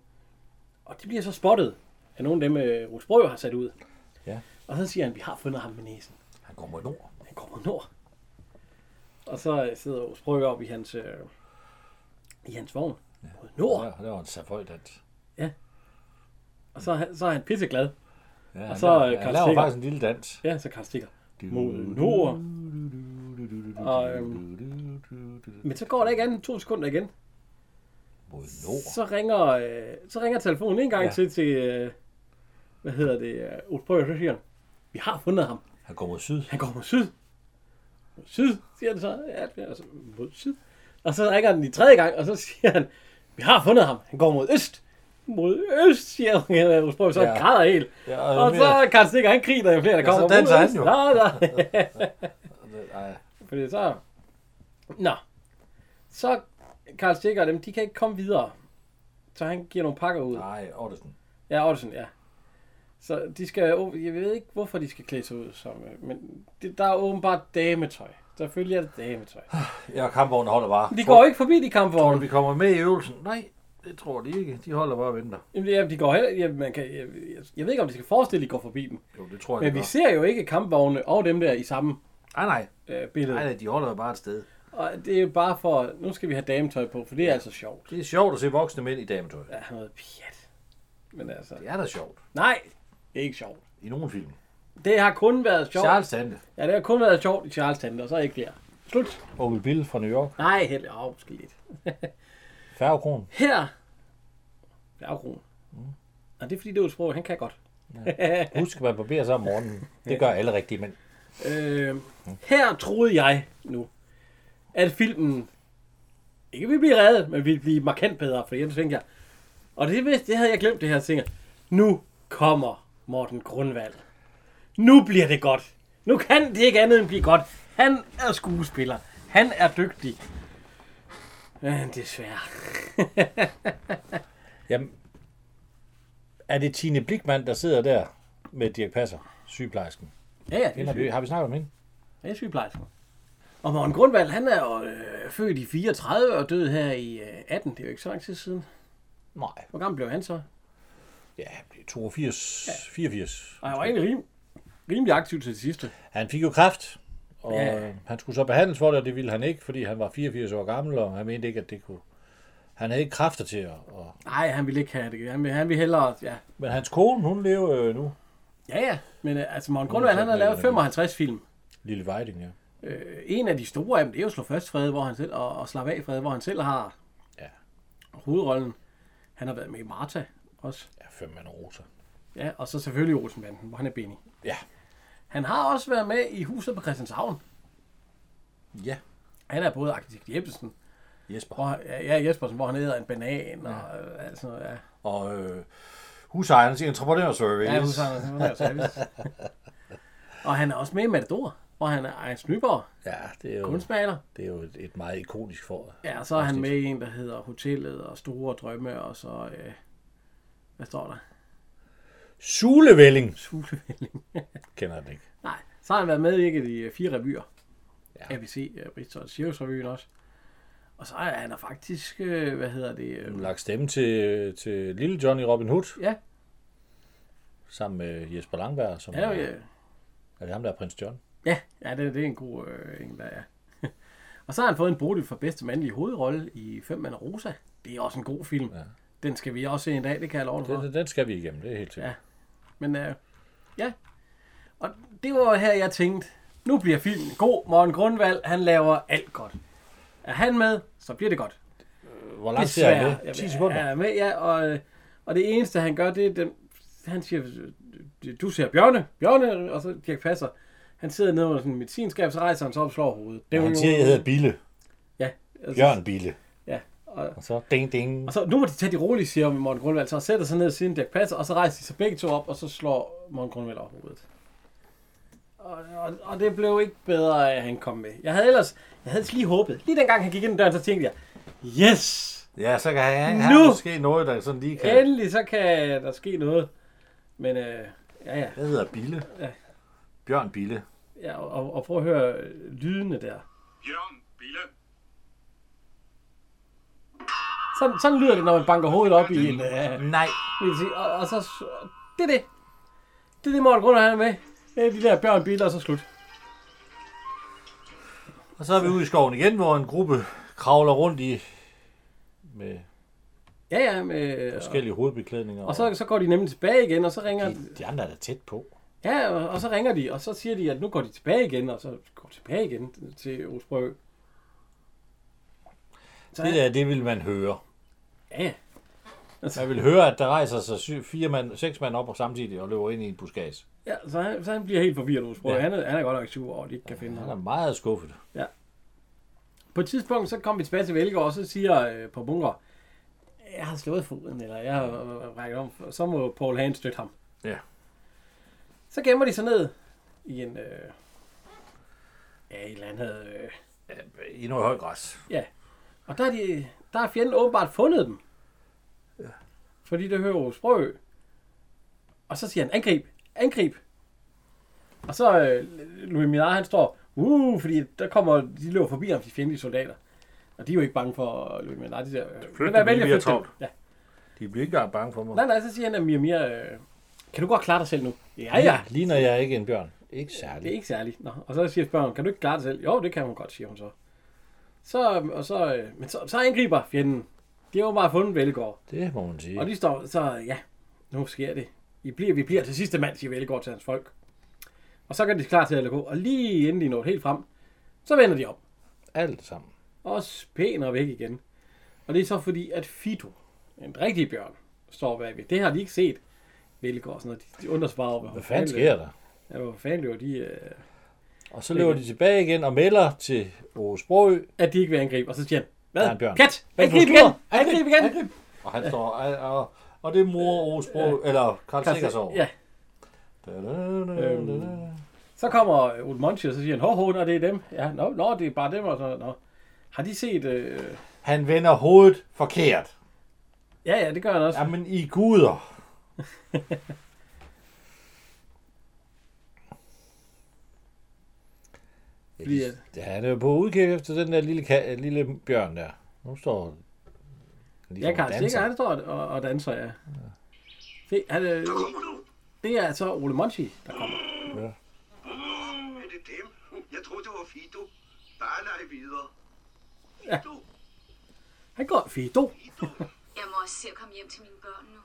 Og de bliver så spottet af nogle af dem, øh, Rus Brøg har sat ud. Ja. Og så siger han, vi har fundet ham med næsen. Han går mod nord. Han går mod nord. Og så øh, sidder Rus Brøg op i hans, øh, i hans vogn. Mod nord. Ja, det var en saføjdans. Og så, er han- så er han pisseglad. Ja, han så, laver- øh, Karl han laver Stikker. faktisk en lille dans. Ja, så Karl Stikker. Mod nord. Og, øhm, men så går der ikke andet end to sekunder igen. Mod nord. Så ringer, øh, så ringer telefonen en gang ja. Ja. til til, øh, hvad hedder det, øh, Ulf Brøger, så siger han, vi har fundet ham. Han går mod syd. Han går mod syd. Mod syd, siger det så. Ja, det er altså mod syd. Og så ringer den i tredje gang, og så siger han, vi har fundet ham. Han går mod øst. Mod øst, siger han. Ulf Brøger, så ja. Ja. græder helt. Ja, Og, og så er Karl Stikker, han griner jo flere, der Ja, så kommer. danser mod han øst. jo. Nå, nå. Ej, Fordi så... Nå. Så Karl Stikker og dem, de kan ikke komme videre. Så han giver nogle pakker ud. nej, Ottesen. Ja, Ottesen, ja. Så de skal... åb- Jeg ved ikke, hvorfor de skal klæde sig ud som... øh, Men det, der er åbenbart dametøj. Selvfølgelig er det dametøj. Jeg og kampvognen holder bare. De går ikke forbi de kampvogne. vi kommer med i øvelsen? Nej, det tror de ikke. De holder bare og venter. Jamen, ja, de går heller... Ja, man kan, jeg, jeg, jeg, ved ikke, om de skal forestille, at de går forbi dem. Jo, det tror jeg, Men de vi gør. ser jo ikke kampvogne og dem der i samme Ej, nej, øh, billede. nej, nej, de holder jo bare et sted. Og det er jo bare for... Nu skal vi have dametøj på, for det er altså sjovt. Det er sjovt at se voksne mænd i dametøj. Ja, noget pjat. Men altså... Det er da sjovt. Nej, det er ikke sjovt. I nogle film. Det har kun været sjovt. Charles Tante. Ja, det har kun været sjovt i Charles Tante, og så ikke flere. Slut. Onkel Bill fra New York. Nej, helt af, måske lidt. Færgekron. Her. Bjergkron. Mm. Og det er fordi, det er jo et sprog, han kan godt. Husk, man barberer sig om morgenen. Det gør alle rigtige mænd. Øh, her troede jeg nu, at filmen ikke ville blive reddet, men ville blive markant bedre, for jeg tænkte jeg. Og det, vidste- det havde jeg glemt det her ting. Nu kommer Morten Grundvald. Nu bliver det godt. Nu kan det ikke andet end blive godt. Han er skuespiller. Han er dygtig. Men desværre. Jamen, er det Tine Blikman, der sidder der med Dirk Passer, sygeplejersken? Ja, ja, det Hende er har, vi, har vi snakket om hende? Jeg er sygeplejerske. Og Morten Grundvald, han er jo øh, født i 34 og død her i øh, 18. Det er jo ikke så lang tid siden. Nej. Hvor gammel blev han så? Ja, han blev 82, ja. 84. Og han var egentlig rim, rimelig aktiv til det sidste. Han fik jo kræft, og Ja. ja. han skulle så behandles for det, og det ville han ikke, fordi han var 84 år gammel, og han mente ikke, at det kunne... Han havde ikke kræfter til at... Og... Nej, han ville ikke have det. Han ville, han ville hellere... Ja, Men hans kone, hun lever øh, nu. ja. ja. Men øh, altså, Morten Grundvald, han har lavet 55 film. Lille Vejding, ja. Øh, en af de store af dem, det er jo Slå Først Fred, hvor han selv, og, og Slap af Fred, hvor han selv har Ja. hovedrollen. Han har været med i Marta også. Ja, fem mand roser. Ja, og så selvfølgelig Olsenbanden, hvor han er Benny. Ja. Han har også været med i Huset på Christianshavn. Ja. Han er både arkitekt Jeppesen, Jesper. hvor, ja, Jespersen, hvor han æder en banan og øh, alt sådan noget. Ja. Og øh, husejernes entreprenørservice. Ja, Husejerne, han er jo service. og han er også med i Matador, hvor han er Ejens Nyborg, ja, det er jo, kunstmaler. det er jo et, et meget ikonisk for. Ja, og så er han med i en, der hedder Hotellet og Store Drømme, og så, øh, hvad står der? Sulevælling Sulevælling. kender jeg den ikke. Nej, så har han været medvirket i øh, fire revyer. Ja. Ja. ABC, øh, Bristol og Cirkusrevyen også. Og så er han er faktisk, øh, hvad hedder det? Øh, Hun lagt stemme til, til Lille Johnny Robin Hood ja, sammen med Jesper Langberg. Som ja, er, ja, er det ham, der er prins John? ja, ja det, det er en god øh, en, der er. og så har han fået en Bodil for bedste mandlige hovedrolle i Fem Mand og Rosa. Det er også en god film. Ja. Den skal vi også se en dag, det kan jeg love dig for. Den, den skal vi igennem, det er helt sikkert. Ja. Men øh, ja, og det var her, jeg tænkte, nu bliver filmen god. Morten Grundvald, han laver alt godt. Er han med, så bliver det godt. Hvor lang tid er Desværre. han med? 10 sekunder? Jeg er med, ja, og, øh, og det eneste, han gør, det er, den, han siger, øh, du ser Bjørne, Bjørne, og så Dirk Passer. Han sidder nede under sådan en medicinskab, så rejser han sig op og slår hovedet. Det er Han jo- siger, at jeg hedder Bille. ja, altså, Bjørn Bille. Ja, og, Og så ding, ding. og så, nu må de tage det roligt, siger Morten Grundvald, så og sætter sig ned siden Dirk Passer, og så rejser de sig begge to op, og så slår Morten Grundvald over hovedet. Og, og, og, det blev ikke bedre, at han kom med. Jeg havde ellers, jeg havde ellers lige håbet. Lige dengang han gik ind ad døren, så tænkte jeg, yes, Ja, så kan han, Nu! måske noget, der sådan lige Ja. Endelig så kan der ske noget. Men øh, ja, ja. Hvad hedder Bille? Ja. Bjørn Bille. ja og, og prøv at høre øh, lydene der. Bjørn Bille. Sådan, sådan lyder det, når man banker hovedet op i en... Øh, Nej. medicin. og, og så... Det er det. Det er det, Morten Grunder han er med. Det er de der bjørnbiler, og så slut. Og så er vi ude i skoven igen, hvor en gruppe kravler rundt i med Ja, ja. Med, og, forskellige hovedbeklædninger. og så, så går de nemlig tilbage igen, og så ringer... de, de andre er da tæt på. Ja, og, og så ringer de, og så siger de, at nu går de tilbage igen, og så går de tilbage igen til Osbrø. Så, Det der, det vil man høre. ja, ja. Man vil høre, at der rejser sig syv, fire mand, seks mand op og samtidig og løber ind i en buskads. Ja, så han, så han bliver helt forvirret hos bror. Ja. Ja. Han, er, han er godt nok sur over, at de ikke kan finde Han ham. er meget skuffet. På et tidspunkt, så kom vi tilbage til Velgaard, og så siger øh, på bunker, jeg har slået foden, eller jeg har øh, rækket om, så må Paul Hagen støtte ham. Ja. Så gemmer de sig ned i en, øh, ja, et eller andet, øh, I noget højt græs. ja. Og der er, de, der er fjenden åbenbart fundet dem. Ja. Fordi det hører hos Brøø. Og så siger han, angrib, angrib. Og så øh, Louis Minard, han står, uh, fordi der kommer, de løber forbi ham, de fjendtlige soldater. Og de er jo ikke bange for Louis Minard, de der, øh, Flyt lad dem, vælge vi at bliver flytte dem." travlt. Ja. De bliver ikke engang bange for mig. Nej, nej, så siger han, at Mia Mia, øh, kan du godt klare dig selv nu? Ja, ja. Ligner jeg ikke en bjørn? Ikke Det er særlig. ikke særligt. Nå. Og så siger spørgeren, kan du ikke klare dig selv? Jo, det kan hun godt, siger hun så. Så, øh, og så, øh, men så, så angriber fjenden. De har jo bare fundet Velgaard. Det må man sige. Og de står, så ja, nu sker det. I bliver, vi bliver til sidste mand, siger Velgaard til hans folk. Og så gør de klar til at gå, og lige inden de når helt frem, så vender de om. Alt sammen. Og spæner væk igen. Og det er så fordi, at Fido, en rigtig bjørn, står bagved. Det har de ikke set. Velgaard og sådan noget. De, de undrer sig bare over, Hvad fanden sker der? Ja, hvor fanden løber de, øh, Og så løber de tilbage igen og melder til Åge Sprogø. at de ikke vil angribe. Og så siger han, hvad? Der er en bjørn. Kat! Angrib igen! forslutter! Angrib igen! Og han står, og, og, og det er mor Åge Sprogø, eller Karl Sikkersov. Ja. Øhm. Så kommer øh, Ole Monchi, og så siger han, hov, hov, nå, det er dem. Ja, nå, nå, det er bare dem. Og så, nå. Har de set... Øh... Han vender hovedet forkert. Ja, ja, det gør han også. Jamen, I guder. Fordi, at, Ja, han er jo på udkig efter den der lille, ka- lille bjørn der. Nu står ja, Karl Stikker, han står og, og danser, ja. Se, han, øh, det er altså Ole Monchi, der kommer. Er det dem? Jeg troede, det var Fido. Bare leg videre. Han går, Fido. Jeg må også se at komme hjem til mine børn nu.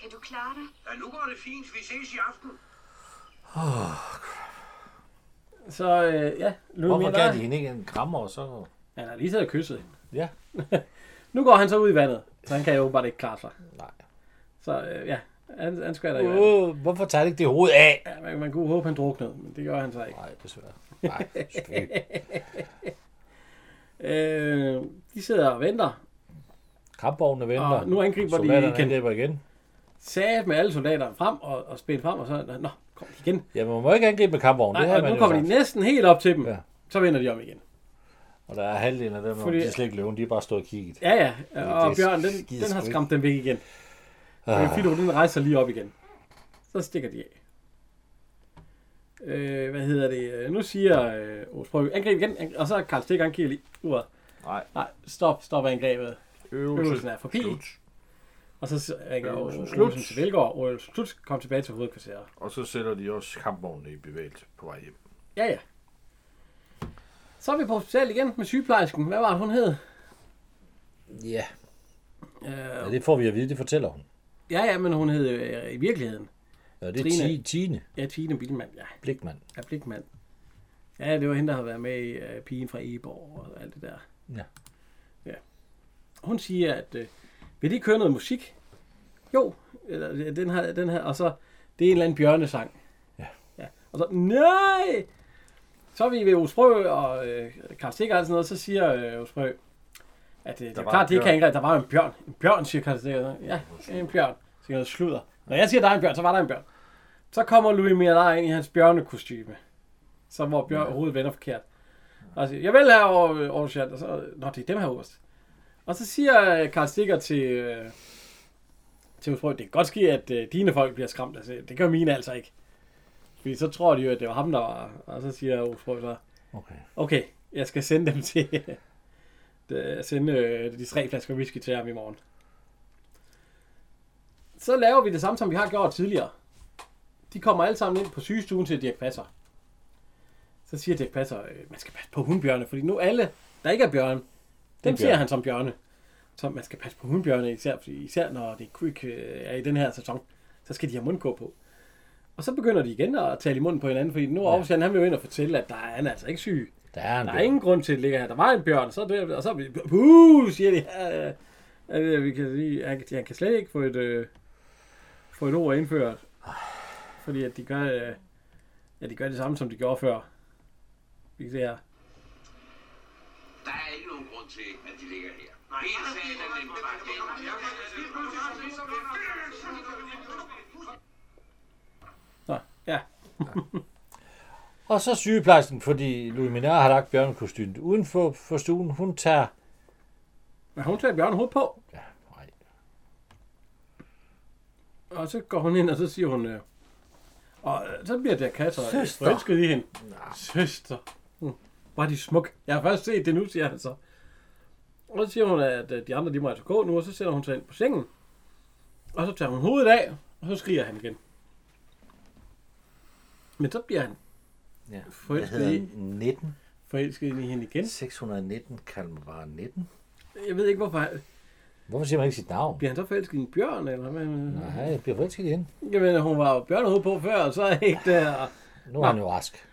Kan du klare det? Mm. Ja, nu går det fint. Vi ses i aften. Så øh, ja, nu Hvorfor gav de hende ikke en krammer og så? Han har lige siddet og kysset hende. Ja. nu går han så ud i vandet, så han kan jo bare ikke klare sig. Nej. Så øh, ja, han, han skvatter i vandet. Øh, hvorfor tager de ikke det hoved af? Ja, man, man kunne håbe, han druknede, men det gør han så ikke. Nej, desværre. Nej, selvfølgelig. Øh, de sidder og venter. Kampvognene venter. Og nu angriber de Soldaterne igen. angriber igen. Sagde med alle soldaterne frem og, og spændte frem, og så, nå, kom de igen. Ja, man må ikke angribe med kampvognen. Nej, det har og man nu jo kommer sagt. de næsten helt op til dem. Ja. Så vender de om igen. Og der er halvdelen af dem, Fordi... Fordi- de er slet ikke løven, de er bare stået og kigget. Ja, ja, og det er Ah. Bjørn, den, skide den har sgu ikke. skræmt dem væk igen. Men Fido, den rejser lige op igen. Så stikker de af. Øh, hvad hedder det? Øh, Nu siger øh, Aarhus Brygge, angreb igen, ang- og så er Karl Stikker, han kigger lige uret. Nej. Nej, stop, stop angrebet. Øvelsen er forbi. Slut. Og så ringer Øvelsen Aarhus slut. Slut til Velgaard, og Aarhus Slut kom tilbage til hovedkvarteret. Og så sætter de også kampvognene i bevægelse på vej hjem. Ja, ja. Så er vi på hospitalet igen med sygeplejersken. Hvad var det, hun hed? Ja. Øh, ja, det får vi at vide, det fortæller hun. ja, ja, men hun hed øh, i virkeligheden. Ja, det er Trine. Ti- Tine Ja, Tine Bilmand, ja. Blikmand. Ja, Blikmand. Ja, det var hende, der har været med i øh, Pigen fra Eborg og alt det der. Ja. ja. Hun siger, at øh, vil de ikke høre noget musik? Jo, eller, øh, den her, den her, og så, det er en eller anden bjørnesang. Ja. ja. Og så, nej! Så er vi ved Osprø og øh, Karl Stikker og sådan noget, så siger øh, Osprø, at øh, det er var klart, en det ikke bjørn. angre, der var jo en bjørn. En bjørn, siger Karl Stikker. Ja, en bjørn. Så siger noget sludder. Når jeg siger, der er en bjørn, så var der en bjørn. Så kommer Louis Miradar ind i hans bjørnekostyme. Så hvor bjørn, hovedet vender forkert. Og så siger, jeg vil have over, over chat. Og så, nå, det er dem her øverst. Og så siger øh, Karl Stikker til, øh, til Ulf Brøgh, det kan godt ske, at øh, dine folk bliver skræmt. Altså, det gør mine altså ikke. Fordi så tror de jo, at det var ham, der var. Og så siger Ulf Brøgh så, Okay. okay, jeg skal sende dem til... øh, sende øh, de tre flasker whisky til ham i morgen. Så laver vi det samme, som vi har gjort tidligere. De kommer alle sammen ind på sygestuen til Dirk Passer. Så siger Dirk Passer, øh, man skal passe på hundbjørne, fordi nu alle, der ikke er bjørne, dem ser bjørne. han som bjørne. Så man skal passe på hundbjørne, især, fordi, især når det er quick øh, er i den her sæson, så skal de have mundgå på. Og så begynder de igen at tale i munden på hinanden, fordi nu er ja. han vil jo ind og fortælle, at der er, han er altså ikke syg. Der er en Der er bjørn. ingen grund til, at det ligger her. Der var en bjørn, så det, og så er vi... Puh, siger de. Ja, ja, ja, vi kan sige, han, han kan slet ikke få et, øh, få et ord indført. Fordi at de gør, øh, ja, de gør det samme, som de gjorde før. Vi kan se her. Der er ikke nogen grund til, at de ligger her. Hele sagen er nemt. Nå, ja. Og så sygeplejersken, fordi Louis Minard har lagt bjørnekostymet uden for, for stuen. Hun tager... Men hun tager bjørn hoved på, Ja, nej. og så går hun ind, og så siger hun... Øh, og øh, så bliver der kasser Søster. forelsket i hende. Søster. Mm. Var de smuk. Jeg har først set det nu, siger han så. Og så siger hun, at øh, de andre de må altså gå nu, og så sætter hun sig ind på sengen. Og så tager hun hovedet af, og så skriger han igen. Men så bliver han Ja. Hvad hedder den? 19. forelsket i hende igen. 619, kalder man bare 19. Jeg ved ikke, hvorfor. han- Hvorfor siger man ikke sit navn? Bliver han så forelsket i en bjørn? Eller hvad? Nej, jeg bliver forelsket igen. Jamen, hun var jo bjørnehoved på før, og så er ikke der. Nu er han jo rask.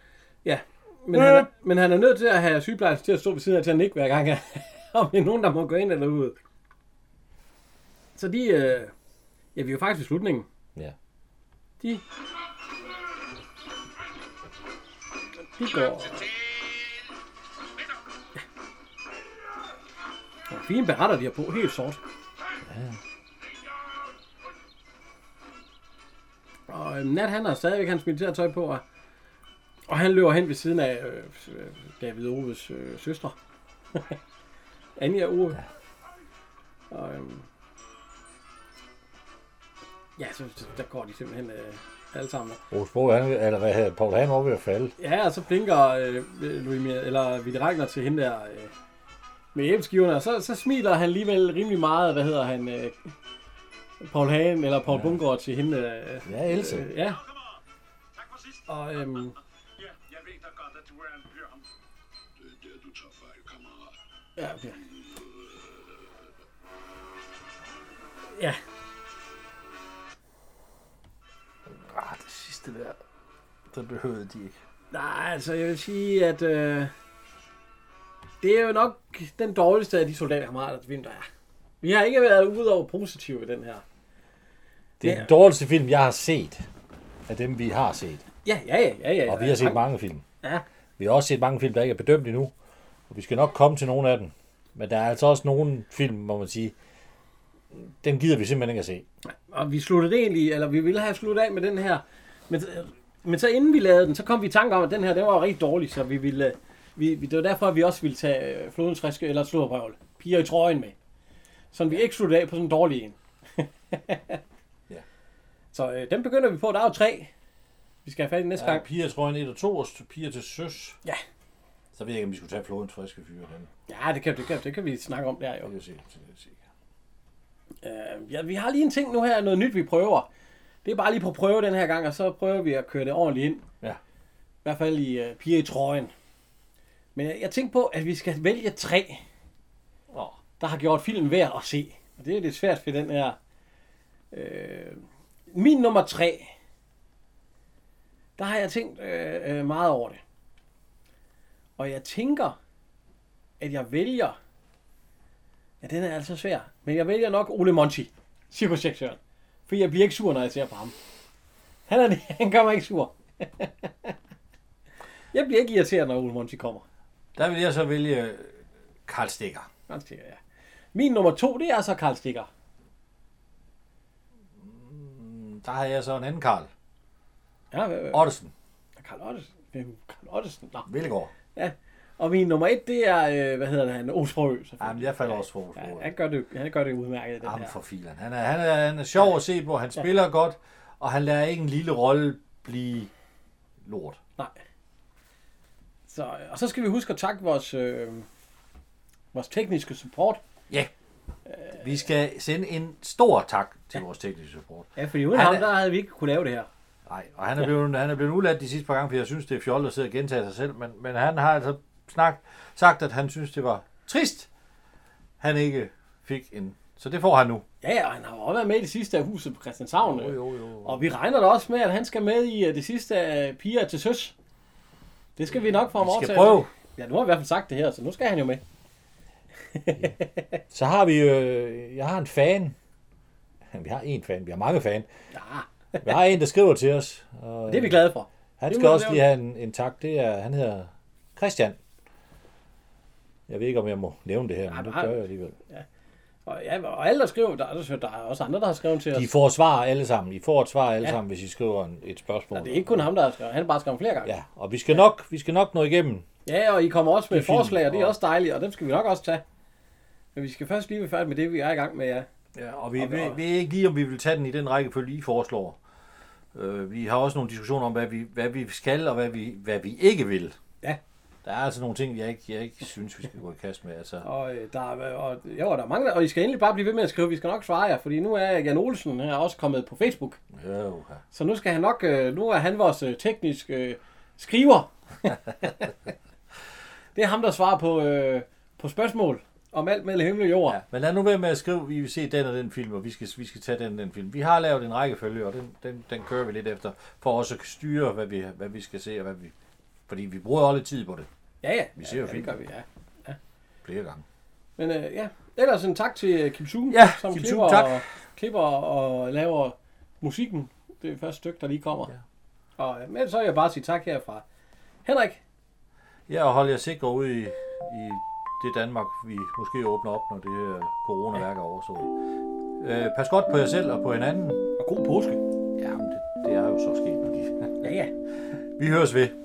Ja, men, han, er, men han er nødt til at have sygeplejersken til at stå ved siden af til at nikke hver gang, at- om det er nogen, der må gå ind eller ud. Så de, øh, ja, vi er jo faktisk i slutningen. Ja. De... De går... Ja, fine beretter, de har på. Helt sort. Ja. Og øhm, Nat, han har stadigvæk hans militærtøj på, og, og han løber hen ved siden af øh, øh, David Oves øh, søstre. Anja Ove. Ja. Og, øhm, ja, så, så der går de simpelthen øh, alle sammen. Rose Bro, han, eller hvad hedder, Paul Hagen var ved at falde. Ja, og så blinker øh, Louis, Mia- eller Vitte Ragnar til hende der øh, med æbskiverne, og så, så smiler han alligevel rimelig meget, hvad hedder han, øh, Paul Hagen eller Paul ja. Bungård til hende. Øh, Ja, Else. øh, ja, Kom on. Tak for sidst. og Ja, øhm, jeg ved da godt, at du er en bjørn. Det er der, du tager fejl, kammerat. ja, ja. ja, Ah, det sidste der, det behøvede de ikke. nej, altså jeg vil sige, at øh, det er jo nok den dårligste af de soldaterkammerater, der vinter er. Vi har ikke været ude over positive i den her. Det er Ja. den dårligste film, jeg har set. Af dem, vi har set. Ja, ja, ja, ja. ja Og vi har set mange film. Ja. Vi har også set mange film, der ikke er bedømt endnu. Og vi skal nok komme til nogle af dem. Men der er altså også nogle film, må man sige, dem gider vi simpelthen ikke at se. Og vi sluttede egentlig, eller vi ville have sluttet af med den her. Men, men så inden vi lavede den, så kom vi i tanke om, at den her, den var rigtig dårlig, så vi ville... øh, Vi, vi- det var derfor, at vi også ville tage øh, flodens friske, eller sludderprøvel, piger i trøjen med. Så vi ikke sluttede af på sådan en dårlig en. Ja. Så øh, den begynder vi på, der er jo tre. Vi skal have fat i næste Der gang. er piger, tror jeg, 1 og 2, og st- piger til søs. Ja. Så ved jeg ikke, om vi skulle tage flodens friske fyre den. Ja, det kan, det, kan, det kan vi snakke om der jo. Det kan jeg se. Det kan jeg se. Øh, ja, vi har lige en ting nu her, noget nyt vi prøver. Det er bare lige på prøve den her gang, og så prøver vi at køre det ordentligt ind. Ja. I hvert fald i øh, piger i trøjen. Men jeg, jeg tænkte på, at vi skal vælge tre, Åh. der har gjort filmen værd at se. Og det er lidt svært for den her. Øh, min nummer tre, der har jeg tænkt øh, øh, meget over det. Og jeg tænker, at jeg vælger... Ja, den er altså svær. Men jeg vælger nok Ole Monti, cirkusdirektøren. For jeg bliver ikke sur, når jeg ser på ham. Han, er, han gør mig ikke sur. jeg bliver ikke irriteret, når Ole Monti kommer. Der vil jeg så vælge øh, Karl Stikker. Han siger, ja. Min nummer to, det er så Karl Stikker. Der har jeg så en anden Karl. Ja, øh, Ottesen. Karl Ottesen. Hvem? Karl Ottesen. Nå. Vildegård. Ja. Og min nummer et, det er, øh, hvad hedder han, Osprøø. Jamen, jeg falder også for Rose Ja, Bro. han gør det, han gør det udmærket, den Ham for her. filen. Han er, han, er, han er sjov at se på, han spiller ja. godt, og han lader ikke en lille rolle blive lort. Nej. Så, øh, og så skal vi huske at takke vores, øh, vores tekniske support. Ja. Vi skal sende en stor tak til vores tekniske support. Ja, fordi uden Han ham, er- der havde vi ikke kunne lave det her. Nej, og han er blevet, han er blevet udladt de sidste par gange, fordi jeg synes, det er fjollet at sidde og gentage sig selv, men, men han har altså snak, sagt, at han synes, det var trist, han ikke fik en. Så det får han nu. Ja, ja, og han har jo også været med i det sidste af huset på Christianshavn. øh. jo. Og vi regner da også med, at han skal med i øh, det sidste af piger til søs. Det skal vi nok få ham Vi overtalt. skal prøve. Ja, nu har vi i hvert fald sagt det her, så nu skal han jo med. Så har vi, øh, jeg har en fan. Vi har en fan, vi har mange fan. Ja, Vi har en, der skriver til os. Og, det er vi glade for. Han Det skal må også vi lige have en, en tak. Det er, han hedder Christian. Jeg ved ikke, om jeg må nævne det her, Nej, men det nej. gør jeg alligevel. Og, ja, og alle, der skriver, der, er- der er også andre, der har skrevet til os. I får svar alle sammen. I får et svar alle Ja. ja. sammen, hvis I skriver en, et spørgsmål. Og det er ikke kun ham, der har skrevet. Han har bare skrevet flere gange. Ja, og vi skal nok, vi skal nok nå igennem. Ja, og I kommer også med Det er fint. forslag, og det er Og- også dejligt, og dem skal vi nok også tage. Men vi skal først lige være færdige med det, vi er i gang med, ja. Ja, og vi Og- ved og- ved ikke lige, om vi vil tage den i den rækkefølge, I foreslår. Øh, vi har også nogle diskussioner om, hvad vi, hvad vi skal og hvad vi, hvad vi ikke vil. Ja. Der er altså nogle ting, jeg ikke, jeg ikke synes, vi skal gå i kast med. Altså, Og øh, der, er- og, jo, der er mange, og I skal endelig bare blive ved med at skrive, vi skal nok svare jer, fordi nu er Jan Olsen her også kommet på Facebook, ja, uha. så nu skal han nok, øh, nu er han vores øh, tekniske øh, skriver. det er ham, der svarer på, øh, på spørgsmål om alt mellem himmel og jord. ja. Men lad nu være med at skrive, vi vil se den og den film, og vi skal, vi skal tage den og den film. Vi har lavet en rækkefølge, og den, den, den kører vi lidt efter, for også at styre, hvad vi, hvad vi skal se og hvad vi... Fordi vi bruger jo også lidt tid på det Ja, ja. Vi ser jo ja, det film. gør vi, ja. flere gange. Men øh, ja, ellers en tak til øh, Kim Sung, Ja, som Kim Sung, klipper, tak. Og, klipper og laver musikken Det er første stykke, der lige kommer. Ja. Og, øh, men så vil jeg bare sige tak herfra. Henrik, Ja, og hold jer sikre ude i, i det Danmark, vi måske åbner op, når det øh, coronaværk er overstået. Øh, pas godt på jer selv og på hinanden. og god påske. Jamen, det, det er jo så sket. Ja, ja. Vi høres ved.